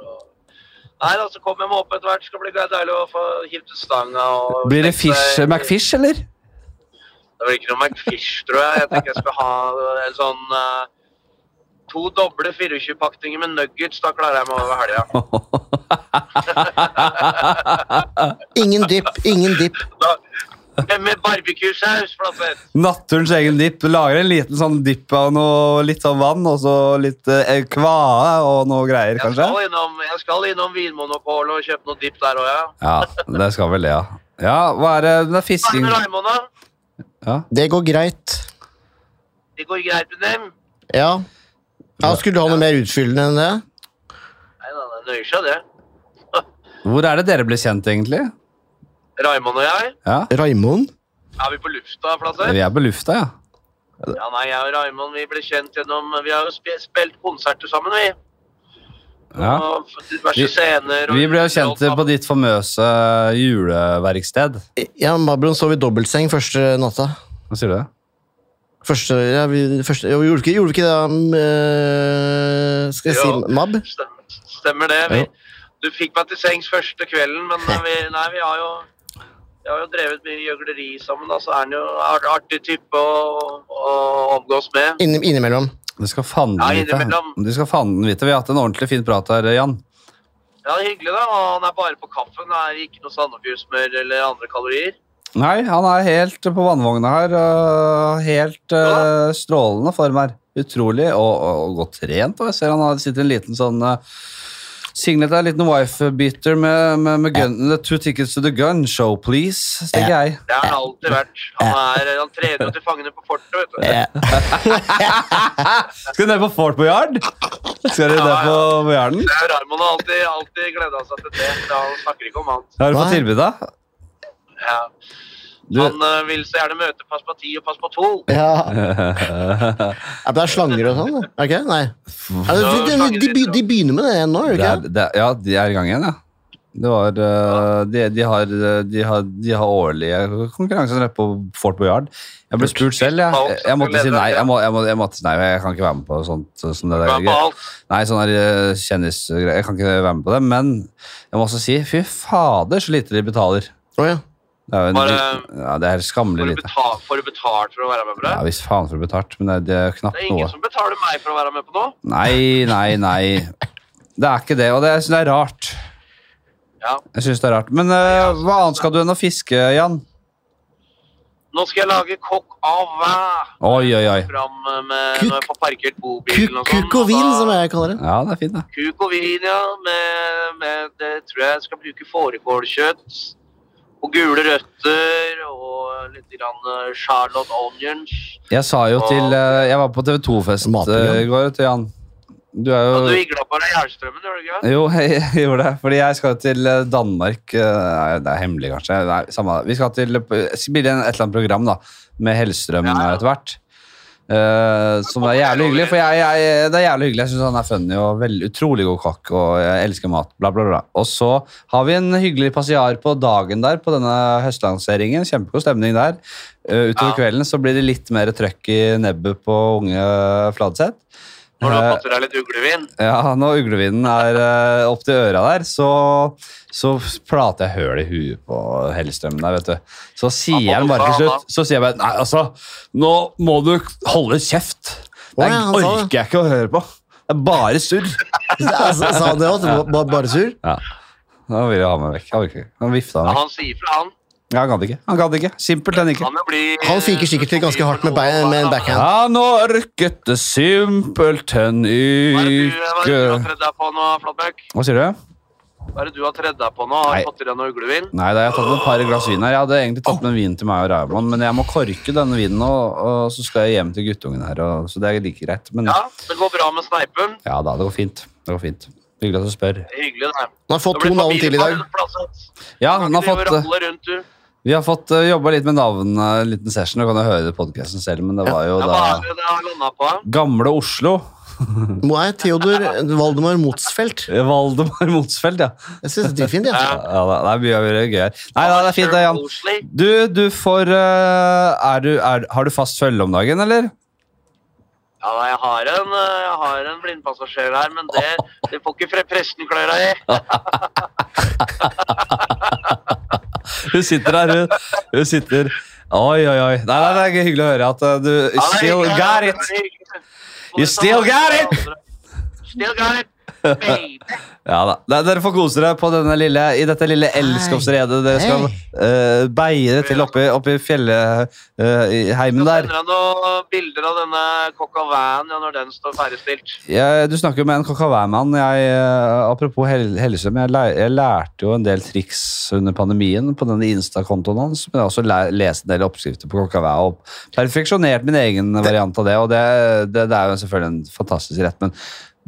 [SPEAKER 4] Nei, da, så kommer jeg meg opp etter hvert. Skal bli deilig å få hilt ut stanga. Og
[SPEAKER 3] Blir det fish, eh, McFish, eller?
[SPEAKER 4] Det blir ikke noe McFish, tror jeg. Jeg tenker jeg skal ha en sånn eh, To doble 24-pakninger med nuggets. Da klarer jeg meg over helga.
[SPEAKER 2] Ingen dipp, ingen dipp.
[SPEAKER 4] Men Med barbecue-saus, Flatseth.
[SPEAKER 3] Naturens egen dipp. Lager en liten sånn dipp av noe, litt sånn vann og så litt eh, kvae og noe greier,
[SPEAKER 4] Jeg skal
[SPEAKER 3] kanskje?
[SPEAKER 4] innom, jeg skal innom Vinmonopolet og kjøpe noe dipp der òg, ja.
[SPEAKER 3] Ja, det skal vel det, ja. Ja, hva er det? Det er
[SPEAKER 4] Hva er
[SPEAKER 3] fisking
[SPEAKER 4] med Raimond, da?
[SPEAKER 2] Det går greit.
[SPEAKER 4] Det går greit med dem?
[SPEAKER 2] Ja. ja skulle du ha noe mer utfyllende enn det?
[SPEAKER 4] Nei da, det nøyer seg, det.
[SPEAKER 3] Hvor er det dere ble kjent, egentlig?
[SPEAKER 4] Raimond og jeg,
[SPEAKER 3] Ja.
[SPEAKER 2] Raimond?
[SPEAKER 4] er vi på lufta,
[SPEAKER 3] Vi
[SPEAKER 4] Flatseth?
[SPEAKER 3] er på lufta, ja.
[SPEAKER 4] Ja, nei, jeg og Raimond vi ble kjent gjennom Vi har jo sp- spilt konserter sammen, vi.
[SPEAKER 3] ja.
[SPEAKER 4] Og f- diverse scener og
[SPEAKER 3] Vi ble jo kjent på ditt famøse juleverksted.
[SPEAKER 2] Ja, Mabron sov i dobbeltseng første natta.
[SPEAKER 3] Hva sier du?
[SPEAKER 2] Første, ja, vi, første, jo, gjorde, vi ikke, gjorde vi ikke det um, eh, Skal jeg si Mab?
[SPEAKER 4] Stemmer det. Vi,
[SPEAKER 2] Jo.
[SPEAKER 4] du fikk meg til sengs første kvelden, men eh, vi, nei, vi har jo vi har jo drevet mye gjøgleri sammen, da, så er han jo en artig type å, å omgås med.
[SPEAKER 2] Inni, innimellom.
[SPEAKER 3] Du skal fanden
[SPEAKER 4] Ja,
[SPEAKER 3] vite.
[SPEAKER 4] innimellom.
[SPEAKER 3] Du skal fanden vite. Vi har hatt en ordentlig fin prat her, Jan.
[SPEAKER 4] Ja, det er hyggelig, da. Og han er bare på kaffen. Det er ikke noe Sandefjordsmør eller andre kalorier.
[SPEAKER 3] Nei, han er helt på vannvogna her. øh, helt øh, strålende form her. Utrolig og, og, og godt trent. Og jeg ser han har- sitter i en liten sånn øh, Signet er en liten wife-beater med, med, med gun, the Two Tickets to the Gun Show, please, tenker jeg.
[SPEAKER 4] Det har han alltid vært. Han, er, han trener jo til fangene på fortet, vet du.
[SPEAKER 3] Skal du ned på Fort Boyard? Skal dere ned på Boyarden?
[SPEAKER 4] Det er Raymond har alltid, alltid gleda seg til det. så Han snakker ikke om annet.
[SPEAKER 3] Har du fått tilbud, da?
[SPEAKER 4] Ja.
[SPEAKER 3] Du-
[SPEAKER 4] Han eh, vil så gjerne møte pass på ti og pass på to.
[SPEAKER 2] Ja. Ja, men det er slanger og sånn, det. er det ikke? Nei. Ja, de, de, de, be- de begynner med det nå, gjør de
[SPEAKER 3] Det
[SPEAKER 2] ikke?
[SPEAKER 3] er, det er, ja, de er i gang igjen, ja. Det var, øh, de, de, har, øh, de, har, de har årlige konkurranser nede på Fort Boyard. Jeg ble spurt selv. Jeg, jeg, jeg måtte si nei. Jeg, må, jeg, må, jeg måtte si nei, jeg kan ikke være med på sånt. øh, Som det der.
[SPEAKER 4] Være på alt.
[SPEAKER 3] Nei, sånn der øh, kjendisgreier. Jeg kan ikke være med på det. Men jeg må også si fy fader, så lite de betaler. Det er, jo en,
[SPEAKER 4] Bare-
[SPEAKER 3] ja, det er skammelig
[SPEAKER 4] Får du,
[SPEAKER 3] lite.
[SPEAKER 4] beta- får du betalt for å være med på det?
[SPEAKER 3] Ja, Hvis faen får du betalt, men det, det er
[SPEAKER 4] Det
[SPEAKER 3] knapt
[SPEAKER 4] er
[SPEAKER 3] noe.
[SPEAKER 4] ingen som betaler meg for å være med på noe.
[SPEAKER 3] Nei, nei, nei. Det er ikke det, og det, jeg synes det er rart.
[SPEAKER 4] Ja.
[SPEAKER 3] Jeg synes det er rart. Men eh, hva annet skal du enn å fiske, Jan?
[SPEAKER 4] Nå skal jeg lage kokk av vin.
[SPEAKER 3] Oi, oi, oi.
[SPEAKER 4] Fram med når jeg får parkert bobilen og sånn.
[SPEAKER 2] Kuk og vin, som jeg kaller det.
[SPEAKER 3] Ja, det er fint, det.
[SPEAKER 4] Kuk og vin, ja. Med, med, det tror jeg jeg skal bruke fårikålkjøtt. Og gule røtter og litt grann eh, Charlotte onions.
[SPEAKER 3] Jeg sa jo til eh, Jeg var på TV 2-fest i går, til Jan. Du er
[SPEAKER 4] Og du
[SPEAKER 3] jo
[SPEAKER 4] igla på deg Jernstrømmen, gjorde du ikke?
[SPEAKER 3] Jo, jeg gjorde det. Fordi jeg skal til eh, Danmark eh, Nei, det er hemmelig, kanskje. Nei, samme det. Vi skal til eh, jeg skal spille inn et eller annet program da med Hellstrøm etter hvert. Eh, som er jævlig hyggelig, for jeg, jeg, det er jævlig hyggelig. Jeg syns han er funny og vel, utrolig god kokk. Og jeg elsker mat, bla, bla, bla. Og så har vi en hyggelig passiar på dagen der, på denne høstlanseringen. Kjempegod stemning der. Eh, utover kvelden så blir det litt mer trøkk i nebbet på unge Fladseth.
[SPEAKER 4] Når du har
[SPEAKER 3] Eh,
[SPEAKER 4] fått i deg litt uglevin.
[SPEAKER 3] ja, når uglevinen er eh, opp til øra der, så, så plater jeg høl i huet på Hellstrømmen der, vet du. Så sier jeg den bare til slutt. Så sier jeg bare Nei, altså, nå må du holde kjeft. Det
[SPEAKER 2] Å, ja, han sa det.
[SPEAKER 3] orker jeg ikke å høre på. Det er bare surr.
[SPEAKER 2] Altså, Sa sa han det også? Bare, bare sur?
[SPEAKER 3] Ja. Da ville jeg ha meg vekk. Han, ville ikke- han vifta meg.
[SPEAKER 4] Han sier fra, han.
[SPEAKER 3] Ja, han gadd ikke. Han gadd ikke. Simpelthen ikke.
[SPEAKER 2] Han fyker sikkert til ganske hardt med, bein, med en backhand.
[SPEAKER 3] Ja, nå orket det simpelthen ikke
[SPEAKER 4] Tredd deg på nå, Flatbøk.
[SPEAKER 3] Hva sier du?
[SPEAKER 4] Hva er det du har tredd deg på nå? Har du fått i deg noe uglevin?
[SPEAKER 3] Nei, da, jeg har tatt med et par glass vin her. Jeg hadde egentlig tatt med vin til meg og Raymond, men jeg må korke denne vinen, og, og så skal jeg hjem til guttungen her, og, så det er like greit. Men ja,
[SPEAKER 4] Det går bra med sneipen.
[SPEAKER 3] da, det går fint. Det går fint. Hyggelig at du spør.
[SPEAKER 4] Det er Hyggelig, det.
[SPEAKER 3] Han har fått
[SPEAKER 4] Det blir
[SPEAKER 3] to navn
[SPEAKER 4] familie-
[SPEAKER 3] til i dag.
[SPEAKER 4] Har du plasset?
[SPEAKER 3] Ja,
[SPEAKER 4] Kan
[SPEAKER 3] han har
[SPEAKER 4] ikke
[SPEAKER 3] fått eh,
[SPEAKER 4] drive og ralle rundt, du.
[SPEAKER 3] Vi har fått uh, jobba litt med navnene en liten session. Du kan jo høre podkasten selv, men det var jo
[SPEAKER 4] Ja, hva er
[SPEAKER 3] da
[SPEAKER 4] det det har landa på?
[SPEAKER 3] Gamle Oslo.
[SPEAKER 2] Nei, Theodor Valdemar Motsfeldt.
[SPEAKER 3] eh, Valdemar Motsfeldt, ja.
[SPEAKER 2] Jeg synes det er fint,
[SPEAKER 3] Ja,
[SPEAKER 2] jeg.
[SPEAKER 3] da, det er mye mye gøy her. Nei, da, det er fint, det, Jan. Du, du får eh, er du, er, Har du fast følge om dagen, eller?
[SPEAKER 4] Ja, nei, jeg har en, eh, jeg har en blindpassasjer her, men det, det får ikke fre- presten kløra i.
[SPEAKER 3] Hun sitter der, hun. Hun sitter Oi, oi, oi. Nei, nei, det er hyggelig å høre at eh, du you still got it. You still got it!
[SPEAKER 4] Still got it.
[SPEAKER 3] Ja da. Nei, Dere får kose dere på denne lille, i dette lille elskovsredet dere skal eh, beie til oppi, oppi fjellheimen der.
[SPEAKER 4] Sender deg noen bilder av denne Coca Van ja, når den står ferdigstilt.
[SPEAKER 3] Jeg, du snakker jo med en kakaværmann. Jeg, eh, apropos hel helse, men jeg, lær, jeg lærte jo en del triks under pandemien på denne Insta-kontoen hans. Men jeg har også lær, lest en del oppskrifter på kakavær og perfeksjonert min egen variant av det. Og det, det, det er jo selvfølgelig en fantastisk rett, men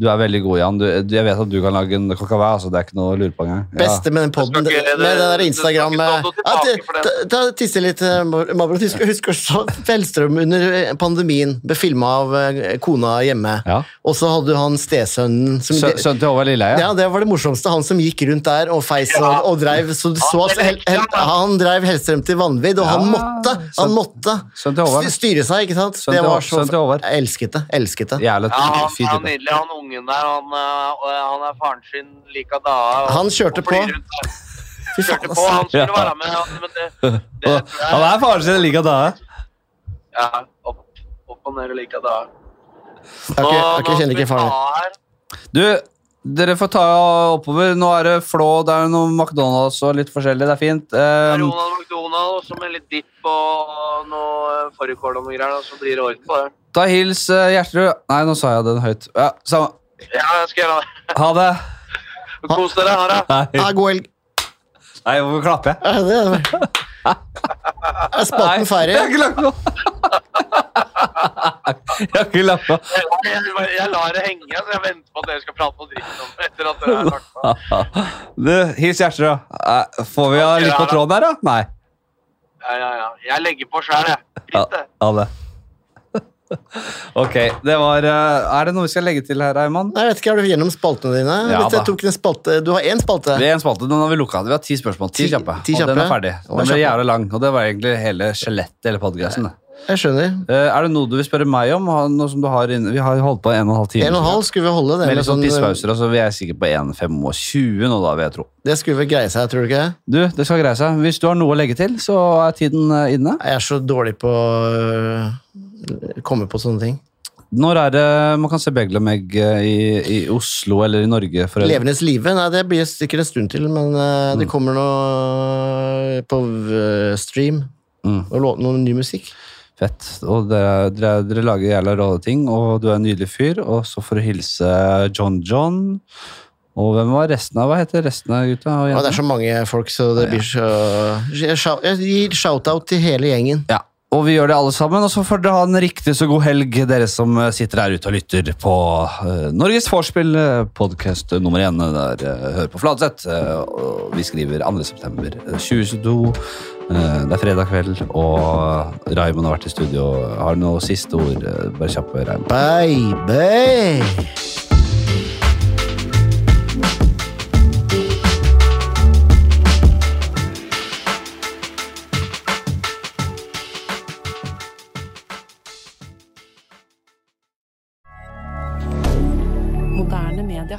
[SPEAKER 3] du er veldig god, Jan. Du, du- jeg vet at du kan lage en kakavær, så det er ikke noe å lure på engang. Ja.
[SPEAKER 2] Beste med den podden, med den der Instagram med ja, ta- ta- Tisse litt, eh, Mar- Mabro. Husk husk også Fjellstrøm under eh, pandemien ble filma av eh, kona hjemme. Og så hadde han stesønnen som
[SPEAKER 3] Sø- Sønnen til Håvard Lilleheie?
[SPEAKER 2] Ja, det var det morsomste. Han som gikk rundt der og feis og, og dreiv så du så at hel, hel, Han dreiv Hellstrøm til vanvidd, og han måtte! Han måtte sty- styre seg, ikke sant?
[SPEAKER 3] Sønnen
[SPEAKER 2] Det
[SPEAKER 3] til
[SPEAKER 2] var
[SPEAKER 3] Håvard.
[SPEAKER 2] så
[SPEAKER 3] Sønnen til Håvard.
[SPEAKER 2] Jeg elsket det. Elsket det.
[SPEAKER 3] Jævla
[SPEAKER 4] Ja, han, han er nydelig, han ungen der. Han, eh, og han er faren sin like da. og-
[SPEAKER 2] Han kjørte
[SPEAKER 4] og flyr
[SPEAKER 2] på.
[SPEAKER 4] rundt der. Kjørte på, han skulle være med. han- Men det,
[SPEAKER 3] Han er faren sin like da.
[SPEAKER 4] ja, opp, opp og ned og like da.
[SPEAKER 2] Jeg, har ikke- jeg, ikke- jeg kjenner ikke faren
[SPEAKER 4] min.
[SPEAKER 3] Du, dere får ta oppover. Nå er det Flå, det er noe McDonald's og litt forskjellig. Det er fint. Um,
[SPEAKER 4] Ronald McDonald og så med litt dipp og noe eh, fårikål og noe greier, da, så blir det orden på det.
[SPEAKER 3] ta hils eh, Gjertrud. Nei, nå sa jeg den høyt. Ja, samme.
[SPEAKER 4] Ja, jeg skal gjøre det.
[SPEAKER 3] Ha det.
[SPEAKER 4] Kos dere. Ha det.
[SPEAKER 3] Nei,
[SPEAKER 2] Ah, God helg.
[SPEAKER 3] Nei hvorfor klapper jeg?
[SPEAKER 2] Ja, det er- Er spotten ferdig?
[SPEAKER 3] Jeg har ikke lagt noe. Jeg har ikke lagt noe.
[SPEAKER 4] Jeg, jeg, jeg lar det henge, så jeg venter på at dere skal prate noe dritt om det etter at dere er lagt på.
[SPEAKER 3] Du, hils Gjertrud. Eh, Får vi ha litt på tråden her, da? Nei.
[SPEAKER 4] Ja, ja, ja. Jeg legger på sjæl, jeg.
[SPEAKER 3] Ja, ha det. Ok, det var eh, Er det noe vi skal legge til her, Eimann?
[SPEAKER 2] Nei, jeg vet ikke, Er du gjennom spaltene dine?
[SPEAKER 3] Ja,
[SPEAKER 2] Hvis jeg
[SPEAKER 3] da.
[SPEAKER 2] tok en spalte, Du har én spalte.
[SPEAKER 3] Det er en spalte, den har vi lukka. Vi har ti spørsmål. Ti
[SPEAKER 2] Ti-
[SPEAKER 3] kjappe.
[SPEAKER 2] ti
[SPEAKER 3] Og den
[SPEAKER 2] kjappe.
[SPEAKER 3] er ferdig. Den
[SPEAKER 2] Og den er
[SPEAKER 3] ble
[SPEAKER 2] kjappe.
[SPEAKER 3] jævlig lang, og det var egentlig hele skjelettet i hele podcasten. det.
[SPEAKER 2] Jeg skjønner.
[SPEAKER 3] Eh, er det noe du vil spørre meg om? Har- Noe som du har inne? Vi har jo holdt på en og en halv time.
[SPEAKER 2] En og en halv skulle vi holde det.
[SPEAKER 3] Med litt
[SPEAKER 2] med
[SPEAKER 3] sånn
[SPEAKER 2] sånn-
[SPEAKER 3] pisspauser, altså vi er sikkert på 1,25 nå, da, vil jeg tro.
[SPEAKER 2] det skulle vel greie seg, tror du ikke?
[SPEAKER 3] Du, det skal greie seg. Hvis du har noe å legge til, så er tiden eh, inne.
[SPEAKER 2] Jeg er så dårlig på å komme på sånne ting.
[SPEAKER 3] Når er det man kan se Beglemegg eh, i, i Oslo eller i Norge? For øvrig?
[SPEAKER 2] Levenes live? Nei, det blir sikkert en stund til, men eh, det kommer noe på eh, stream. Og lå- noe ny musikk.
[SPEAKER 3] Fett. Og dere, dere, dere lager jævla rå ting, og du er en nydelig fyr. Og så får du hilse John John. Og hvem var resten av? Hva heter resten av gutta? og
[SPEAKER 2] Og det er
[SPEAKER 3] jentene?
[SPEAKER 2] så mange folk, så det blir så Jeg shout- jeg gir shout-out til hele gjengen.
[SPEAKER 3] Ja. Og vi gjør det alle sammen, og så får dere ha en riktig så god helg, dere som eh, sitter der ute og lytter på eh, Norges Vorspiel, eh, podcast nummer én, eh, der eh, Hør på Fladseth. Eh, og vi skriver 2. september eh, 2022. Eh, det er fredag kveld, og eh, Raymond har vært i studio. Har du noe siste ord? Eh, Bare kjappe, Raymond.
[SPEAKER 2] Baby!
[SPEAKER 12] Moderne media.